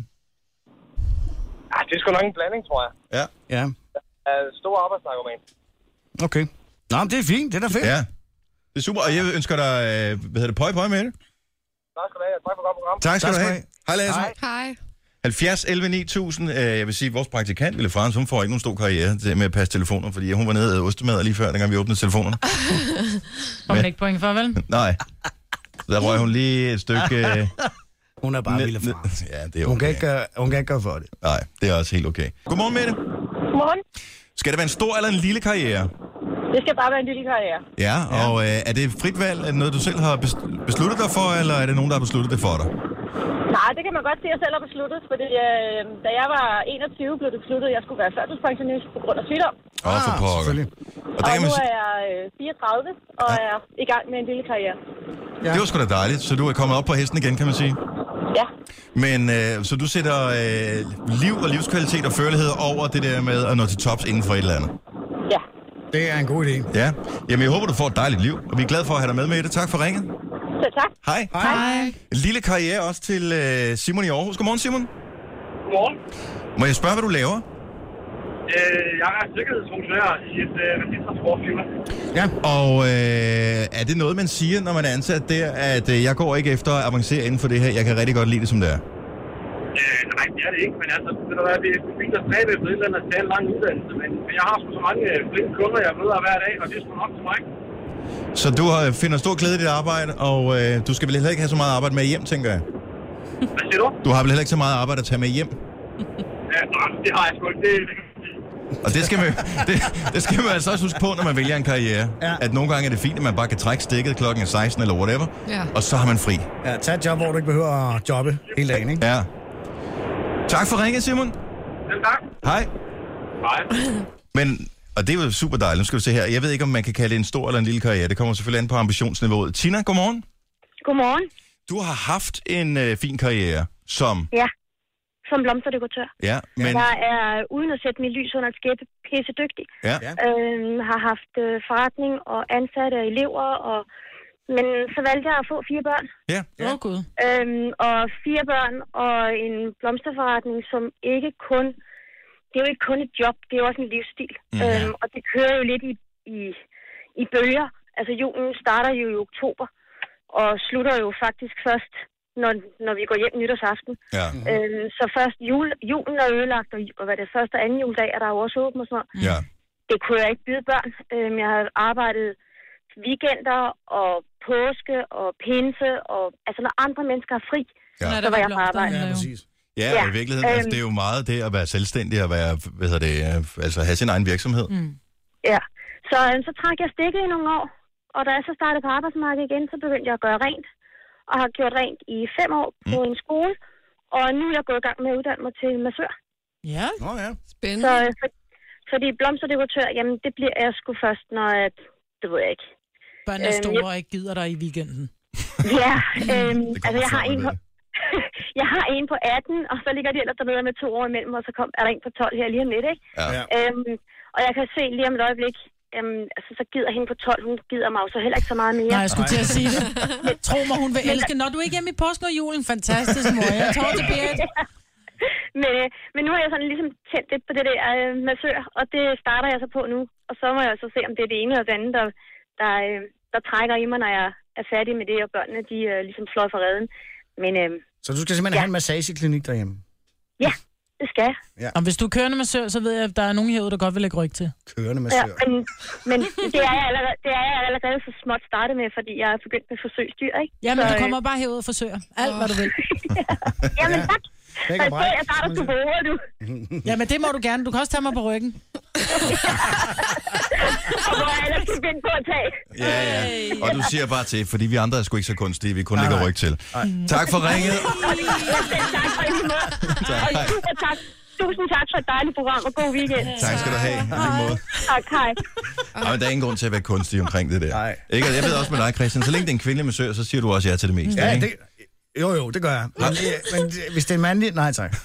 [SPEAKER 7] Ah, det er sgu nok en blanding, tror jeg.
[SPEAKER 1] Ja.
[SPEAKER 2] Ja.
[SPEAKER 7] Jeg er stor arbejdsnarkoman.
[SPEAKER 2] Okay. Nå, men det er fint. Det er da fedt.
[SPEAKER 1] Ja. Det er super, og jeg ønsker dig, øh, hvad hedder det, pøj pøj med det.
[SPEAKER 7] Tak skal du have. Tak for et godt program.
[SPEAKER 1] Tak skal du have. Hej Lasse.
[SPEAKER 8] Hej.
[SPEAKER 1] 70 11 9000, øh, jeg vil sige, vores praktikant, Ville Frans, hun får ikke nogen stor karriere til- med at passe telefoner, fordi hun var nede og æde ostemad lige før, dengang vi åbnede telefonerne.
[SPEAKER 4] Får man
[SPEAKER 1] Men-
[SPEAKER 4] ikke point for, vel?
[SPEAKER 1] Nej. Så Der røg hun lige et stykke... Øh,
[SPEAKER 2] Hun er bare
[SPEAKER 1] ned-
[SPEAKER 2] Ville
[SPEAKER 1] ned- Ja, det er
[SPEAKER 2] Hun kan,
[SPEAKER 1] okay.
[SPEAKER 2] ikke gøre, hun kan ikke gøre for det.
[SPEAKER 1] Nej, det er også helt okay. Godmorgen, Mette.
[SPEAKER 13] Godmorgen.
[SPEAKER 1] Skal det være en stor eller en lille karriere?
[SPEAKER 13] Det skal bare være en lille karriere.
[SPEAKER 1] Ja, og øh, er det frit valg? Er det noget, du selv har bes- besluttet dig for, eller er det nogen, der har besluttet det for dig?
[SPEAKER 13] Nej, det kan man godt se, at jeg selv har besluttet, fordi øh, da jeg var 21, blev det besluttet, at jeg skulle være førtidspensionist på grund af sygdom.
[SPEAKER 1] Åh, oh, for
[SPEAKER 2] Ah,
[SPEAKER 1] pokker. Og der
[SPEAKER 13] Og
[SPEAKER 1] kan
[SPEAKER 13] nu
[SPEAKER 1] man sige,
[SPEAKER 13] er jeg øh, 34 og er i gang med en lille karriere.
[SPEAKER 1] det var sgu da dejligt, så du er kommet op på hesten igen, kan man sige.
[SPEAKER 13] Ja.
[SPEAKER 1] Men øh, så du sætter øh, liv og livskvalitet og førlighed over det der med at nå til tops inden for et eller andet?
[SPEAKER 13] Ja.
[SPEAKER 2] Det er en god idé.
[SPEAKER 1] Ja. Jamen, jeg håber, du får et dejligt liv, og vi er glade for at have dig med med i det. Tak for ringet.
[SPEAKER 13] Så tak.
[SPEAKER 1] Hej.
[SPEAKER 13] Hej.
[SPEAKER 1] En lille karriere også til øh, Simon i Aarhus. Godmorgen, Simon.
[SPEAKER 17] Godmorgen.
[SPEAKER 1] Må jeg spørge, hvad du laver?
[SPEAKER 17] Øh, jeg er sikkerhedsfunktionær i et øh, transportfirma.
[SPEAKER 1] Ja. Og øh, er det noget, man siger, når man er ansat der, at øh, jeg går ikke efter at avancere inden for det her, jeg kan rigtig godt lide det, som det er?
[SPEAKER 17] Øh, nej, det er det ikke, men altså, ved du hvad, det er fint at stræbe efter et eller andet at tage en lang uddannelse, men men jeg har sgu så mange øh, flinke kunder, jeg møder hver dag, og det er sgu nok til mig.
[SPEAKER 1] Så du har, finder stor glæde i dit arbejde, og øh, du skal vel heller ikke have så meget arbejde med hjem, tænker jeg?
[SPEAKER 17] Hvad siger du?
[SPEAKER 1] Du har vel heller ikke så meget arbejde at tage med hjem?
[SPEAKER 17] Ja, nej, det har jeg sgu ikke. Det,
[SPEAKER 1] Og det skal, man, det, det skal man altså også huske på, når man vælger en karriere. Ja. At nogle gange er det fint, at man bare kan trække stikket klokken er 16 eller whatever,
[SPEAKER 2] Ja.
[SPEAKER 1] og så har man fri.
[SPEAKER 2] Ja, tag et job, hvor du ikke behøver at jobbe hele dagen, ikke?
[SPEAKER 1] Ja. Tak for ringet, Simon.
[SPEAKER 17] Selv tak.
[SPEAKER 1] Hej.
[SPEAKER 17] Hej.
[SPEAKER 1] Men, og det er jo super dejligt, nu skal vi se her. Jeg ved ikke, om man kan kalde det en stor eller en lille karriere. Det kommer selvfølgelig an på ambitionsniveauet. Tina, godmorgen.
[SPEAKER 13] Godmorgen.
[SPEAKER 1] Du har haft en øh, fin karriere som...
[SPEAKER 13] Ja. Som blomsterdekoratør.
[SPEAKER 1] Ja, men...
[SPEAKER 13] Jeg er, uden at sætte mit lys under et skæppe, pisse dygtig.
[SPEAKER 1] Ja.
[SPEAKER 13] ja. Øhm, har haft øh, forretning og ansatte og elever, og... men så valgte jeg at få fire børn.
[SPEAKER 1] Ja.
[SPEAKER 4] Åh, oh, Gud.
[SPEAKER 13] Øhm, og fire børn og en blomsterforretning, som ikke kun... Det er jo ikke kun et job, det er jo også en livsstil.
[SPEAKER 18] Mhm.
[SPEAKER 13] Mm, øhm, og det kører jo lidt i, i, i bølger. Altså julen starter jo i oktober, og slutter jo faktisk først, når, når vi går hjem nytårsaften.
[SPEAKER 1] Ja.
[SPEAKER 13] Øhm, så først jul, julen er ødelagt, og, og hvad er det første og anden juledag er der jo også åbent og sådan noget.
[SPEAKER 1] Ja.
[SPEAKER 13] Det kunne jeg ikke byde børn. Øhm, jeg har arbejdet weekender og påske og pinse, og altså når andre mennesker er fri,
[SPEAKER 1] Ja.
[SPEAKER 13] ja.
[SPEAKER 1] Når
[SPEAKER 13] så
[SPEAKER 1] der
[SPEAKER 13] var
[SPEAKER 1] var
[SPEAKER 13] jeg på arbejde. Ja, præcis.
[SPEAKER 1] Ja,
[SPEAKER 13] Ja,
[SPEAKER 1] ja, i virkeligheden, altså,
[SPEAKER 13] øhm.
[SPEAKER 1] det er jo meget det at være selvstændig og være, hvad hedder det, øh, altså have sin egen virksomhed.
[SPEAKER 13] Mm. Ja, så, øhm, så trak jeg stikket i nogle år, og da jeg så startede på arbejdsmarkedet igen, så begyndte jeg at gøre rent, og har gjort rent i fem år på en skole, og nu er jeg gået i gang med at uddanne mig til massør.
[SPEAKER 4] Ja.
[SPEAKER 2] Nå ja.
[SPEAKER 13] Spændende. Så, øh, for, fordi blomsterdekoratør, jamen det bliver jeg sgu først, når jeg, det ved jeg ikke.
[SPEAKER 4] Børnene er
[SPEAKER 13] Øhm,
[SPEAKER 4] store
[SPEAKER 13] jeg-
[SPEAKER 4] og ikke gider dig i weekenden.
[SPEAKER 13] Ja, øhm,
[SPEAKER 4] Det kommer
[SPEAKER 13] altså jeg har,
[SPEAKER 4] før,
[SPEAKER 13] en
[SPEAKER 4] vi
[SPEAKER 13] på, jeg har en på 18, og så ligger de ellers dernede med to år imellem, og så kom, er der en på 12 her lige om lidt, ikke?
[SPEAKER 1] Ja.
[SPEAKER 13] Øhm, og jeg kan se lige om et øjeblik, øhm, altså, så gider hende på 12, hun gider mig jo så heller ikke så meget mere.
[SPEAKER 4] Nej, jeg skulle til at sige det. Tro mig, hun vil
[SPEAKER 13] Men-
[SPEAKER 4] elske. Når du er ikke hjemme i påsken og julen, fantastisk, mor. Jeg tror til Berit.
[SPEAKER 13] men, øh, men nu har jeg sådan ligesom tændt lidt på det der øh, massør, og det starter jeg så på nu. Og så må jeg så se, om det er det ene eller det andet, der, der, øh, der trækker i mig, når jeg er færdig med det, og børnene de øh, ligesom fløj for redden. Men øh,
[SPEAKER 2] Så du skal simpelthen ja. have en massageklinik derhjemme.
[SPEAKER 13] ja, det skal jeg.
[SPEAKER 2] Ja.
[SPEAKER 4] Og hvis du er kørende massør, så ved jeg, at der er nogen herude, der godt vil lægge ryg til.
[SPEAKER 2] Kørende
[SPEAKER 13] Ja,
[SPEAKER 2] massør.
[SPEAKER 13] men, men det, er jeg allerede, det er jeg allerede så småt startet med, fordi jeg er begyndt med forsøgsdyr, ikke?
[SPEAKER 4] Ja, men
[SPEAKER 13] så,
[SPEAKER 4] du
[SPEAKER 13] øh,
[SPEAKER 4] kommer bare herud og forsøger. Alt, hvad du vil.
[SPEAKER 13] Jamen tak.
[SPEAKER 4] Lækker
[SPEAKER 13] Og
[SPEAKER 4] bræk,
[SPEAKER 13] jeg starter du bruger, du.
[SPEAKER 4] Jamen, det må du gerne. Du kan også tage mig på ryggen.
[SPEAKER 13] Og hvor er ellers du vind på at tage?
[SPEAKER 1] Ja, ja. Og du siger bare til, fordi vi andre er sgu ikke så kunstige, vi kun lægger ryg til.
[SPEAKER 2] Nej.
[SPEAKER 1] Tak for ringet.
[SPEAKER 13] Ja, selv tak for i lige måde. Og super tak. Tusind tak for et dejligt program, og god weekend.
[SPEAKER 1] Tak skal du have. i Lige måde.
[SPEAKER 13] Tak, hej.
[SPEAKER 1] Ej, men der er ingen grund til at være kunstig omkring det der. Nej. Ikke? Og Jeg ved også med dig, Christian, så længe det er en kvindelig massør, så siger du også ja til det meste.
[SPEAKER 2] Ja,
[SPEAKER 1] ikke?
[SPEAKER 2] det, jo, jo, det gør jeg. Men, øh, men øh, hvis det er en mandlig... Nej, tak.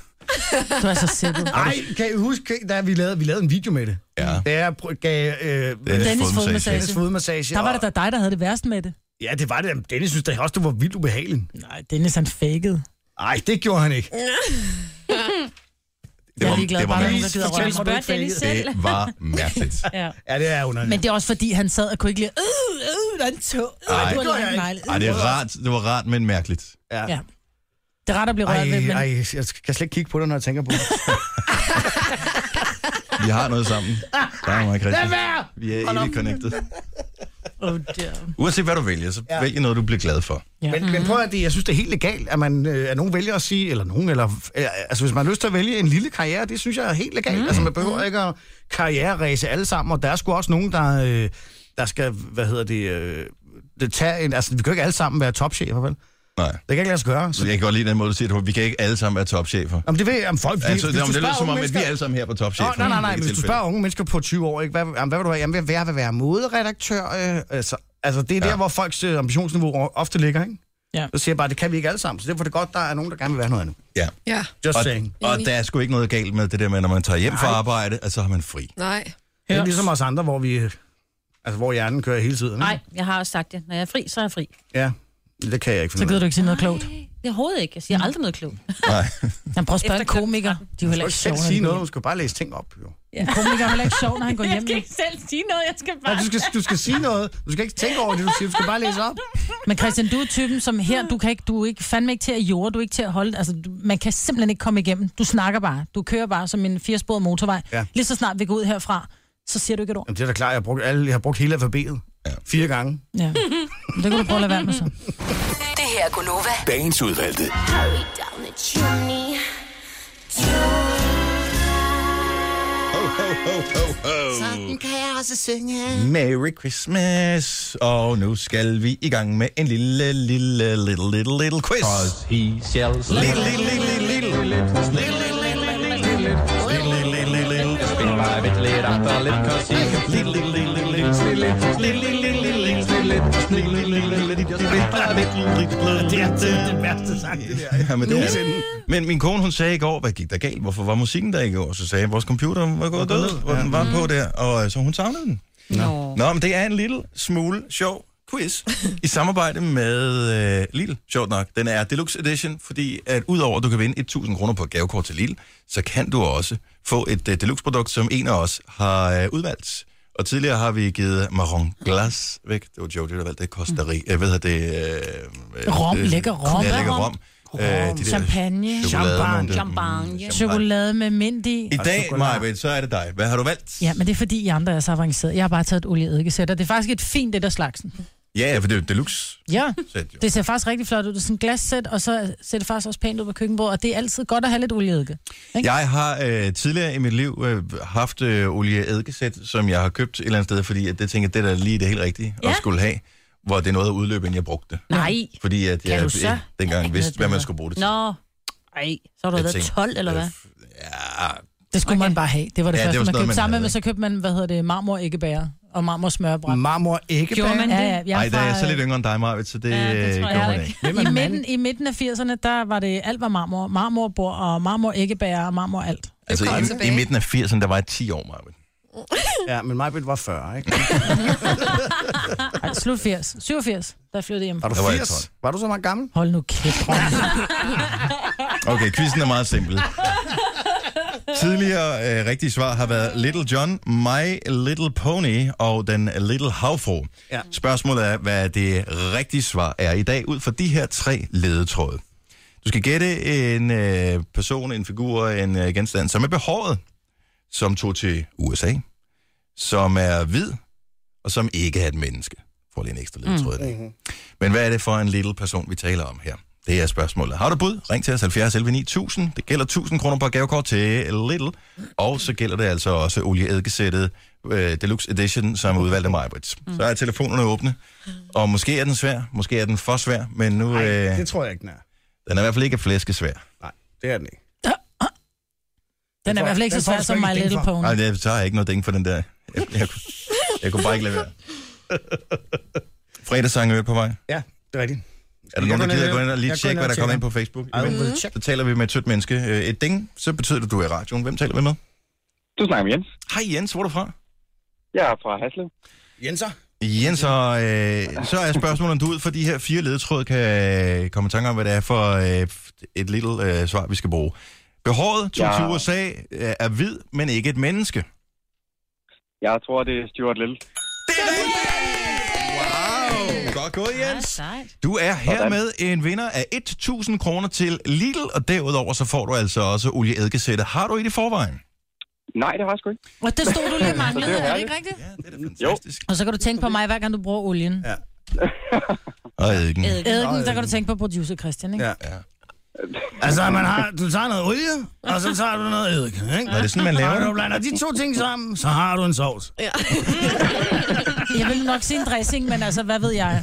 [SPEAKER 4] Du er så sættet.
[SPEAKER 2] Nej, kan I huske, da vi lavede, vi lavede en video med det?
[SPEAKER 1] Ja.
[SPEAKER 2] Da jeg prø- gav... Øh,
[SPEAKER 4] Dennis fodmassage.
[SPEAKER 2] Dennis fodmassage.
[SPEAKER 4] Der var det
[SPEAKER 2] og-
[SPEAKER 4] da dig, der havde det værst med det.
[SPEAKER 2] Ja, det var det. Dennis synes da også, du var vildt ubehagelig.
[SPEAKER 4] Nej, Dennis han fakede.
[SPEAKER 2] Nej, det gjorde han ikke.
[SPEAKER 4] Jeg er ligeglad,
[SPEAKER 2] det var
[SPEAKER 4] bare der er nogen, der
[SPEAKER 2] mærkeligt. Fortæl
[SPEAKER 4] gider
[SPEAKER 2] mig, du ikke fakede.
[SPEAKER 4] røre mig.
[SPEAKER 1] Det var mærkeligt.
[SPEAKER 4] Ja.
[SPEAKER 2] Ja, det er underligt.
[SPEAKER 4] Men det er også fordi, han sad og kunne ikke lide, øh, øh, der er en tog. Øh,
[SPEAKER 1] Ej,
[SPEAKER 4] du har
[SPEAKER 1] det
[SPEAKER 4] lavet en
[SPEAKER 1] Ej,
[SPEAKER 4] negle. Øh,
[SPEAKER 1] det,
[SPEAKER 4] øh.
[SPEAKER 1] er rart. det var rart, men mærkeligt.
[SPEAKER 4] Ja. Det er rart at blive rørt ved,
[SPEAKER 2] Ej,
[SPEAKER 4] men...
[SPEAKER 2] ej, jeg kan slet ikke kigge på dig, når jeg tænker på det.
[SPEAKER 1] Vi har noget sammen. Der er mig, Christian.
[SPEAKER 2] Lad være!
[SPEAKER 1] Vi er
[SPEAKER 2] Hold
[SPEAKER 1] evigt
[SPEAKER 2] op.
[SPEAKER 1] connected.
[SPEAKER 4] Oh, dear.
[SPEAKER 1] Uanset hvad du vælger, så
[SPEAKER 2] Ja.
[SPEAKER 1] vælg noget, du bliver glad for.
[SPEAKER 4] Ja.
[SPEAKER 2] Men, men prøv at det, jeg synes, det er helt legalt, at, man, øh, at nogen vælger at sige, eller nogen, eller, øh, altså hvis man har lyst til at vælge en lille karriere, det synes jeg er helt legalt. Mm. Altså man behøver ikke at karriereræse alle sammen, og der er sgu også nogen, der, øh, der skal, hvad hedder det, øh, det tage en, altså vi kan jo ikke alle sammen være topchefer, vel?
[SPEAKER 1] Nej.
[SPEAKER 2] Det kan ikke lade sig gøre.
[SPEAKER 1] Så jeg kan godt lide den måde, du siger, at vi kan ikke alle sammen være topchefer.
[SPEAKER 2] Om det ved jeg, om folk...
[SPEAKER 1] Altså,
[SPEAKER 2] hvis
[SPEAKER 1] det,
[SPEAKER 2] du
[SPEAKER 1] om det
[SPEAKER 2] spørger
[SPEAKER 1] lyder som
[SPEAKER 2] unge
[SPEAKER 1] om, at vi
[SPEAKER 2] mennesker-
[SPEAKER 1] alle sammen her er på
[SPEAKER 2] Nå,
[SPEAKER 1] topchefer.
[SPEAKER 2] nej, nej,
[SPEAKER 1] Det er
[SPEAKER 2] nej,
[SPEAKER 1] ikke
[SPEAKER 2] men hvis du
[SPEAKER 1] tilfældet.
[SPEAKER 2] spørger unge mennesker på 20 år, ikke, hvad, jamen, hvad vil du være? Jamen, jeg vil, jeg vil være moderedaktør. Øh, altså, altså, det er der, hvor folks øh, ambitionsniveau ofte ligger, ikke?
[SPEAKER 4] Ja.
[SPEAKER 2] Så siger jeg bare, det kan vi ikke alle sammen, så derfor er det godt, der er nogen, der gerne vil være noget andet.
[SPEAKER 1] Ja.
[SPEAKER 8] Ja.
[SPEAKER 2] Just
[SPEAKER 1] og,
[SPEAKER 2] saying.
[SPEAKER 1] og der er sgu ikke noget galt med det der med, når man tager hjem fra arbejde, at så har man fri.
[SPEAKER 8] Nej.
[SPEAKER 2] Det er ligesom os andre, hvor vi... øh, Altså, hvor hjernen kører hele tiden. ikke?
[SPEAKER 5] Nej, jeg har også sagt det. Når jeg er fri, så er jeg fri.
[SPEAKER 2] Ja, det kan jeg ikke
[SPEAKER 4] Så
[SPEAKER 2] finde ud
[SPEAKER 4] gider
[SPEAKER 2] af.
[SPEAKER 4] du ikke sige noget klogt.
[SPEAKER 5] Det er overhovedet ikke. Jeg siger aldrig noget klogt.
[SPEAKER 1] Nej.
[SPEAKER 4] Han prøver Mm. at spørge en komiker. De er jo heller
[SPEAKER 2] Du skal
[SPEAKER 4] ikke
[SPEAKER 2] ikke selv
[SPEAKER 4] sjove.
[SPEAKER 2] sige noget, du skal bare læse ting op, jo.
[SPEAKER 4] En komiker er heller ikke sjov, når han går hjem.
[SPEAKER 5] Jeg skal ikke selv sige noget, jeg skal
[SPEAKER 2] Ja,
[SPEAKER 5] bare...
[SPEAKER 2] du, skal, du skal sige noget. Du skal ikke tænke over det, du siger. Du skal bare læse op.
[SPEAKER 4] Men Christian, du er typen, som her, du, kan ikke, du er ikke, fandme ikke til at jorde, du er ikke til at holde, altså du, man kan simpelthen ikke komme igennem. Du snakker bare, du kører bare som en firesporet motorvej.
[SPEAKER 2] Ja.
[SPEAKER 4] Ja. Lige så snart vi går ud herfra, så siger du ikke et ord.
[SPEAKER 2] Jamen, det er da klart, jeg har brugt, alle, jeg har brugt hele alfabetet. Ja. Fire gange.
[SPEAKER 4] Ja. Men Det kan du prøve at lade være med så.
[SPEAKER 6] Det her er Gunova.
[SPEAKER 11] Dagens udvalgte.
[SPEAKER 1] Sådan
[SPEAKER 18] kan jeg også synge.
[SPEAKER 1] Merry Christmas. Og nu skal vi i gang med en lille, lille, little, little, little quiz. Cause he shall little, little, little, little, little, little,
[SPEAKER 2] Det er den værste sang, det der. Mm.
[SPEAKER 1] Ja, men, det er, det. men min kone, hun sagde i går, hvad gik der galt? Hvorfor var musikken der ikke i går? Så sagde jeg, vores computer var gået død, hvor den var på der, og øh, så hun savnede den.
[SPEAKER 5] Nå.
[SPEAKER 1] Nå, men det er en lille smule sjov quiz i samarbejde med øh, Lille, sjovt nok. Den er deluxe edition, fordi at udover at du kan vinde 1.000 kroner på et gavekort til Lille, så kan du også få et øh, deluxe produkt, som en af os har øh, udvalgt. Og tidligere har vi givet marron glas væk. Det var Jojo, der valgte det. Costa Rica. Jeg ved, at det... Øh, øh,
[SPEAKER 4] Rom,
[SPEAKER 1] det-
[SPEAKER 4] lækker rom.
[SPEAKER 1] Ja, lækker rom. Øh, de der
[SPEAKER 4] Champagne.
[SPEAKER 1] chokolade- nogle der-
[SPEAKER 5] Champagne.
[SPEAKER 4] Chokolade med mint i.
[SPEAKER 1] I dag, Maja, så er det dig. Hvad har du valgt?
[SPEAKER 4] Ja, men det er fordi, I andre er så avancerede. Jeg har bare taget et olieeddikesæt, og det er faktisk et fint, det der slagsen.
[SPEAKER 1] Ja, for det er jo deluxe.
[SPEAKER 4] Ja,
[SPEAKER 1] Sæt, jo.
[SPEAKER 4] det ser faktisk rigtig flot ud. Det er sådan et glassæt, og så ser det faktisk også pænt ud på køkkenbordet, og det er altid godt at have lidt olieeddike.
[SPEAKER 1] Jeg har øh, tidligere i mit liv øh, haft øh, olieeddikesæt, som jeg har købt et eller andet sted, fordi at det tænker jeg, det der er da lige det helt rigtige ja.
[SPEAKER 5] Ja.
[SPEAKER 1] at skulle have, hvor det er noget at udløbe, inden jeg brugte det.
[SPEAKER 5] Nej.
[SPEAKER 1] Fordi at
[SPEAKER 5] Kan
[SPEAKER 1] jeg
[SPEAKER 5] du så?
[SPEAKER 1] ikke dengang ikke vidste, hvad man skulle bruge det til.
[SPEAKER 5] Nå. Ej, så har du
[SPEAKER 1] Jeg
[SPEAKER 5] været
[SPEAKER 1] tænkte,
[SPEAKER 5] 12, eller hvad?
[SPEAKER 4] Det skulle okay. man bare have. Det var det
[SPEAKER 1] Ah, Ja, det
[SPEAKER 4] ja, første,
[SPEAKER 1] var sådan noget,
[SPEAKER 4] det man købte.
[SPEAKER 1] man
[SPEAKER 4] Sammen
[SPEAKER 1] havde,
[SPEAKER 4] med, så købte man, hvad hedder det, marmor æggebær og marmor smørbrad.
[SPEAKER 2] Marmor æggebær?
[SPEAKER 4] Gjorde man det? Ja,
[SPEAKER 2] Ja,
[SPEAKER 4] ja. Jeg
[SPEAKER 1] Ej, der er jeg
[SPEAKER 4] fra,
[SPEAKER 1] så lidt yngre end dig, Maja, så det, ja, det
[SPEAKER 4] det tror
[SPEAKER 1] gjorde
[SPEAKER 4] jeg
[SPEAKER 1] man
[SPEAKER 4] ikke.
[SPEAKER 1] ikke.
[SPEAKER 4] I midten, I midten af 80'erne, der var det alt var marmor. Marmorbord og marmor æggebær og marmor alt.
[SPEAKER 1] Altså,
[SPEAKER 4] kommer
[SPEAKER 1] i,
[SPEAKER 4] tilbage.
[SPEAKER 1] i midten af 80'erne, der var jeg 10 år, Mm. Maja.
[SPEAKER 2] Ja, men Majbrit var 40, ikke?
[SPEAKER 4] Ej, slut 80. 87, der flyttede hjem.
[SPEAKER 2] Var du
[SPEAKER 1] Der var jeg
[SPEAKER 2] 80?
[SPEAKER 1] 12.
[SPEAKER 2] Var du så meget gammel?
[SPEAKER 4] Hold nu kæft.
[SPEAKER 1] Okay, quizzen er meget simpel. Tidligere øh, rigtige svar har været Little John, My Little Pony og den Little Havfru. Ja. Spørgsmålet er, hvad det rigtige svar er i dag ud fra de her tre ledetråde. Du skal gætte en øh, person, en figur, en øh, genstand, som er behåret, som tog til USA, som er hvid, og som ikke er et menneske. Får lige en ekstra ledetråd mm. i dag.
[SPEAKER 2] Mm-hmm.
[SPEAKER 1] Men hvad er det for en lille person, vi taler om her? Det er spørgsmålet. Har du bud? Ring til os 70 11 9000. Det gælder 1000 kroner på gavekort til Little. Og så gælder det altså også olieeddikesættet øh, Deluxe Edition, som er udvalgt af Majbrits.
[SPEAKER 2] Mm.
[SPEAKER 1] Så er telefonerne åbne. Og måske er den svær, måske er den for svær, men nu...
[SPEAKER 2] Nej,
[SPEAKER 1] Øh,
[SPEAKER 2] det tror jeg ikke, den er.
[SPEAKER 1] den er i hvert fald ikke flæskesvær.
[SPEAKER 2] Det er den ikke.
[SPEAKER 4] Den er i hvert fald ikke
[SPEAKER 2] Den
[SPEAKER 4] så
[SPEAKER 2] får
[SPEAKER 4] svær
[SPEAKER 2] du sgu
[SPEAKER 4] som My
[SPEAKER 2] ikke et ding
[SPEAKER 4] Little
[SPEAKER 2] for.
[SPEAKER 4] Pony.
[SPEAKER 1] Nej, det tager jeg ikke noget ding for den der. Jeg, jeg, kunne- jeg kunne bare ikke lade være. Fredagssang er på vej.
[SPEAKER 2] Ja, det er rigtigt.
[SPEAKER 1] Er der nogen, der
[SPEAKER 2] Jeg
[SPEAKER 1] gider
[SPEAKER 2] går
[SPEAKER 1] gå
[SPEAKER 2] ned
[SPEAKER 1] ind og lige
[SPEAKER 2] og
[SPEAKER 1] tjekke, hvad der
[SPEAKER 2] tjekker.
[SPEAKER 1] kommer ind på Facebook?
[SPEAKER 2] I will
[SPEAKER 1] Imens, Så taler vi med et sødt menneske. Øh, Et ding, så betyder det, at du er i radioen. Hvem taler vi med?
[SPEAKER 19] Du snakker med Jens.
[SPEAKER 1] Hej Jens, hvor er du fra?
[SPEAKER 19] Jeg er fra Haslev.
[SPEAKER 2] Jenser?
[SPEAKER 1] Jens, og, øh, så er spørgsmålet, om du ud for de her fire ledetråd kan øh, komme i tanke om, hvad det er for øh, et lille øh, svar, vi skal bruge. Behåret, tog
[SPEAKER 19] Ja.
[SPEAKER 1] til USA, øh, er hvid, men ikke et menneske.
[SPEAKER 19] Jeg tror, det er Stuart Little.
[SPEAKER 1] Wow! Godt gået, Jens. Du er hermed en vinder af 1.000 kroner til Lidl, og derudover så får du altså også olieeddikesættet. Har du et i forvejen?
[SPEAKER 19] Nej, det har jeg sgu ikke.
[SPEAKER 4] Og det stod du lige og
[SPEAKER 19] Så
[SPEAKER 4] manglede,
[SPEAKER 19] det er
[SPEAKER 4] er det
[SPEAKER 19] herligt.
[SPEAKER 4] ikke rigtigt?
[SPEAKER 19] Jo.
[SPEAKER 4] Og så kan du tænke på mig, hver gang du bruger olien. Ja.
[SPEAKER 1] Og eddike.
[SPEAKER 4] Eddiken, der kan du tænke på producer Christian, ikke?
[SPEAKER 2] Ja. Altså, man har, du tager noget olie, og så tager du noget eddike, ikke?
[SPEAKER 1] Nå, det er sådan, man laver
[SPEAKER 2] Og
[SPEAKER 1] det.
[SPEAKER 2] du blander de to ting sammen, så har du en sovs. Ja.
[SPEAKER 4] Jeg vil nok sige en dressing, men altså, hvad ved jeg?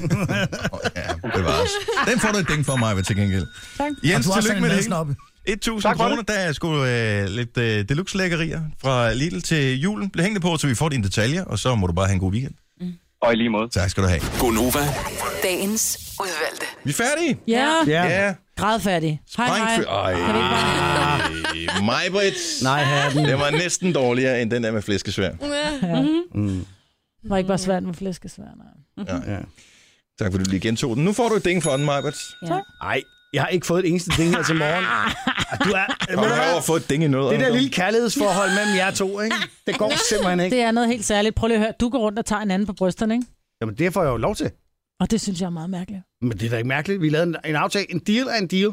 [SPEAKER 1] Det var os. Den får du et ding for mig, ved til gengæld.
[SPEAKER 4] Tak.
[SPEAKER 1] Jens,
[SPEAKER 2] Og du har
[SPEAKER 1] tillykke
[SPEAKER 2] sendt
[SPEAKER 1] med
[SPEAKER 2] en
[SPEAKER 1] det.
[SPEAKER 2] hilsen op.
[SPEAKER 1] hele. 1000
[SPEAKER 2] Tak for det.
[SPEAKER 1] kroner, der er sgu øh, lidt øh, deluxe lækkerier fra Lidl til julen. Bliv hængende på, så vi får dine detaljer, og så må du bare have en god weekend.
[SPEAKER 19] Og i lige måde.
[SPEAKER 1] Tak skal du have.
[SPEAKER 11] Gonova.
[SPEAKER 6] Dagens udvalgte.
[SPEAKER 1] Vi er færdige.
[SPEAKER 5] Ja.
[SPEAKER 1] Ja.
[SPEAKER 4] Grædfærdig. Hej, hej.
[SPEAKER 1] Sprængfø- Ej, mig, Britt.
[SPEAKER 2] Nej, hatten.
[SPEAKER 1] Det var næsten dårligere end den der med flæskesvær.
[SPEAKER 4] Ja.
[SPEAKER 1] Mm.
[SPEAKER 4] Mm-hmm. Det var ikke bare svært med flæskesvær, nej.
[SPEAKER 1] Ja. Ja. Tak fordi du lige gentog den. Nu får du et ding for den, Majbert.
[SPEAKER 4] Ja.
[SPEAKER 2] Nej, jeg har ikke fået et eneste ding her til morgen. Ah, Du er...
[SPEAKER 1] Kom herover og få et ding i
[SPEAKER 2] Det
[SPEAKER 1] noget.
[SPEAKER 2] der lille kærlighedsforhold mellem jer to, ikke? Det går simpelthen ikke.
[SPEAKER 4] Det er noget helt særligt. Prøv lige at høre. Du går rundt og tager en anden på brysterne, ikke?
[SPEAKER 2] Jamen, det får jeg jo lov til.
[SPEAKER 4] Og det synes jeg er meget mærkeligt.
[SPEAKER 2] Men det er da ikke mærkeligt. Vi lavede en, en aftale. En deal er en deal.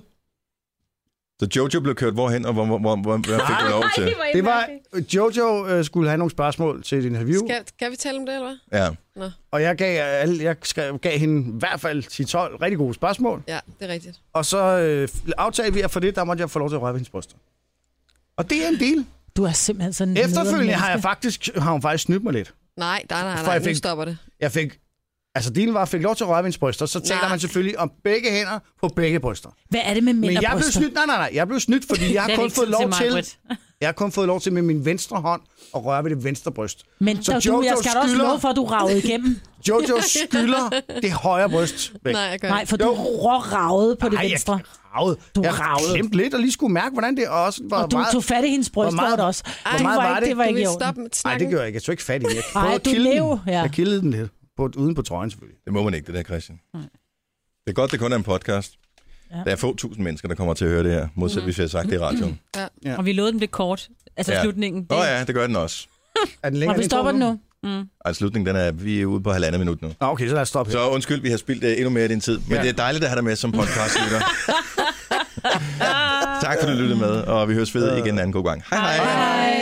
[SPEAKER 1] Så Jojo blev kørt hvorhen, og hvor, hvor, hvor, hvor hvad fik du lov til?
[SPEAKER 2] Det var, Jojo øh, skulle have nogle spørgsmål til et interview,
[SPEAKER 8] Skal, kan vi tale om det, eller hvad?
[SPEAKER 1] Ja.
[SPEAKER 8] Nå,
[SPEAKER 2] og jeg gav, øh, alle, jeg skrev, gav hende i hvert fald 10-12 rigtig gode spørgsmål.
[SPEAKER 8] ja, det er rigtigt.
[SPEAKER 2] Og så øh, aftalte vi, at for det, der måtte jeg få lov til at røre ved hendes bryster. Og det er en deal.
[SPEAKER 4] Du er simpelthen sådan... en
[SPEAKER 2] Efterfølgende
[SPEAKER 4] nederen
[SPEAKER 2] har, jeg
[SPEAKER 4] menneske.
[SPEAKER 2] faktisk, har hun faktisk snydt mig lidt.
[SPEAKER 8] Nej, nej, nej,
[SPEAKER 2] For
[SPEAKER 8] nej,
[SPEAKER 2] jeg
[SPEAKER 8] nu
[SPEAKER 2] fik-
[SPEAKER 8] stopper det.
[SPEAKER 2] Jeg fik... Altså, dealen var, at jeg fik lov til at røre ved hendes bryster, så taler
[SPEAKER 8] Nej.
[SPEAKER 2] man selvfølgelig om begge hænder på begge bryster.
[SPEAKER 4] Hvad er det med mænd
[SPEAKER 2] Men
[SPEAKER 4] og
[SPEAKER 2] jeg blev
[SPEAKER 4] bryster?
[SPEAKER 2] snydt, nej, nej, nej, jeg blev snydt, fordi jeg
[SPEAKER 4] Det
[SPEAKER 2] har
[SPEAKER 4] er
[SPEAKER 2] kun
[SPEAKER 4] ikke
[SPEAKER 2] fået
[SPEAKER 4] tid til
[SPEAKER 2] lov
[SPEAKER 4] mig,
[SPEAKER 2] til,
[SPEAKER 4] Britt.
[SPEAKER 2] jeg har kun fået lov til med min venstre hånd at røre ved det venstre bryst.
[SPEAKER 4] Men så du, jeg skal da også love for, at du ragede igennem.
[SPEAKER 2] Jojo skylder det højre bryst væk.
[SPEAKER 8] Nej, jeg gør
[SPEAKER 4] Nej, for du råragede på det
[SPEAKER 2] Ej,
[SPEAKER 4] venstre.
[SPEAKER 2] Jeg ravede.
[SPEAKER 4] Du
[SPEAKER 2] jeg
[SPEAKER 4] ravede.
[SPEAKER 2] klemte lidt og lige skulle mærke, hvordan det også var
[SPEAKER 4] Og du
[SPEAKER 2] meget...
[SPEAKER 4] tog fat i hendes bryst,
[SPEAKER 2] hvor meget-
[SPEAKER 4] var det også.
[SPEAKER 2] Ej,
[SPEAKER 4] Du
[SPEAKER 2] hvor meget
[SPEAKER 4] var
[SPEAKER 2] var
[SPEAKER 4] ikke,
[SPEAKER 2] det?
[SPEAKER 4] det var
[SPEAKER 8] Du
[SPEAKER 4] ikke
[SPEAKER 8] vil
[SPEAKER 4] i orden.
[SPEAKER 8] stoppe med
[SPEAKER 2] Nej, det
[SPEAKER 8] snakken.
[SPEAKER 2] gjorde jeg ikke. Jeg tog ikke fat i den. Jeg
[SPEAKER 4] Ej,
[SPEAKER 2] prøvede at
[SPEAKER 4] du
[SPEAKER 2] kilde
[SPEAKER 4] lev,
[SPEAKER 2] den.
[SPEAKER 4] ja.
[SPEAKER 2] Jeg kildede den lidt. På, uden på trøjen, selvfølgelig.
[SPEAKER 1] Det må man ikke, det der, Christian. Det er godt, det kun er en podcast. Ja. Der er få tusind mennesker, der kommer til at høre det her, modsat hvis jeg har sagt det i radioen.
[SPEAKER 2] Ja.
[SPEAKER 5] Mm. Og vi lovede den blev kort. Altså
[SPEAKER 1] Ja.
[SPEAKER 5] slutningen. Det,
[SPEAKER 1] Nå ja, det gør den også.
[SPEAKER 2] Er den
[SPEAKER 4] Og
[SPEAKER 2] længere
[SPEAKER 4] vi
[SPEAKER 2] end
[SPEAKER 4] stopper den nu.
[SPEAKER 5] Mm.
[SPEAKER 1] Ej, Altså, slutningen, den er, vi er ude på halvandet minut nu.
[SPEAKER 2] Nå, okay, så lad os stoppe her.
[SPEAKER 1] Så undskyld, vi har spildt uh, endnu mere af din tid, men ja.
[SPEAKER 2] Ja.
[SPEAKER 1] det er dejligt at have dig med som podcast lytter. tak for at du lyttede med, og vi høres ved igen en anden god gang. Hej hej.
[SPEAKER 5] Hej.